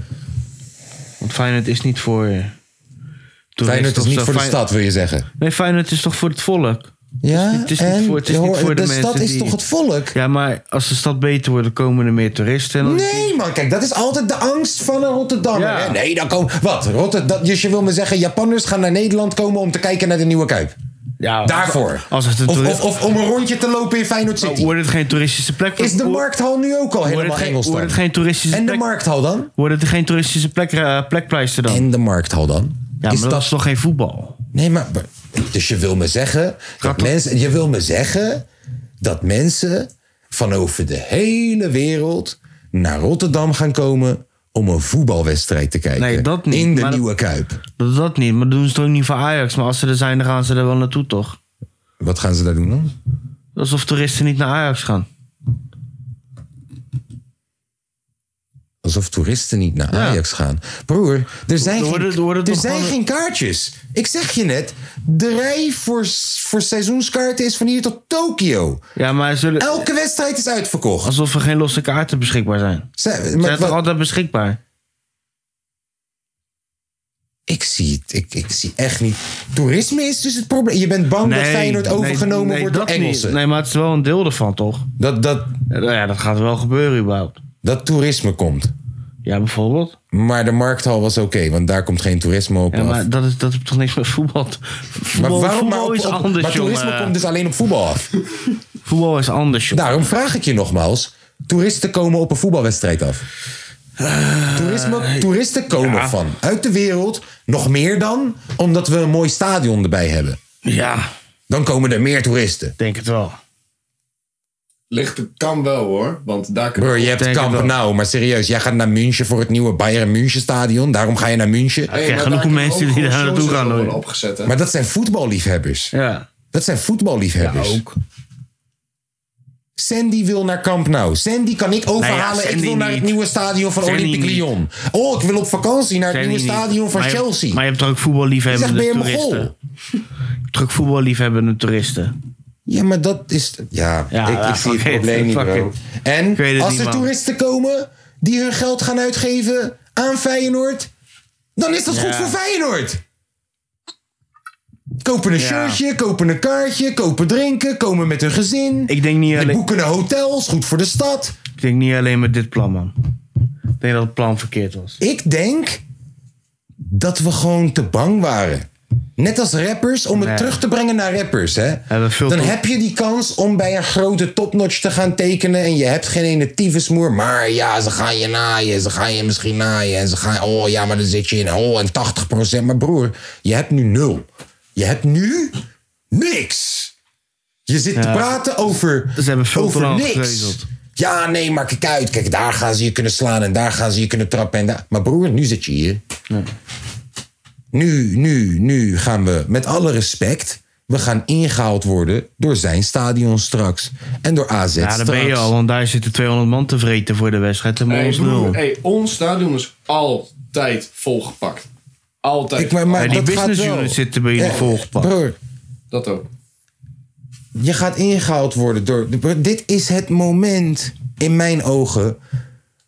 E: Want Feyenoord is niet voor... eh, toeristen
A: Feyenoord is
E: of
A: niet
E: zo.
A: voor de
E: Fey-
A: stad, wil je zeggen?
E: Nee, Feyenoord is toch voor het volk?
A: Ja,
E: het is niet
A: en
E: voor- het is
A: je
E: niet
A: hoort-
E: voor de mensen
A: stad is
E: die-
A: toch het volk?
E: Ja, maar als de stad beter wordt, dan komen er meer toeristen. En dan-
A: Nee, man, kijk, dat is altijd de angst van een Rotterdammer.
E: Ja.
A: hè? Nee, dan komen. Wat? Rotterdam, dus je wil me zeggen, Japanners gaan naar Nederland komen om te kijken naar de nieuwe Kuip?
E: Ja,
A: Daarvoor.
E: Als het een
A: of,
E: toerist-
A: of, of om een rondje te lopen in Feyenoord City.
E: Wordt het geen toeristische plek?
A: Is de
E: Wordt-
A: markthal nu ook al
E: Wordt
A: helemaal
E: het, geen,
A: Engels
E: wordt
A: dan?
E: het geen toeristische
A: En de
E: plek?
A: markthal dan?
E: Wordt het geen toeristische plek, eh, plekpleister dan?
A: En de markthal dan?
E: ja, maar
A: is
E: dat,
A: dat
E: is toch geen voetbal?
A: Nee, maar. maar- Dus je wil me zeggen. Dat
E: Gaat-
A: mensen, je wil me zeggen dat mensen van over de hele wereld naar Rotterdam gaan komen om een voetbalwedstrijd te kijken.
E: Nee, dat niet,
A: In de
E: maar dat-
A: nieuwe Kuip.
E: Dat, dat niet, maar dat doen ze toch ook niet voor Ajax. Maar als ze er zijn, dan gaan ze er wel naartoe, toch?
A: Wat gaan ze daar doen dan?
E: Alsof toeristen niet naar Ajax gaan.
A: Alsof toeristen niet naar Ajax gaan. Broer, er zijn,
E: Er worden- er
A: geen,
E: worden
A: er
E: toch
A: zijn
E: gewoon-
A: geen kaartjes. Ik zeg je net, de rij voor, voor seizoenskaarten is van hier tot Tokio.
E: Ja, maar er zullen,
A: Elke wedstrijd is uitverkocht.
E: alsof er geen losse kaarten beschikbaar zijn.
A: Zij-
E: Ze
A: maar
E: zijn toch
A: wat-
E: altijd beschikbaar?
A: Ik zie het. Ik, ik zie echt niet. Toerisme is dus het probleem. Je bent bang dat Feyenoord overgenomen
E: nee,
A: wordt door
E: dat
A: Engelsen.
E: Niet. Nee, maar het is wel een deel ervan, toch?
A: Dat, dat,
E: Ja, nou ja, dat gaat wel gebeuren, überhaupt.
A: dat toerisme komt.
E: Ja, bijvoorbeeld.
A: Maar de markthal was oké, want daar komt geen toerisme op
E: Ja,
A: af.
E: maar dat, is, dat heeft toch niks met voetbal. te- Voetbal, voetbal
A: nou op-
E: is
A: op-
E: anders,
A: maar toerisme
E: jongen.
A: komt dus alleen op voetbal af.
E: Voetbal is anders, jongen.
A: Daarom vraag ik je nogmaals. Toeristen komen op een voetbalwedstrijd af.
E: Eh,
A: Toerisme, toeristen komen van uit de wereld. Nog meer dan omdat we een mooi stadion erbij hebben.
E: Ja,
A: Dan komen er meer toeristen.
E: denk het wel.
C: Ligt het kan wel hoor, want daar kunnen
A: Broer, je hebt
E: denk het
A: Camp
E: wel.
A: Nou, maar serieus. Jij gaat naar München voor het nieuwe Bayern München stadion. Daarom ga je naar München.
C: Hey,
E: Oké,
C: maar
E: genoeg
C: daar kunnen
E: mensen
C: ook
E: die
C: gewoon
E: daar naartoe
C: shows
E: gaan,
C: worden
E: hoor.
C: Opgezet, hè?
A: Maar dat zijn voetballiefhebbers.
E: Ja,
A: Dat zijn voetballiefhebbers. Sandy wil naar Camp Nou. Sandy kan ik overhalen.
E: Nou Sandy
A: ik wil naar het
E: niet.
A: nieuwe stadion van
E: Sandy
A: Olympique
E: niet.
A: Lyon. Oh, ik wil op vakantie naar het
E: Zijn
A: nieuwe
E: die niet.
A: stadion van
E: Maar je-
A: Chelsea.
E: maar je hebt toch ook
A: Zeg, ben
E: voetballiefhebbende
A: je een
E: toeristen?
A: Mongool?
E: Je hebt toch ook voetballiefhebbende toeristen?
A: Ja, maar dat is. Ja,
E: Ja,
A: ik,
E: ja,
A: ik zie
E: fuck
A: het
E: it,
A: probleem niet,
E: fuck
A: bro.
E: it.
A: En
E: Ik weet het
A: als
E: niet,
A: er
E: man.
A: toeristen komen die hun geld gaan uitgeven aan Feyenoord, dan is dat goed voor Feyenoord. Kopen een shirtje, kopen een kaartje, kopen drinken, komen met hun gezin.
E: Ik denk niet
A: Die
E: alleen...
A: boeken naar hotels, goed voor de stad.
E: Ik denk niet alleen met dit plan, man. Ik denk dat het plan verkeerd was.
A: Ik denk dat we gewoon te bang waren. Net als rappers, om het
E: Nee.
A: terug te brengen naar rappers. Hè?
E: Hebben we veel
A: Dan
E: te-
A: heb je die kans om bij een grote topnotch te gaan tekenen. En je hebt geen ene tyfusmoer. Maar ja, ze gaan je naaien. Ze gaan je misschien naaien. En ze gaan, oh ja, maar dan zit je in. Oh, en 80%. Maar broer, je hebt nu nul. Je hebt nu niks. Je zit te praten over,
E: Ze hebben veel te
A: over
E: lang
A: niks.
E: gegeuzeld.
A: Ja, nee, maar kijk uit. Kijk, daar gaan ze je kunnen slaan en daar gaan ze je kunnen trappen. En daar. Maar broer, nu zit je hier. Nu, nu, nu gaan we met alle respect. We gaan ingehaald worden door zijn stadion straks. En door AZ
E: Ja, daar
A: Ah, straks.
E: ben je al, want daar zitten 200 man te vreten voor de wedstrijd. En
C: Hey,
E: ons
C: broer,
E: nul.
C: hey, ons stadion is altijd volgepakt. Altijd.
A: Ik, maar, maar
E: Ja, die
A: dat gaat
E: business
A: wel.
E: units zitten bij jullie
A: Ja,
E: volgepakt.
A: Broer,
C: Dat ook.
A: je gaat ingehaald worden door. Dit is het moment, in mijn ogen,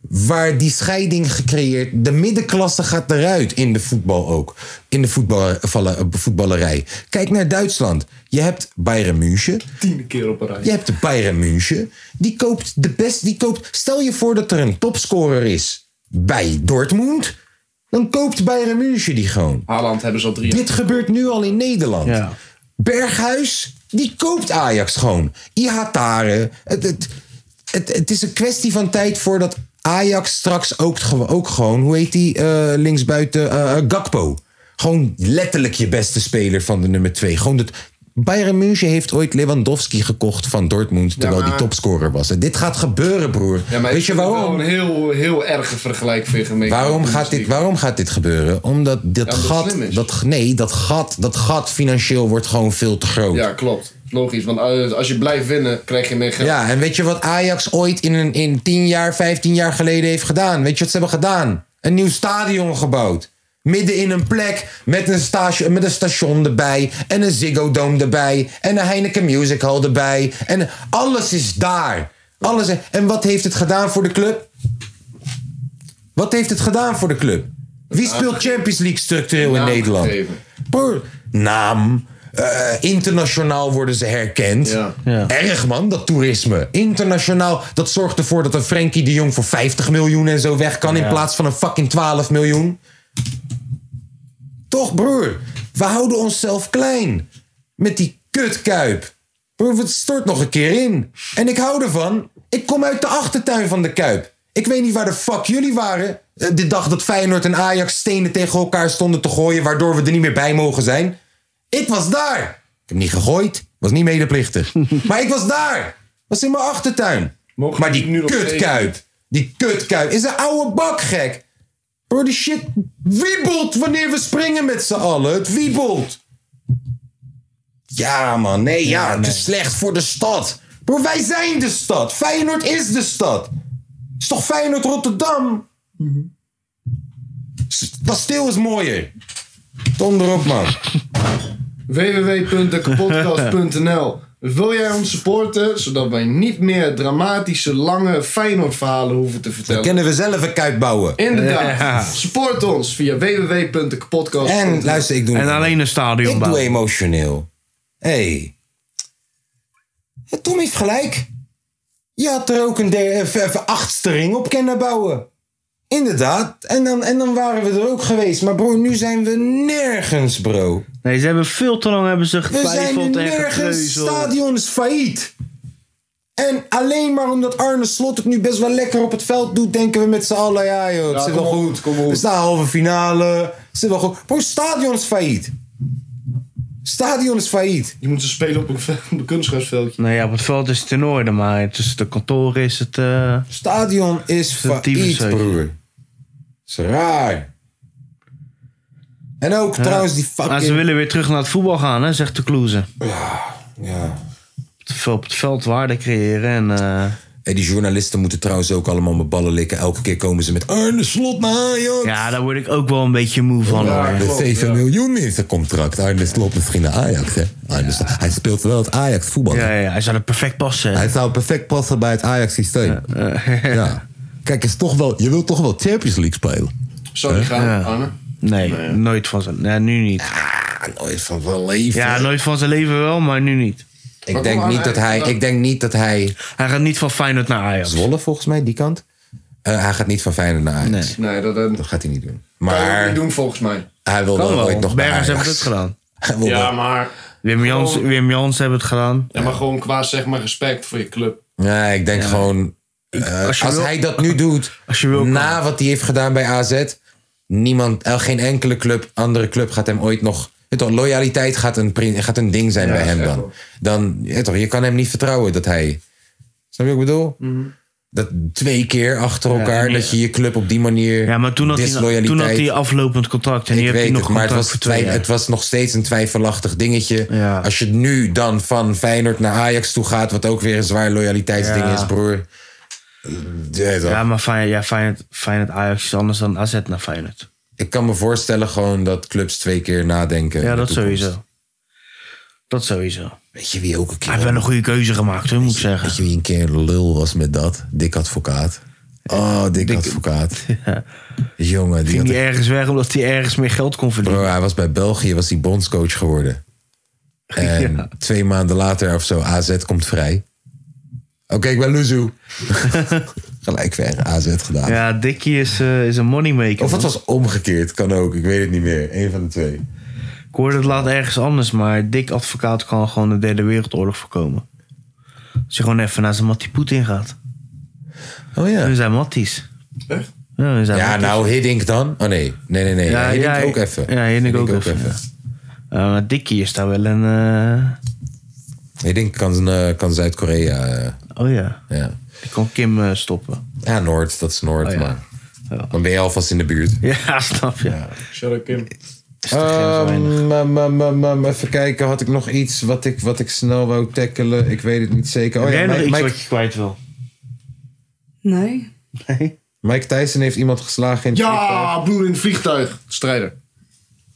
A: waar die scheiding gecreëerd. De middenklasse gaat eruit in de voetbal ook. In de voetballer- valle- voetballerij. Kijk naar Duitsland. Je hebt Bayern München.
C: Tiende keer op een rij.
A: Je hebt de Bayern München. Die koopt de best. Die koopt, stel je voor dat er een topscorer is bij Dortmund. Dan koopt Bayern München die gewoon.
C: Haaland hebben ze al drie.
A: Dit gebeurt nu al in Nederland.
E: Ja.
A: Berghuis, die koopt Ajax gewoon. Ihatare. Het, het, het, het is een kwestie van tijd voordat Ajax straks ook, gewo- ook gewoon... Hoe heet die eh, linksbuiten? eh, eh, Gakpo. Gewoon letterlijk je beste speler van de nummer twee. Gewoon dat... Bayern München heeft ooit Lewandowski gekocht van Dortmund... terwijl
C: maar-
A: die topscorer was. En dit gaat gebeuren, broer.
C: Ja, maar
A: Weet je waarom?
C: Een heel, heel erge vergelijking mee.
A: Waarom gaat, dit, waarom gaat dit gebeuren? Omdat dat
C: omdat het
A: gat.
C: slim is.
A: Dat, nee, dat gat, dat gat financieel wordt gewoon veel te groot. Ja.
C: Ja, klopt. Logisch, want eh, als je blijft winnen, krijg je meer geld.
A: en weet je wat Ajax ooit in, een, in 10 jaar, 15 jaar geleden heeft gedaan? Weet je wat ze hebben gedaan? Een nieuw stadion gebouwd. midden in een plek met een, stage, met een station erbij en een Ziggo Dome erbij en een Heineken Music Hall erbij. En alles is daar. Alles. En wat heeft het gedaan voor de club? Wat heeft het gedaan voor de club? Wie speelt Champions League structureel in
C: Naam
A: Nederland?
C: gegeven.
A: Broer, naam. eh, internationaal worden ze herkend.
C: Ja.
A: Erg man, dat toerisme. Internationaal, dat zorgt ervoor dat een Frenkie de Jong voor 50 miljoen en zo weg kan. In plaats van een fucking 12 miljoen. Toch broer, we houden onszelf klein. Met die kutkuip. Broer, het stort nog een keer in. En ik hou ervan. Ik kom uit de achtertuin van de kuip. Ik weet niet waar de fuck jullie waren. eh, De dag dat Feyenoord en Ajax stenen tegen elkaar stonden te gooien. Waardoor we er niet meer bij mogen zijn. Ik was daar. Ik heb niet gegooid. Was niet medeplichtig. maar ik was daar. Was in mijn achtertuin.
C: Mogen
A: maar die
C: jullie nu nog
A: kutkuip. Die kutkuip is een oude bak gek. Bro, die shit wiebelt wanneer we springen met z'n allen. Het wiebelt. Ja, man. Nee, ja, het is slecht voor de stad. Bro, wij zijn de stad. Feyenoord is de stad. Het is toch Feyenoord Rotterdam? S- Kasteel is mooier. Donder op, man.
C: www.dekapodcast.nl Wil jij ons supporten, zodat wij niet meer dramatische, lange Feyenoord-verhalen hoeven te vertellen?
A: Kunnen we zelf een kuip bouwen?
C: Inderdaad. Support ons via www.dekapodcast.nl
A: En luister, ik doe
E: En alleen een stadion
A: Ik doe
E: bouwen.
A: emotioneel. Hé. Hey. Tom heeft gelijk. Je had er ook een der- eh, v- v- achtste ring op kunnen bouwen. Inderdaad. En dan, en dan waren we er ook geweest. Maar bro, nu zijn we nergens, bro.
E: Nee, ze hebben veel te lang hebben ze
A: We zijn nu
E: getwijfeld en
A: nergens.
E: getreuzeld.
A: Stadion is failliet. En alleen maar omdat Arne Slot het nu best wel lekker op het veld doet, denken we met z'n allen: ja, joh, het
C: Ja,
A: zit
C: kom
A: wel
C: op,
A: goed.
C: kom op.
A: We staan halve finale. Het zit wel goed. Bro, stadion is failliet. Stadion is failliet.
C: Je moet ze spelen op een, ve- op een kunstgrasveldje.
E: Nou ja, op het veld is het in orde, maar tussen de kantoren is het... eh,
A: Stadion is
E: een
A: failliet,
E: tyfuszeug.
A: broer. Is raar. En ook trouwens die
E: Maar ze
A: fucking...
E: willen weer terug naar het voetbal gaan, hè, zegt de Kloeze.
A: Ja.
E: Te veel Op het veld waarde creëren en... eh,
A: En die journalisten moeten trouwens ook allemaal mijn ballen likken. Elke keer komen ze met Arne Slot naar Ajax.
E: ja, daar word ik ook wel een beetje moe van hoor.
A: Met 7 eh, miljoen in zijn contract. Arne Slot misschien naar Ajax, hè? Arne Slot- Hij speelt wel het Ajax voetbal.
E: Ja, ja, hij zou er perfect passen. eh.
A: Hij zou perfect passen bij het Ajax systeem. ja. Kijk, is toch wel, je wilt toch wel Champions League spelen?
C: Zou die gaan, Arne?
E: Nee, nooit van zijn... Nee, nu niet.
A: Ah, nooit van wel leven.
E: Ja, nooit van zijn leven wel, maar nu niet.
A: ik, denk
C: Maar
A: niet dat hij, ik denk niet dat hij...
E: Hij gaat niet van Feyenoord naar Ajax.
A: Zwolle volgens mij, die kant. Eh, hij gaat niet van Feyenoord naar Ajax.
E: Nee.
C: Nee, dat eh,
A: Dat
C: kan
A: gaat hij niet doen.
C: je ook
A: Maar
C: niet doen volgens mij.
A: hij wil
E: Kan
A: wel ooit
E: wel.
A: nog naar
E: Bergers
A: Ajax.
E: hebben het gedaan.
A: Hij wil wel-
C: maar...
E: Wim Jans, Wim Jans hebben het gedaan.
C: Ja, maar gewoon qua zeg maar respect voor je club.
A: Nee, ik denk gewoon... eh, als
E: je wil-
A: hij dat nu doet,
E: Als je wil, kan.
A: na wat hij heeft gedaan bij AZ... Niemand, eh, geen enkele club, andere club gaat hem ooit nog... weet toch, loyaliteit gaat een, prin- gaat een ding zijn bij hem dan. dan weet toch, je kan hem niet vertrouwen dat hij... Snap je wat ik bedoel? Dat twee keer achter elkaar,
E: Mhm. en-
A: dat je je club op die manier...
E: Ja, maar toen had, hij, toen had
A: disloyaliteit-
E: hij aflopend contract. En nu
A: ik
E: heeft
A: weet
E: hij nog
A: het, maar het
E: contract
A: was,
E: voor twee
A: twij-
E: jaar.
A: het was nog steeds een twijfelachtig dingetje.
E: Ja.
A: Als je nu dan van Feyenoord naar Ajax toe gaat, wat ook weer een zwaar loyaliteitsding
E: Ja.
A: is, broer. Ja, toch.
E: Ja, maar Feyenoord, ja, Feyenoord, Feyenoord Ajax is anders dan AZ naar Feyenoord.
A: Ik kan me voorstellen gewoon dat clubs twee keer nadenken. in
E: Ja,
A: de
E: dat
A: toekomst.
E: sowieso. Dat sowieso. Hij
A: Weet je wie ook een keer,
E: heeft wel een goede keuze gemaakt, hoor, moet ik zeggen.
A: weet je wie een keer een lul was met dat? Dick Advocaat. Oh, Dick, Advocaat. Jongen, die
E: Ging
A: had
E: die ergens weg omdat hij ergens meer geld kon verdienen.
A: Bro, hij was bij België, was hij bondscoach geworden. En
E: Ja.
A: twee maanden later of zo, AZ komt vrij. Oké, ik ben Luzu. Gelijk weer AZ gedaan.
E: Ja, Dickie is, eh, is een moneymaker.
A: Of het
E: man.
A: was omgekeerd, kan ook. Ik weet het niet meer. Eén van de twee.
E: Ik hoorde het laat ergens anders, maar Dick Advocaat kan gewoon de derde wereldoorlog voorkomen. Als je gewoon even naar zijn Mattie Poetin gaat.
A: Oh ja.
E: Hun zijn Matties.
C: Echt?
E: Ja, hun zijn
A: Ja,
E: Matties.
A: nou, Hiddink dan? Oh nee, nee, nee, nee. Ja, Hiddink ook even.
E: Ja, Hiddink ook, even. ja. Eh, maar Dickie is daar wel een... eh,
A: Hiddink kan, eh, kan Zuid-Korea. eh,
E: oh ja,
A: ja.
E: die kan Kim eh, stoppen.
A: ja, Noord, dat is Noord.
E: Oh ja.
A: Maar
E: Ja.
A: dan ben je alvast in de buurt.
E: Ja, snap je.
C: Shout out Kim.
E: Is de grens weinig.
A: Ehm, ehm, ehm, ehm, ehm, even kijken, had ik nog iets wat ik, wat ik snel wou tackelen? Ik weet het niet zeker. Oh
E: Heb
A: ja,
E: jij nog
A: Mike,
E: iets
A: Mike,
E: wat je kwijt wil?
D: Nee.
E: Nee.
A: Mike Tyson heeft iemand geslagen in het vliegtuig.
C: Ja, broer in het vliegtuig. Strijder.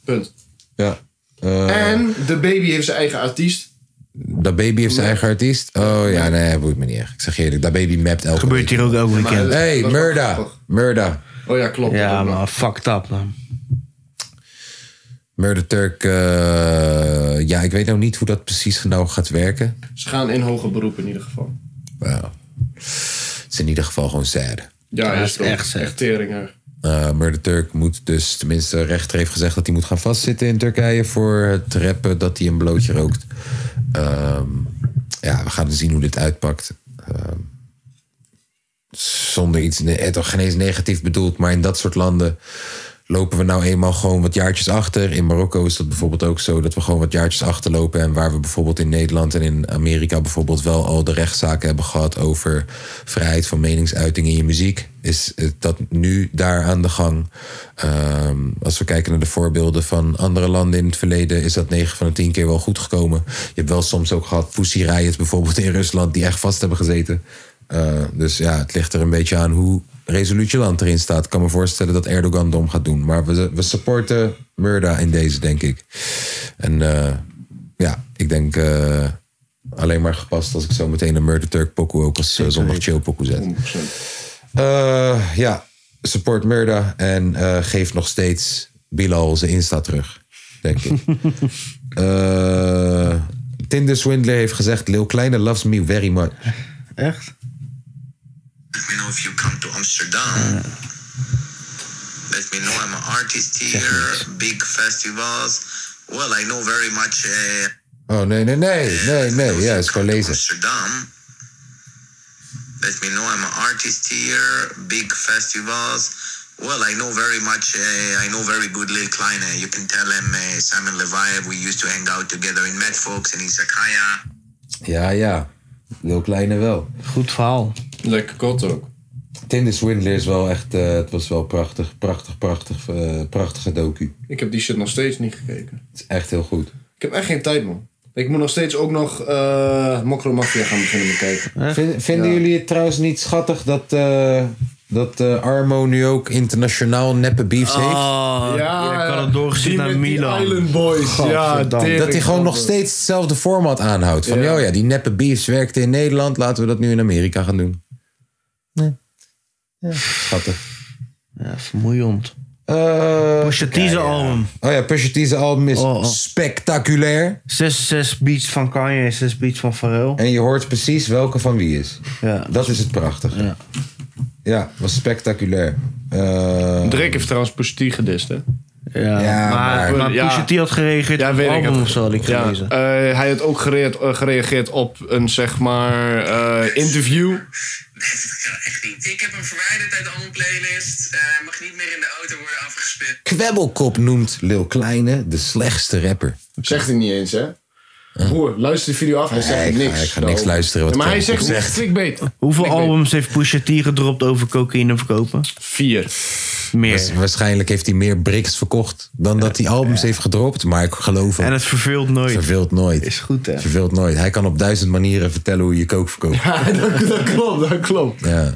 C: Punt.
A: Ja. Eh,
C: En de baby heeft zijn eigen artiest.
A: dat baby heeft zijn eigen artiest. Oh ja, nee, boeit me niet echt. Ik zeg je eerlijk, dat baby mapt elke
E: Gebeurt hier ook elke
C: Maar
E: weekend.
C: dat-
A: Hey,
C: dat is wel
A: Murda.
C: grappig.
A: Murda.
C: Oh ja, klopt.
E: Ja,
C: Dat ook
E: maar fucked up, man.
A: Murder Turk. eh, ja, ik weet nou niet hoe dat precies nou gaat werken.
C: nog. Ze gaan in hoger beroep in ieder geval.
A: Wow. Het is in ieder geval gewoon sad.
C: Ja,
E: dat
C: is
E: is
C: wel
E: echt sad.
C: Echt tering, hè.
A: Eh Murder Turk moet dus, tenminste de rechter heeft gezegd dat hij moet gaan vastzitten in Turkije voor het rappen dat hij een blootje rookt. Ehm, ja, we gaan zien hoe dit uitpakt. Ehm, zonder iets, ne- eh, toch geen eens negatief bedoeld, maar in dat soort landen lopen we nou eenmaal gewoon wat jaartjes achter. In Marokko is dat bijvoorbeeld ook zo dat we gewoon wat jaartjes achterlopen. En waar we bijvoorbeeld in Nederland en in Amerika bijvoorbeeld wel al de rechtszaken hebben gehad over vrijheid van meningsuiting in je muziek, is het dat nu daar aan de gang. Ehm, als we kijken naar de voorbeelden van andere landen in het verleden, is dat 9 van de 10 keer wel goed gekomen. Je hebt wel soms ook gehad Pussy Riot bijvoorbeeld in Rusland, die echt vast hebben gezeten. Eh, dus ja, het ligt er een beetje aan hoe resoluut je land erin staat. Ik kan me voorstellen dat Erdogan dom gaat doen. Maar we, we supporten Murda in deze, denk ik. En eh, ja, ik denk eh, alleen maar gepast als ik zo meteen een Murder Turk pokoe ook als eh, zondag chill pokoe zet. Eh, ja, support Murda en eh, geef nog steeds Bilal zijn Insta terug, denk ik. Eh, Tinder Swindler heeft gezegd, Lil Kleine loves me very much.
E: Echt?
F: Let me know if you come to Amsterdam. Let me know I'm an artist here, big festivals. Well, I know very much. Uh,
A: Oh, nee, nee, nee, nee, nee. Ja, is gewoon lezen.
F: Amsterdam. Let me know I'm an artist here, big festivals. Well, I know very much, uh, I know very good Lil Klein. You can tell him uh, Simon Levi, we used to hang out together in Medfolks and in Sakaya.
A: Ja, ja. Lil Kleine wel.
E: Goed verhaal.
C: Lekker kot ook.
A: Tinder Swindler is wel echt... eh, het was wel prachtig, prachtig, prachtig, eh, prachtige docu.
C: Ik heb die shit nog steeds niet gekeken.
A: Het is echt heel goed.
C: Ik heb echt geen tijd, man. Ik moet nog steeds ook nog eh Mokro Mafia gaan beginnen met kijken.
A: Vin- vinden jullie het trouwens niet schattig dat... eh, dat eh, Armo nu ook internationaal neppe beefs heeft?
E: Oh, ik had het doorgezien
C: die
E: naar
C: met die
E: Milan.
C: Island Boys. Ja,
E: Godverdamme.
C: tering,
A: Dat hij gewoon
C: man.
A: nog steeds hetzelfde format aanhoudt. Van,
C: Ja.
A: oh ja, die neppe beefs werkte in Nederland. Laten we dat nu in Amerika gaan doen. Nee. Ja. Schattig.
E: Ja, vermoeiend.
A: Eh,
E: Pusha T zijn album.
A: Oh ja, Pusha T's album is
E: Oh, oh.
A: spectaculair.
E: Zes, zes beats van Kanye en zes beats van Pharrell.
A: En je hoort precies welke van wie is.
E: Ja.
A: Dat is het prachtige.
E: Ja.
A: Ja, was spectaculair. Eh,
C: Drake heeft trouwens Pusty gedist, hè?
E: Ja,
A: Ja, maar-
E: maar, maar
C: Ja.
E: Pusha T had gereageerd
C: Ja,
E: op
C: weet
E: het
C: ik.
E: album
C: het.
E: of zo, had ik
C: ja,
E: gelezen.
C: eh, hij had ook gereageerd, eh, gereageerd op een, zeg maar, eh, interview.
F: Dat kan echt niet. Ik heb hem verwijderd uit alle playlists. Eh, Hij mag niet meer in de auto worden afgespeeld.
A: Kwebbelkop noemt Lil Kleine de slechtste rapper.
C: Zegt hij niet eens, hè? Broer, luister de video af. Hij zegt
A: ik ga-
C: niks.
A: ik ga niks luisteren wat
C: Ja, maar hij
A: Kwebbelkop
C: zegt, zegt.
A: zegt.
C: clickbait.
E: Hoeveel
C: Clickbait.
E: albums heeft Pusha T gedropt over cocaïne verkopen?
C: Vier.
E: Meer.
A: Waarschijnlijk heeft hij meer bricks verkocht dan dat hij albums heeft gedropt. Maar ik geloof
E: En
A: hem.
E: het verveelt nooit.
A: Verveelt nooit.
E: Is goed, hè?
A: Verveelt nooit. Hij kan op duizend manieren vertellen hoe je kook verkoopt.
C: Ja, dat, dat klopt, dat klopt.
A: Ja.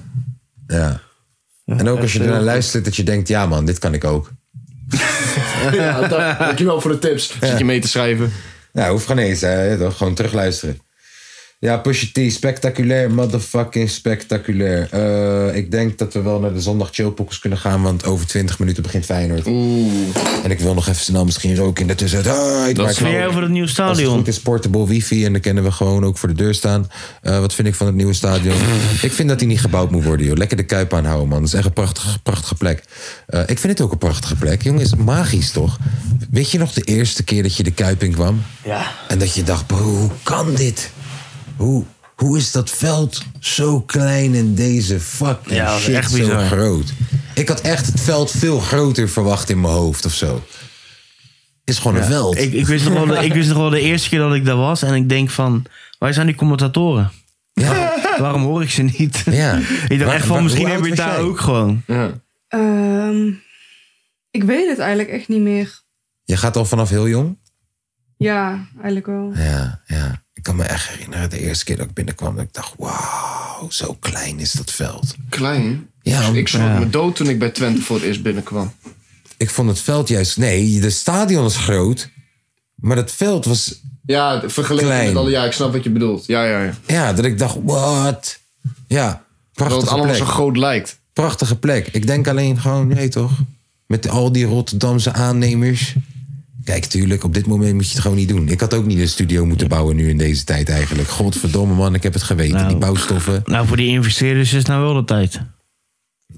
A: ja. En ook als je ernaar luistert dat je denkt, ja man, dit kan ik ook.
C: Ja, dank- dankjewel voor de tips. Zit je mee te schrijven.
A: Nou, hoeft geen eens, hè, toch? Gewoon terugluisteren. Ja, Pusha T, spectaculair, motherfucking spectaculair. Eh, ik denk dat we wel naar de zondag chillpokkers kunnen gaan, want over 20 minuten begint Feyenoord. En ik wil nog even snel misschien roken in de tussentijd. maar ik
E: Vind jij
A: geloof-
E: over het nieuwe
A: als het
E: stadion?
A: goed is portable wifi en dan kennen we gewoon ook voor de deur staan. Eh, wat vind ik van het nieuwe stadion? ik vind dat die niet gebouwd moet worden, joh. Lekker de kuip aanhouden, man. Dat is echt een prachtige, prachtige plek. Eh, ik vind het ook een prachtige plek. Jongen, is magisch toch? Weet je nog de eerste keer dat je de kuip in kwam?
E: Ja.
A: En dat je dacht, bro, hoe kan dit? Hoe, hoe is dat veld zo klein en deze fucking
E: Ja, dat is
A: shit
E: echt
A: zo
E: bizar.
A: groot? Ik had echt het veld veel groter verwacht in mijn hoofd of zo. Is gewoon een veld.
E: Ik, ik, wist nog wel de, ik wist nog wel de eerste keer dat ik daar was. En ik denk van, waar zijn die commentatoren? Waarom, waarom hoor ik ze niet?
A: Ja.
E: ik dacht
A: Waar-
E: echt
A: waar-
E: van, misschien
A: hoe
E: heb je
A: oud was
E: het daar
A: jij?
E: ook gewoon.
D: Ehm, ik weet het eigenlijk echt niet meer.
A: Je gaat al vanaf heel jong?
D: Ja, eigenlijk wel.
A: Ja, ja. Ik kan me echt herinneren de eerste keer dat ik binnenkwam. Dat ik dacht, wauw, zo klein is dat veld.
C: Klein.
A: Ja,
C: Ik schrok
A: ja.
C: me dood toen ik bij Twente voor het eerst binnenkwam.
A: ik vond het veld juist... Nee, de stadion is groot. Maar dat veld was...
C: Ja, vergeleken
A: Klein.
C: met alle... Ja, ik snap wat je bedoelt. Ja, ja, ja.
A: Ja, dat ik dacht, wat? Ja,
C: Dat het
A: prachtige
C: allemaal
A: plek.
C: zo groot lijkt.
A: Prachtige plek. Ik denk alleen gewoon, nee toch? Met al die Rotterdamse aannemers. Kijk, tuurlijk, op dit moment moet je het gewoon niet doen. Ik had ook niet een studio moeten bouwen nu in deze tijd eigenlijk. Godverdomme man, ik heb het geweten.
E: Nou.
A: Die bouwstoffen.
E: Nou, voor die investeerders is het nou wel de tijd.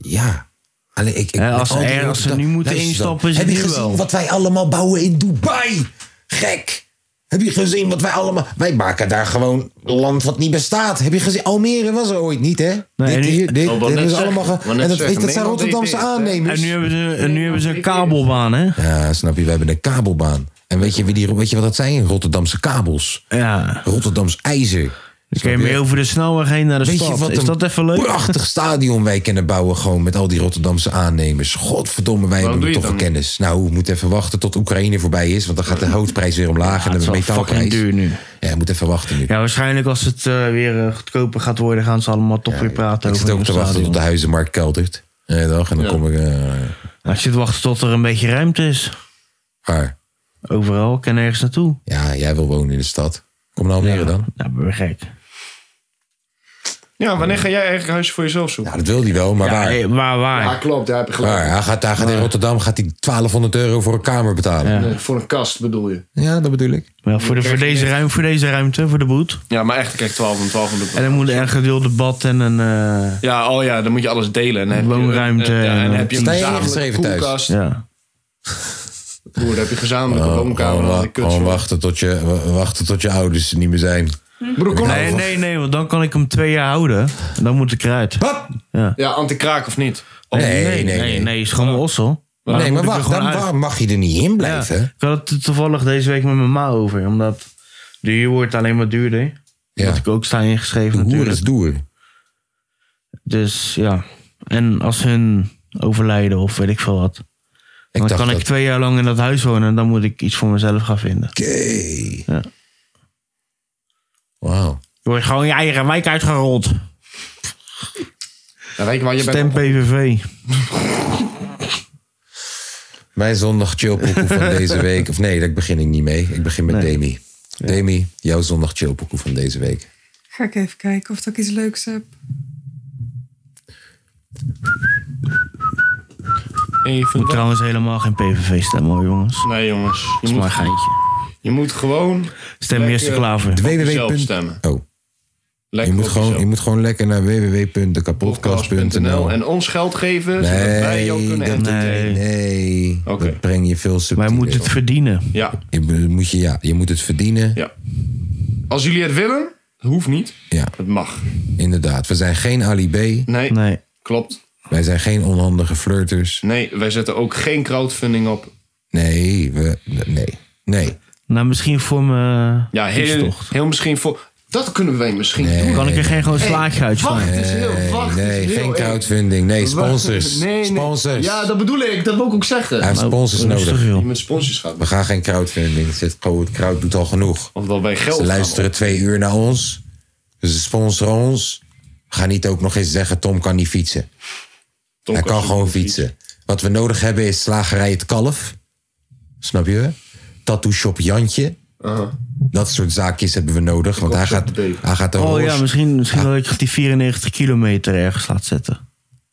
A: Ja. Alleen ik, ik,
E: Hè,
A: met
E: als ze
A: al die
E: er- als ze
A: Rotterdam-
E: nu moeten
A: Luister dan.
E: instappen, is het
A: Heb je
E: nu
A: gezien
E: wel.
A: wat wij allemaal bouwen in Dubai? Gek! Heb je gezien wat wij allemaal... Wij maken daar gewoon land wat niet bestaat. Heb je gezien? Almere was er ooit niet, hè?
E: Nee, en
A: dit
E: nu-
A: hier, dit,
C: wou
A: dit
C: Oh, net
A: is
C: zeggen,
A: allemaal... ge-
C: wou net
A: en dat,
C: zeggen,
A: weet, dat zijn
C: Nederland
A: Rotterdamse
C: deed dit, eh, hè?
A: aannemers.
E: En nu hebben ze, en nu hebben ze een kabelbaan, hè?
A: Ja, snap je. We hebben een kabelbaan. En weet je, wie die, weet je wat dat zijn? Rotterdamse kabels.
E: Ja.
A: Rotterdams ijzer.
E: Dan kun je
A: Snap je?
E: mee over de snelweg heen naar de
A: Weet je
E: stad.
A: wat
E: Is
A: een
E: dat even leuk?
A: prachtig stadion wij kunnen bouwen gewoon met al die Rotterdamse aannemers. Godverdomme, wij hebben
C: doe je
A: toch
C: het
A: wel
C: dan
A: kennis. Nou, we moeten even wachten tot Oekraïne voorbij is, want dan gaat de houtprijs weer omlaag en
E: het
A: dan
E: is
A: de
E: wel
A: metaalprijs.
E: fucking duur nu.
A: Ja, we moeten even wachten nu.
E: Ja, waarschijnlijk als het eh, weer eh, goedkoper gaat worden, gaan ze allemaal toch weer praten
A: ik
E: over
A: zit ook
E: een
A: te
E: nieuw
A: wachten tot de
E: stadion.
A: huizenmarkt keldert. Eh, dag, en dan
C: Ja.
A: kom ik... eh,
E: Als je het wacht tot er een beetje ruimte is.
A: waar?
E: Overal, ik kan ergens naartoe.
A: Ja, jij wil wonen in de stad. Kom naar Almere dan.
E: Nou, ben je gek.
C: Ja, wanneer ga jij eigen huis voor jezelf zoeken?
A: Ja, Ah, dat wil hij wel, maar
E: Ja,
A: waar?
E: hé, waar, waar?
C: Ja, klopt. Daar heb ik gelijk.
A: Waar? Hij gaat, hij gaat in Rotterdam gaat hij 1200 euro voor een kamer betalen. Ja,
C: Nee, voor een kast bedoel je.
A: dat bedoel ik.
E: Ja, voor, de, voor, deze ruim, voor deze ruimte, voor de boet.
C: eh, Ja, maar echt, ik krijg 12 en 12
E: En dan moet er een gedeeld debat en een... eh,
C: Ja, oh ja, dan moet je alles delen. En dan heb je-
E: Woonruimte
C: eh, ja, en
E: en-
C: dan heb je een
A: Sta je
C: gezamenlijke
A: ingeschreven thuis?
C: koelkast.
E: ja.
C: Broer, dan heb je gezamenlijke
A: Gewoon,
C: woonkamer. en al die
A: Oh, wa- gewoon
C: kutzooi.
A: wachten, tot je, wa- wachten tot je ouders er niet meer zijn.
C: Broer, kom
E: Nee,
C: nou.
E: nee, nee, want dan kan ik hem twee jaar houden. En dan moet ik eruit.
A: Wat?
C: Ja, anti-kraak of niet?
A: Nee, nee, nee.
E: Oh, nee, is gewoon mijn ossel.
A: nee,
E: dan
A: maar
E: moet ik er
A: wacht,
E: gewoon
A: dan,
E: uit.
A: waarom mag je er niet in blijven?
E: Ja, ik had het toevallig deze week met mijn ma over. Omdat de huur wordt alleen maar duurder.
A: Ja,
E: Dat ik ook sta ingeschreven
A: Hoer
E: natuurlijk.
A: is doer.
E: Dus ja. En als hun overlijden of weet ik veel wat.
A: Ik
E: Dan
A: dacht
E: kan
A: dat,
E: ik twee jaar lang in dat huis wonen. En dan moet ik iets voor mezelf gaan vinden.
A: oké.
E: Ja.
A: Wauw.
E: Je wordt gewoon je eigen wijk uitgerold.
C: Dan weet je waar je
E: Stem
C: bent.
E: PVV.
A: Mijn zondag chillpokoe van deze week. Of nee, daar begin ik niet mee. Ik begin met Demi. Demi, jouw zondag chillpokoe van deze week.
D: Ga ik even kijken of dat ik iets leuks heb.
C: Even
E: Moet trouwens helemaal geen PVV stemmen hoor jongens. Dat
C: Nee, jongens. Je
E: is maar een
C: moet,
E: geintje.
C: je moet gewoon
E: Stem eerste klaver.
C: op
A: www.
C: jezelf stemmen.
A: Oh, je
C: Lekker
A: moet,
C: op
A: gewoon,
C: jezelf.
A: je moet gewoon lekker naar www.dekapodcast.nl.
C: en ons geld geven, zodat wij jou
A: Nee,
C: kunnen
A: dat, nee.
C: entertainen.
A: nee.
C: Oké.
A: dat breng je veel
E: Wij
A: subtieler.
E: moeten het verdienen.
C: Ja,
A: Je be- moet je, ja, je moet het verdienen.
C: ja. Als jullie het willen, hoeft niet.
A: Ja,
C: Het mag.
A: inderdaad. We zijn geen Ali B.
C: Nee,
E: Nee.
C: klopt.
A: Wij zijn geen onhandige flirters.
C: Nee, wij zetten ook geen crowdfunding op.
A: Nee, we, nee, nee.
E: Nou misschien voor mijn
C: Ja, heel,
E: fietstocht.
C: heel misschien voor... Dat kunnen wij misschien doen.
E: Kan ik er geen gewoon slaatje uitslaan?
C: Wacht eens heel, wacht eens
A: Nee,
C: heel
A: geen
C: even.
A: crowdfunding. Nee, sponsors.
C: Nee, nee.
A: Sponsors.
C: Ja, dat bedoel ik. Dat wil ik ook zeggen.
A: Hij heeft
E: Nou,
A: sponsors
E: Oh, Dat is te
A: nodig.
E: veel.
C: Je met sponsors gaat.
A: We gaan geen crowdfunding. Zit gewoon- Het crowd doet al genoeg.
C: Of wel bij geld.
A: Ze
C: gaan.
A: luisteren twee uur naar ons. Ze sponsoren ons. Ga niet ook nog eens zeggen, Tom kan niet fietsen.
C: Tom
A: Hij kan
C: super
A: gewoon
C: goed
A: fietsen. Wat we nodig hebben is slagerij Het Kalf. Snap je? Tattoo Shop Jantje. Dat soort zaakjes hebben we nodig. Want hij gaat,
C: Dave.
A: hij gaat een
E: Oh
A: roze
E: ja, misschien, misschien dat ik die 94 kilometer ergens laat zetten.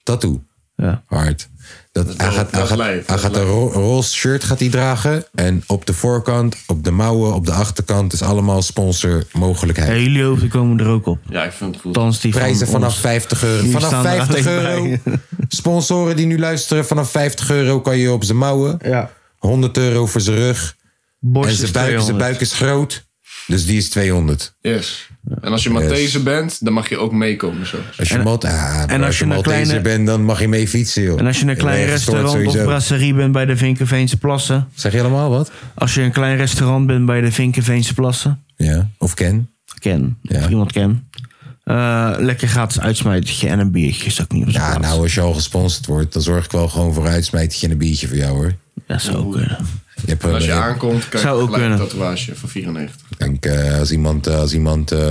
A: tattoo.
E: Ja.
A: Hard. Dat, hij gaat, hij
C: dat
A: gaat, hij
C: lijf, dat
A: gaat een ro- roze shirt gaat hij dragen. En op de voorkant, op de mouwen, op de achterkant... is allemaal sponsormogelijkheid.
E: Ja, jullie hoofden komen er ook op.
C: Ja, ik vind het goed.
E: Althans, die van
A: Prijzen
E: ons.
A: vanaf 50 euro.
E: Hier
A: Vanaf
E: staan er
A: 50
E: alleen
A: euro. Sponsoren die nu luisteren, vanaf 50 euro kan je op zijn mouwen.
E: Ja.
A: 100 euro voor zijn rug.
E: Borst
A: en zijn
E: is
A: buik, zijn
E: 200.
A: buik is groot. Dus die is 200.
C: Yes. En als je
A: Yes.
C: Malteser bent, dan mag je ook meekomen zo.
A: Als je, Malte- ah, maar
E: en als je
A: als
E: een
A: je Malteser
E: kleine-
A: bent, dan mag je mee fietsen, joh.
E: En als je een klein
A: Je bent gestoord
E: restaurant of
A: sowieso.
E: brasserie bent bij de Vinkenveense Plassen.
A: Zeg je allemaal wat?
E: Als je een klein restaurant bent bij de Vinkenveense Plassen.
A: Ja, of Ken.
E: Ken.
A: Ja.
E: Of iemand ken. Eh, lekker gratis uitsmijtertje en een biertje is ook niet op zijn
A: Ja,
E: plaats.
A: nou, als je al gesponsord wordt, dan zorg ik wel gewoon voor een uitsmijtje en een biertje voor jou, hoor.
E: Dat zou ook kunnen.
A: Je hebt,
C: Als je
A: eh,
C: aankomt, krijg je
E: Zou ook
C: gelijk een
E: kunnen.
C: tatoeage van 94.
A: Ik denk, eh, als iemand, eh, als iemand eh,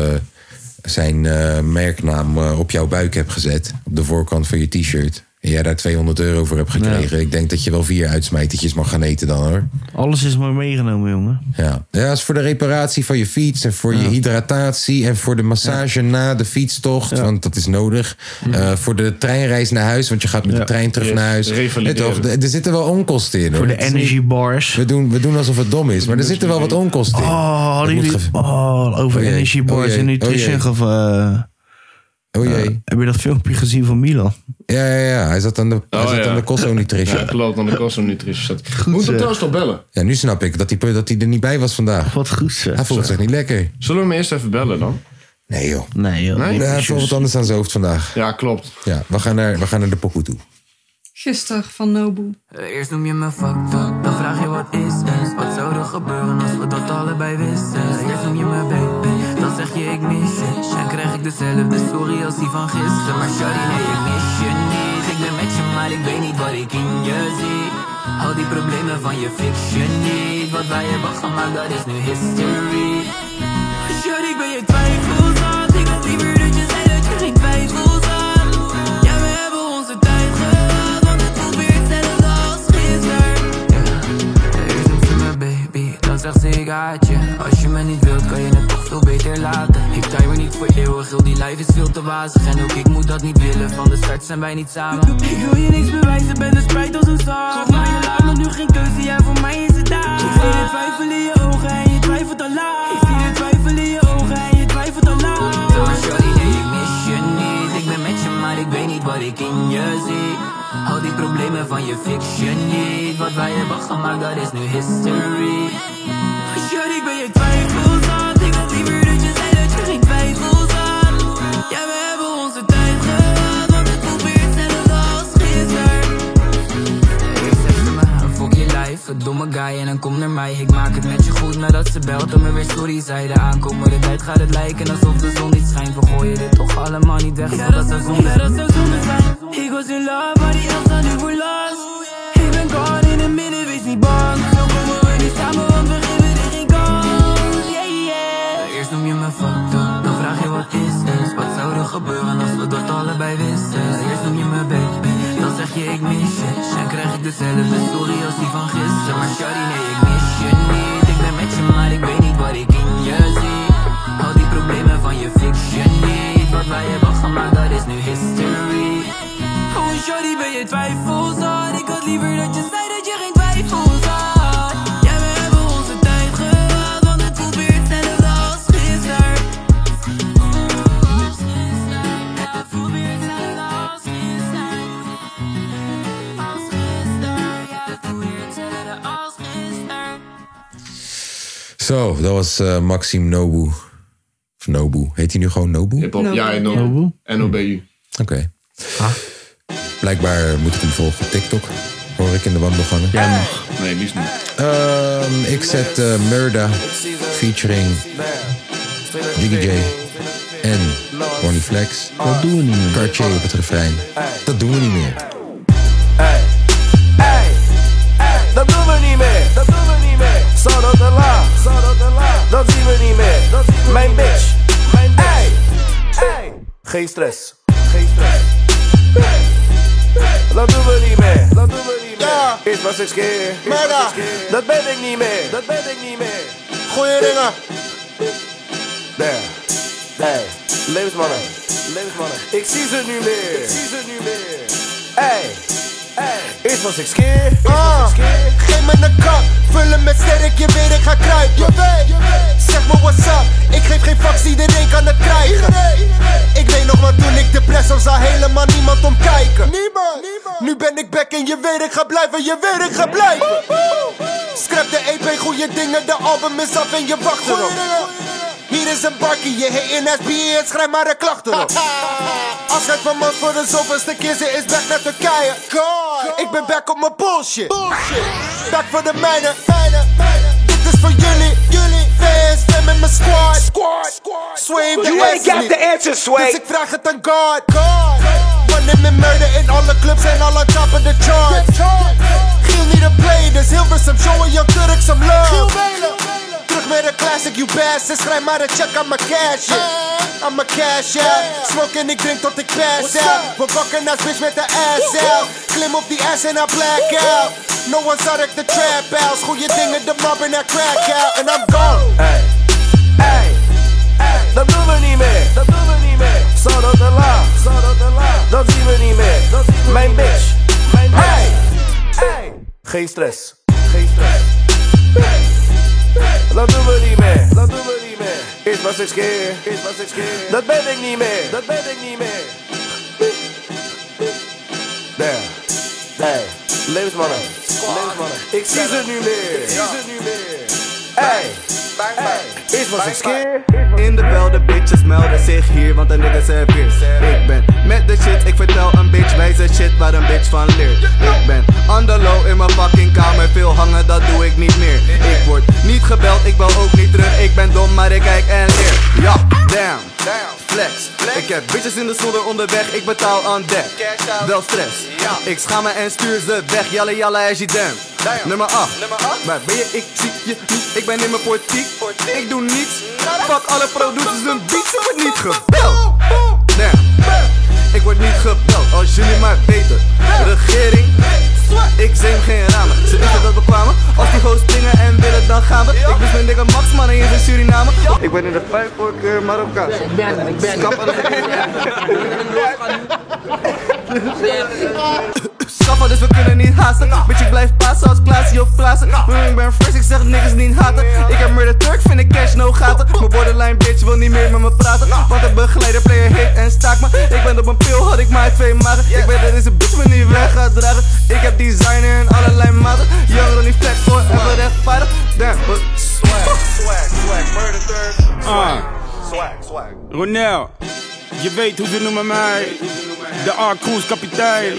A: zijn eh, merknaam eh, op jouw buik hebt gezet. Op de voorkant van je t-shirt. En jij daar 200 euro voor hebt gekregen. Ik denk dat je wel vier uitsmijtertjes mag gaan eten dan hoor.
E: Alles is maar meegenomen, jongen.
A: Ja. ja, dat is voor de reparatie van je fiets en voor je hydratatie en voor de massage na de fietstocht, want dat is nodig.
E: Hm.
A: Eh, voor de treinreis naar huis, want je gaat met de trein terug
E: Nou,
A: naar huis.
C: revalideren.
A: Ja, toch, er er zitten wel onkosten in. hoor.
E: Voor de
A: Het is
E: energy
A: niet-
E: bars.
A: We doen, we doen alsof het dom is, maar er zitten wel wat onkosten in.
E: Oh, hadden
A: moet
E: jullie...
A: ge-
E: Oh, over
A: Oh jee,
E: energy
A: oh
E: bars
A: jee,
E: en
A: oh
E: nutrition.
A: jee.
E: Of, eh,
A: Oh jee.
E: heb je dat filmpje gezien van Milan?
A: ja, ja, ja, hij zat aan de, hij
C: Oh,
A: zat
C: ja.
A: aan de Costco Nutrition.
C: Klopt, dan de kost hem niet erin zat. Moet hem
E: zeg.
C: trouwens nog bellen.
A: Ja, nu snap ik dat hij, dat hij er niet bij was vandaag.
E: Wat goed
A: Hij
E: zeg.
A: voelt zich niet lekker.
C: Zullen we hem eerst even bellen dan?
A: Nee joh.
E: Nee, joh.
C: Nee?
A: Ja, hij heeft wel wat anders aan zijn hoofd vandaag.
C: Ja, klopt.
A: Ja, we gaan naar, we gaan naar de pokoe toe.
D: Gisteren van Nobu.
H: Eh, Eerst noem je me fucked up, dan vraag je wat is es Wat zou er gebeuren als we dat allebei wisten Eerst noem je me baby, dan zeg je ik mis je En krijg ik dezelfde story als die van gisteren Maar sorry nee ik mis je niet Ik ben met je maar ik weet niet wat ik in je zie Al die problemen van je fiction niet Wat wij hebben gemaakt dat is nu history Shut ik ben je twijfels aan. Ik had liever dat je zei dat je geen twijfels had. Ja, we hebben onze tijd gehad, want het voelt weer hetzelfde als gisteren. Eerst noemt ze me baby, dan zegt ze ik haat je. Als je me niet wilt, kan je het toch veel beter laten. Ik tij me niet voor eeuwig, heel die life is veel te wazig. En ook ik moet dat niet willen, van de start zijn wij niet samen. Ik wil je niks bewijzen, ben een spijt als een zaak. Geef mij je laat me nu geen keuze, ja voor mij is het daar. Ik zie de twijfel in je ogen en je twijfelt al laat. Ik zie de twijfel in je ogen en je twijfelt al laat. Sorry, sorry, nee, ik mis je niet. Ik ben met je, maar ik weet niet wat ik in je zie. Al die problemen van je fiction niet. Wat wij hebben gemaakt, dat is nu history. Shut, ik ben je twijfels aan. Ik had liever dat je zei dat je geen twijfels had. Ja, we hebben onze tijd gehad, want het voelt weer hetzelfde als gisteren. Ik zeg ze me, fuck je lijf, een domme guy en dan kom naar mij Ik maak het met je goed nadat ze belt en me weer sorry zei De aankomende tijd gaat het lijken alsof de zon niet schijnt We gooien dit toch allemaal niet weg, ja, dat zou zonde Ja, dat zou zonde zijn Ik was in love, maar die elf staat nu voor last Ik ben gone in het midden, wees niet bang Zo komen we niet samen, want we geven er geen kans Yeah, yeah Eerst noem je me fucked up, dan vraag je wat is es Wat zou er gebeuren als we dat allebei wisten Eerst noem je me baby, dan zeg je ik mis je Dan krijg ik dezelfde story als die van gisteren Maar shawty, nee ik mis je niet Ik ben met je, maar ik weet niet wat ik in je zie Al die problemen van je fiction niet Wat wij hebben gemaakt, dat is nu history Oh shawty, ben je twijfels aan Ik had liever dat je zei dat je geen twijfels had Ja, we hebben onze tijd gehad Want het voelt weer hetzelfde als gisteren
A: Zo, dat was eh Maxime Nobu. Of Nobu. Heet hij nu gewoon Nobu? Oké.
C: Hip-hop,
D: Nobu.
C: ja, en
E: Nou,
C: Nobu. NOBU.
A: Blijkbaar moet ik hem volgen op TikTok. Hoor ik in de wandelgangen.
C: Nee, liefst niet.
A: Ehm, ik zet eh, Murda featuring Jiggy J en Ronnie Flex. Dat doen we niet meer. Cartier op het refrein. Dat doen we niet meer.
H: Dat doen we niet meer, dat doen we niet meer. Zal dat te laat, zal dat te laat. Dat zien we niet meer, dat zien we Mijn bitch, mijn bitch. Hey, hey. Geen stress, geen stress. Dat doen we niet meer, dat doen we niet meer. Ja. Eerst was ik keer, Merda. Dat ben ik niet meer, dat ben ik niet meer. Goeie dingen. Daar, daar. Levensmannen, levensmannen. Ik zie ze nu meer, ik zie ze nu meer. Hey. Eerst was ik skeer. Ah, geef me een kap. Vul hem met sterk, je weet ik ga kruipen. Je weet, zeg me what's up. Ik geef geen fax, iedereen kan het krijgen. Ik weet nog wat toen ik de press was, zag helemaal niemand om kijken. Niemand, Nu ben ik back en je weet ik ga blijven, je weet ik ga blijven. Scrap de EP, goede dingen, de album is af en je wacht erop. Hier is een bakkie, je heet in SBA en schrijf maar een klacht erop. Afscheid van me voor de zoveelste keer, ze is weg naar Turkije. Ik ben back op mijn bullshit. Back voor de mijne. Dit is voor jullie, jullie fans en met mijn squad. Squad, squad. Sway de
G: You ain't got the answer,
H: dus
G: Sway.
H: ik vraag het aan God. Wanneer me murder in alle clubs en alle top of the charts. Giel niet een play, dus Hilversum showing Young Turk some love.
I: Terug met een classic, you bastard. Schrijf maar een check aan mijn cash, yeah. Aan mijn cash, yeah. Smoke en ik drink tot ik pass out. We bakken als bitch met de ass out. Klim op die ass en I black out. No one zag ik de trap house. Goeie dingen, de mob en I crack out. And I'm gone.
J: Hey, hey, hey. Dat doen we niet meer. Dat doen we niet meer. Zo dat de laag. Zo dat de laag. Dat zien we niet meer. Dat zien we Mijn bitch. Mijn hey, hey. Geen stress. Geen stress. Hey. Hey. Dat doen we niet meer. Dat doen we niet meer. Eerst was ik skeer. Eerst was ik skeer. Dat ben ik niet meer. Dat ben ik niet meer. Damn. Damn. Levensmannen. Levensmannen. Ik zie ze nu meer. Ik zie ze nu meer. Hey. Hey. Eerst was ik skeer.
K: In de bel, de bitches melden zich hier, want de niggas zijn peers. Ik ben met de shit, ik vertel een bitch wijze shit waar een bitch van leert. Ik ben on the low in mijn fucking kamer, veel hangen dat doe ik niet meer. Ik word niet gebeld, ik bel ook niet terug, ik ben dom maar ik kijk en leer. Ja, damn. Flex. ik heb bitches in de zolder onderweg, ik betaal aan dek. Wel stress, ik schaam me en stuur ze weg. Jalle jalle as je damn. Nummer 8, maar ben je, ik zie je niet, ik ben in mijn portiek. Ik doe niets, fuck alle producers, hun beats, ik word niet gebeld. Damn. Ik word niet gebeld, als jullie maar weten. Regering, ik zing geen ramen. Ze weten dat we kwamen. Als die host dingen en willen, dan gaan we. Ik wist mijn dikke Max, man, en hier in Suriname. Ik ben in de eh, vijf voor keer Marokkaans. Ik ben ik ben Schappa, dus we kunnen niet haasten. Bitch, ik blijf passen als Klaasje of Klaassen. Ik ben fresh, ik zeg niks niet haten. Ik heb murder Turk, vind ik cash, no gaten. Mijn borderline bitch wil niet meer met me praten. Want een begeleider, player hit en staak me. Ik ben op een pil, had ik maar twee magen. Ik weet dat deze bitch me niet weg gaat dragen. Ik heb designer en allerlei maten. Young Ronnie Flex, voor even rechtvaardig. Damn, but swag, swag, swag, murder Turk.
L: Swag, swag, swag. Ronel, je weet hoe ze noemen mij. De A-Cruise kapitein.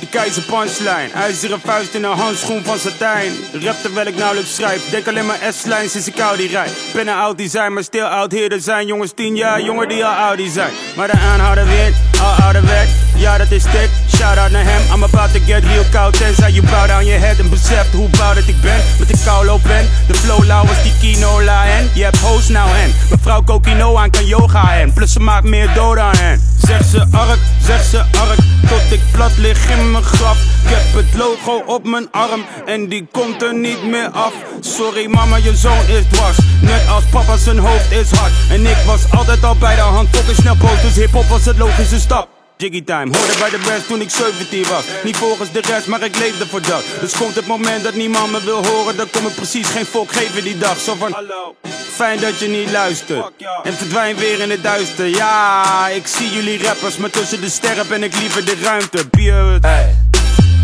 L: De keizer punchline. IJzeren vuist in een handschoen van satijn. Rap terwijl ik nauwelijks schrijf. Dek alleen maar S-lijn sinds ik Audi rijd. Pennen oud die zijn, maar stil oud hier. Er zijn jongens 10 jaar jonger die al Audi zijn. Maar de aanhouder wint, al ouder werd. Ja, dat is dik. Shout out naar hem. I'm about to get real koud. Tenzij je bouwt aan je head en beseft hoe bouw dat ik ben. Met de koulo pen. De flow lauw is die kinola en je hebt hoos nou en. Mevrouw Kokino aan kan yoga en. Plus ze maakt meer dood aan hen. Zeg ze ark, zeg ze ark. Tot ik plat lig in mijn graf. Ik heb het logo op mijn arm en die komt er niet meer af. Sorry mama, je zoon is dwars. Net als papa, zijn hoofd is hard. En ik was altijd al bij de hand. Toch een snel boot, dus hip-hop was het logische stap. Jiggy time, hoorde bij de best toen ik 17 was Niet volgens de rest, maar ik leefde voor dat Dus komt het moment dat niemand me wil horen Dan kom ik precies geen volk geven die dag Zo van, hallo, fijn dat je niet luistert En verdwijn weer in het duister Ja, ik zie jullie rappers Maar tussen de sterren ben ik liever de ruimte Bier
J: Hey,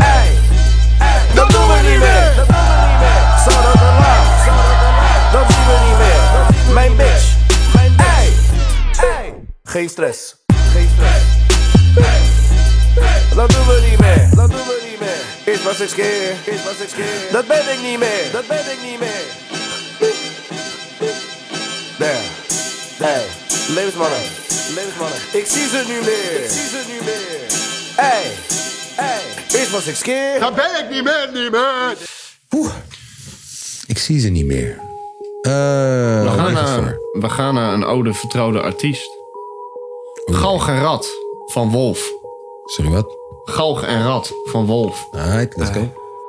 J: hey, hey. Dat doen we niet meer Dat doen we niet meer Zo dat de laag Dat zien we niet meer Mijn bitch Mijn bitch Hey, Geen stress Geen stress dat doen we niet meer, dat doen we niet meer. Eerst was ik skeer, eerst was ik skeer. Dat ben ik niet meer, dat ben ik niet meer. Damn, damn. Levensmannen, levensmannen. Ik zie ze nu meer, ik zie ze nu meer. Hey, hey. Eerst was ik skeer.
C: Dat ben ik niet meer, niet meer.
A: Oeh, ik zie ze niet meer. Eh,
C: We
A: waar
C: gaan,
A: is het
C: naar,
A: voor?
C: we gaan naar een oude vertrouwde artiest. Galg en Rad van Wolf.
A: Sorry, wat?
C: Galg en Rad van Wolf.
A: Alright, let's go.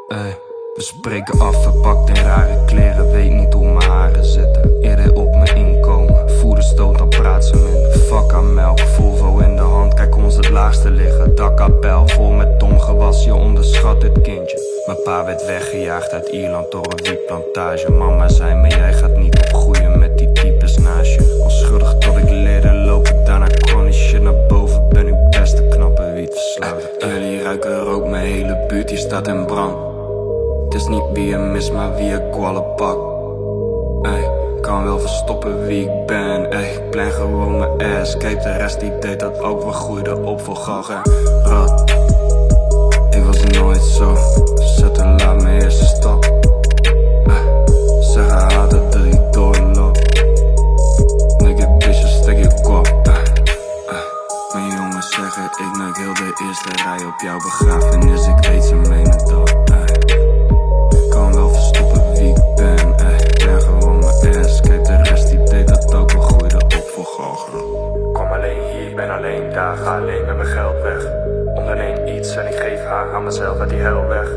M: Ey, we spreken af, verpakt in rare kleren. Weet niet hoe mijn haren zitten. Eerder op mijn inkomen. Voeren stoot, dan praat ze minder. Fuck aan melk, Volvo in de hand. Kijk ons het laagste liggen. Dakkapel, vol met tomgewas. Je onderschat het kindje. Mijn pa werd weggejaagd uit Ierland door een wietplantage. Mama zei me, jij gaat niet opgroeien met die types naast je. Onschuldig tot ik leren lopen, daarna chronisch shit naar boven. Ben ik best te knappe wiet verslaafd. Jullie ruiken rook, mijn hele buurt hier staat in brand. Het is niet wie je mist, maar wie je kwallen pakt. Ey, kan wel verstoppen wie ik ben. Ey, ik plan gewoon mijn ass. Kijk, de rest die deed dat ook. We groeiden op voor galg en rat. Ik was nooit zo. Zet en laat mijn eerste stap. Ey, zeg haar haat het dat ik doorloop. Nigga, bitch, stek je kop. Ey, ey. Mijn jongens zeggen, ik neuk heel de eerste rij op jouw begrafenis. Ik weet ze menen dat. Ey. Kan wel verstoppen wie ik ben, ey. Ik ben eh. gewoon mijn geld weg. Onderneem iets en ik geef haar aan mezelf uit die hel weg.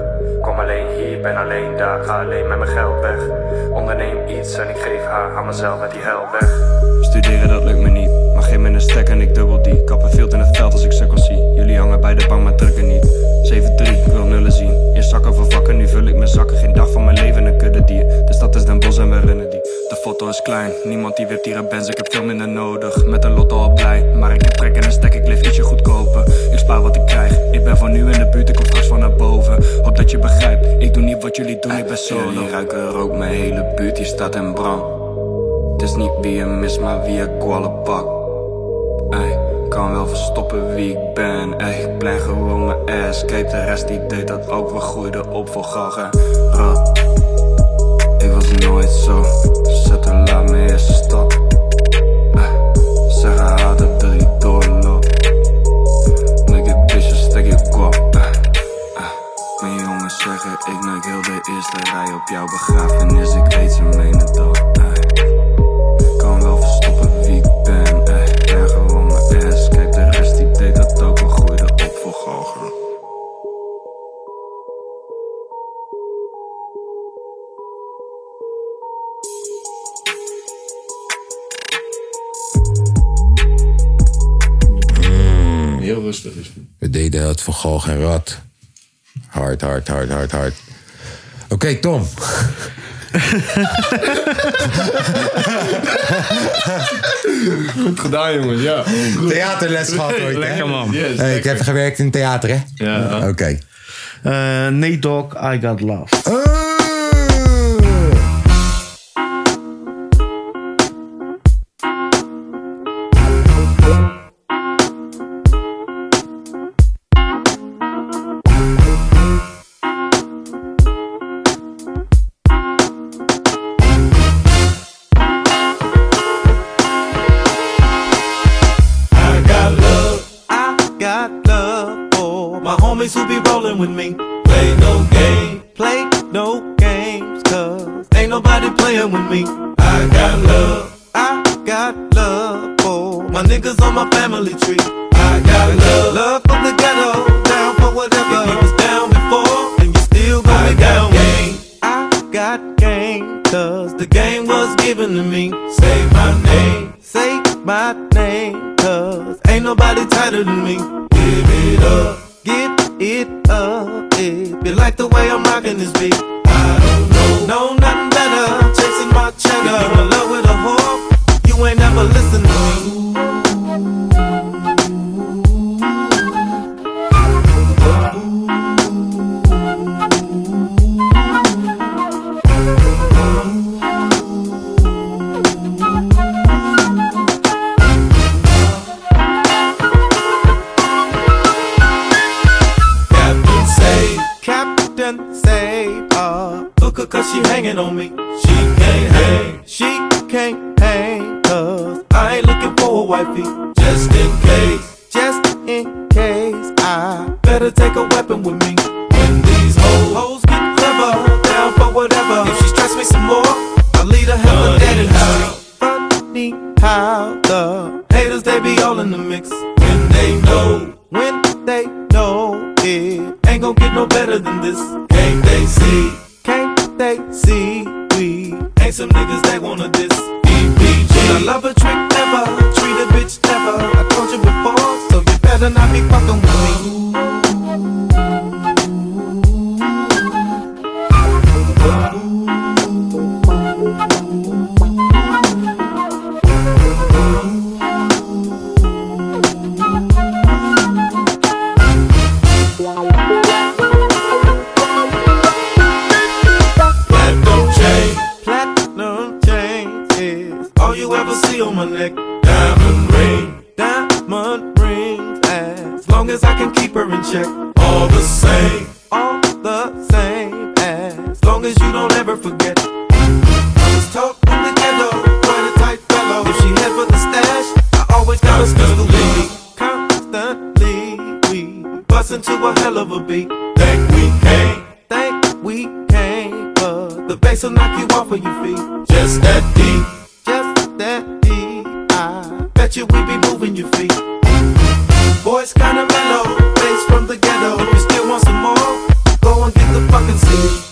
M: Kom alleen hier, ben alleen daar, ga alleen met mijn geld weg. Onderneem iets en ik geef haar aan mezelf uit die hel weg. Studeren dat lukt me niet, maar geef me een stek en ik dubbel die. Kappen veel in het veld als ik sukkels zie. Jullie hangen bij de bank, maar drukken niet. 7-3, ik wil nullen zien. Eerst zakken voor vakken, nu vul ik mijn zakken. Geen dag van mijn leven een kudde dier. De stad is Den Bosch en we rennen die. De foto is klein, niemand die wipt hier een Benz. Ik heb veel minder nodig, met een lotto al blij. Maar ik heb trek en een stek, ik leef ietsje goedkoper. Ik spaar wat ik krijg, ik ben voor nu in de buurt, ik kom straks van naar boven. Hoop dat je begrijpt, ik doe niet wat jullie doen, ik ben solo. Jullie ruiken rook, mijn hele buurt hier staat in brand. Het is niet wie je mist, maar wie je kwallen pakt. Ey, kan wel verstoppen wie ik ben. Ey, ik plan gewoon mijn ass. Kijk, de rest die deed dat ook. We groeiden op voor galg en rat. Ik was nooit zo. Zet er laat mijn eerste stap. Ey, zeg Eh, haar haar dat er niet doorloopt. Nigga, bitches, stek je kop. Ey, ey. Eh, Mijn jongens zeggen, ik neuk heel de eerste rij op jouw begrafenis. Ik weet ze menen dat. Ey. Kan wel verstoppen wie ik ben, ey. Ben gewoon mijn ass. Kijk, de rest die deed dat ook. We gooiden op voor galgen.
C: Mm, Heel rustig is het.
A: We deden het voor Galg en Rad. Hard, hard, hard, hard, hard. Oké, Tom.
C: Goed gedaan, jongens. Ja.
A: Theaterles gehad ooit, hè?
C: Lekker,
B: Oh.
C: man.
A: Hey, Eh, ik heb gewerkt in theater, hè?
C: Ja.
A: Oké.
B: Eh, nee, dog, I got love.
N: I got love. I got love for my homies who be rolling with me. Play no game. Play no games, cause ain't nobody playing with me. I got love. I got love for my niggas on my family tree. I got love. Love from the ghetto, down for whatever. If you was down before, and you still going down game. I got game, cause the game was given to me. Say my name. Say my name, cause ain't nobody tighter than me. Give it up, give it up. If you like the way I'm rocking this beat, I don't know, know nothing better. Chasing my cheddar, if you in love with a whore, you ain't never listen to me. Captain Save. Captain Save. Uh, look her cause she hanging on me. She can't hang. She can't hang cause I ain't looking for a wifey. Just in case. Just in case. I better take a weapon with me. When these hoes, hoes get clever, down for whatever. If she stress me some more, I lead her hell to dead in the street. Funny how the haters, they be all in the mix. When they know. When they know it ain't gonna get no better than this. Can't they see? Can't they see? We ain't some niggas they wanna diss. EPG. I love a trick never, treat a bitch never. I told you before, so you better not be fucking with me. Platinum chain. Platinum chain is all you ever see on my neck. Diamond ring. Diamond rings. As long as I can keep her in check. All the same. All the same. As long as you don't ever forget. I was taught from the ghetto, quite a tight fellow. If she head for the stash, I always got a special lead. Constantly, we bustin' to a hell of a beat. Think we came. Think we came, but the bass will knock you off of your feet. Just that deep, just that deep. I bet you we be moving your feet. Boy's kinda mellow, face from the ghetto. If you still want some more, go and get the fucking seat.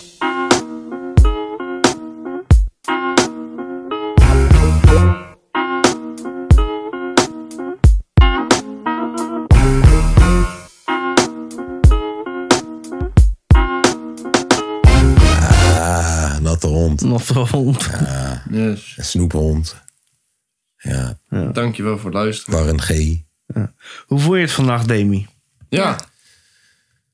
A: Ah, natte hond.
B: Natte hond.
A: Ja.
C: Yes.
A: Een snoephond. Ja.
C: Dankjewel voor het luisteren.
A: Warren G.
B: Hoe voel je het vandaag, Demi?
C: Ja.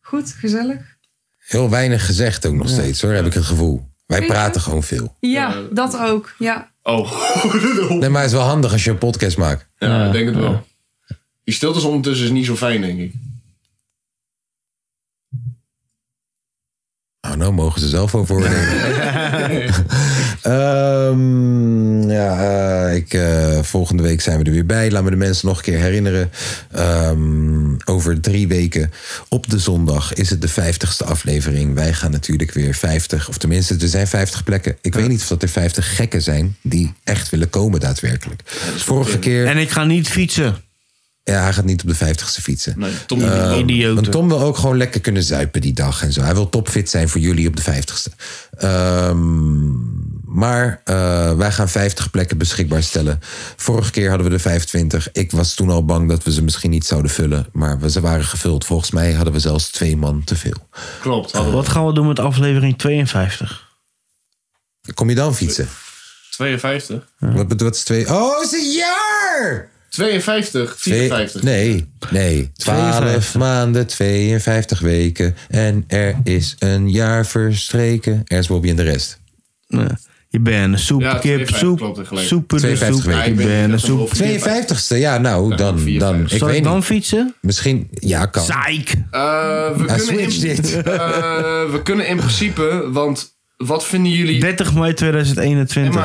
D: Goed, gezellig.
A: Heel weinig gezegd ook nog steeds hoor, heb ik het gevoel. Wij praten gewoon veel.
D: Ja, dat ook. Ja.
C: Oh.
A: Nee, maar het is wel handig als je een podcast maakt.
C: Ja, ik denk het wel. Die stiltes ondertussen is niet zo fijn, denk ik.
A: Nou, nou mogen ze zelf over oordelen. Ehm, ja, eh, ik, eh, volgende week zijn we er weer bij. Laat me de mensen nog een keer herinneren. Ehm, over drie weken op de zondag is het de 50ste aflevering. Wij gaan natuurlijk weer 50, of tenminste, er zijn 50 plekken. Ik weet niet of dat er 50 gekken zijn die echt willen komen daadwerkelijk. Vorige keer.
B: En ik ga niet fietsen.
A: Ja, hij gaat niet op de 50ste fietsen. Ehm,
C: Nee, Tom
B: is een idioot.
A: Want Tom wil ook gewoon lekker kunnen zuipen die dag en zo. Hij wil topfit zijn voor jullie op de 50ste. Ehm, maar eh, wij gaan 50 plekken beschikbaar stellen. Vorige keer hadden we er 25. Ik was toen al bang dat we ze misschien niet zouden vullen. Maar we, ze waren gevuld. Volgens mij hadden we zelfs twee man te veel.
C: Klopt.
B: Wat gaan we doen met aflevering 52?
A: Kom je dan fietsen?
C: 52?
A: Wat, bedo- wat is twee? Oh, is een jaar!
C: 52? 54?
A: Nee, nee. 12 maanden, 52 weken. En er is een jaar verstreken. Ernst Bobby en de rest.
B: Je bent een soepkip,
A: 52
B: soep,
A: klopt er gelijk.
B: soeper de
A: 52
B: soep.
A: weken.
B: Je
A: Ik weet
B: bent
A: niet
B: een
A: of dat
B: soep.
A: een 52ste, ja, nou, dan... dan ik
B: Zal
A: weet
B: ik dan
A: niet.
B: fietsen?
A: Misschien, ja, kan.
B: Zeik!
C: Eh, we,
A: Hij
C: kunnen in,
A: switcht dit.
C: Eh, we kunnen in principe, want wat vinden jullie...
B: 30 mei 2021.
C: Nee,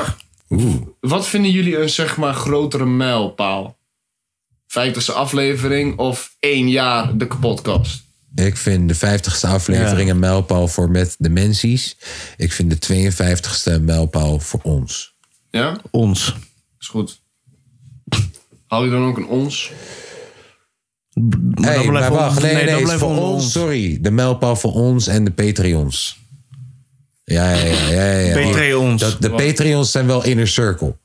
C: maar- Wat vinden jullie een zeg maar grotere mijlpaal? 50ste aflevering of één jaar de podcast?
A: Ik vind de 50ste aflevering een mijlpaal voor Met Dimensies. Ik vind de 52ste een mijlpaal voor ons.
C: Ja?
B: Ons.
C: Is goed. Hou je dan ook een ons?
A: Maar
C: dan
A: hey,
C: blijft
A: maar
C: onder-
A: wacht, nee,
C: nee,
A: nee,
C: dan
A: is
C: blijft
A: voor
C: onder
A: ons,
C: ons.
A: Sorry, de mijlpaal voor ons en de Patreons. Ja, ja, ja. ja, ja.
B: Patreons.
A: Dat, de Patreons zijn wel inner circle.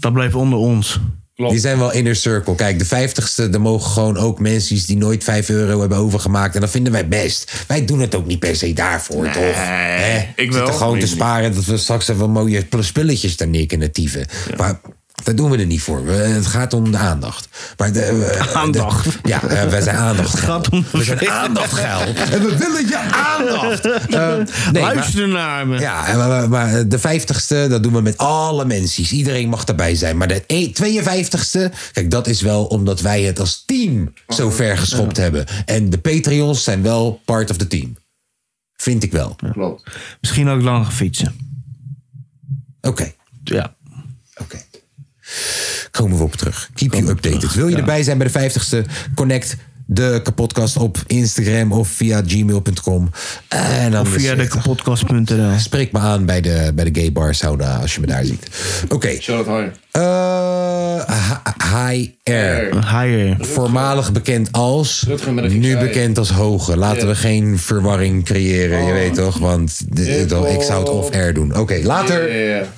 B: Dat blijft onder ons.
A: Die zijn wel inner circle. Kijk, de 50ste, daar mogen gewoon ook mensen die nooit 5 euro hebben overgemaakt. En dat vinden wij best. Wij doen het ook niet per se daarvoor, toch? Hè?
C: ik
A: Zitten
C: wel.
A: gewoon
C: Ik
A: te
C: niet.
A: sparen dat we straks even mooie spulletjes daar neer kunnen tieven. Maar dat doen we er niet voor. We- het gaat om de aandacht. Maar de, eh,
B: Aandacht.
A: de- ja, eh, wij zijn aandacht.
B: Het gaat om
A: We zijn aandachtgeil. En we willen je aandacht. Eh, nee,
B: Luister
A: maar-
B: naar me.
A: Ja, en maar, maar- maar de 50ste, dat doen we met alle mensen. Iedereen mag erbij zijn. Maar de e- 52ste, kijk, dat is wel omdat wij het als team zo ver geschopt hebben. En de Patreons zijn wel part of the team. Vind ik wel.
C: Klopt.
B: Misschien ook lang gaan fietsen.
A: Oké.
B: Ja.
A: Komen we op terug. Keep you updated. Wil je erbij zijn bij de 50ste? Connect de kapotkast op Instagram of via gmail.com. En dan
B: Of via de kapotkast.nl.
A: Spreek me aan bij de, bij de gay bar sauna als je me daar ziet. Oké. Eh, H- High Air.
B: High Air.
A: Voormalig bekend als. Nu bekend als Hoge. Laten we geen Oh. verwarring creëren, je weet toch? Want de- toch, ik zou het off-air doen. Oké, later.
C: Ja, ja, ja.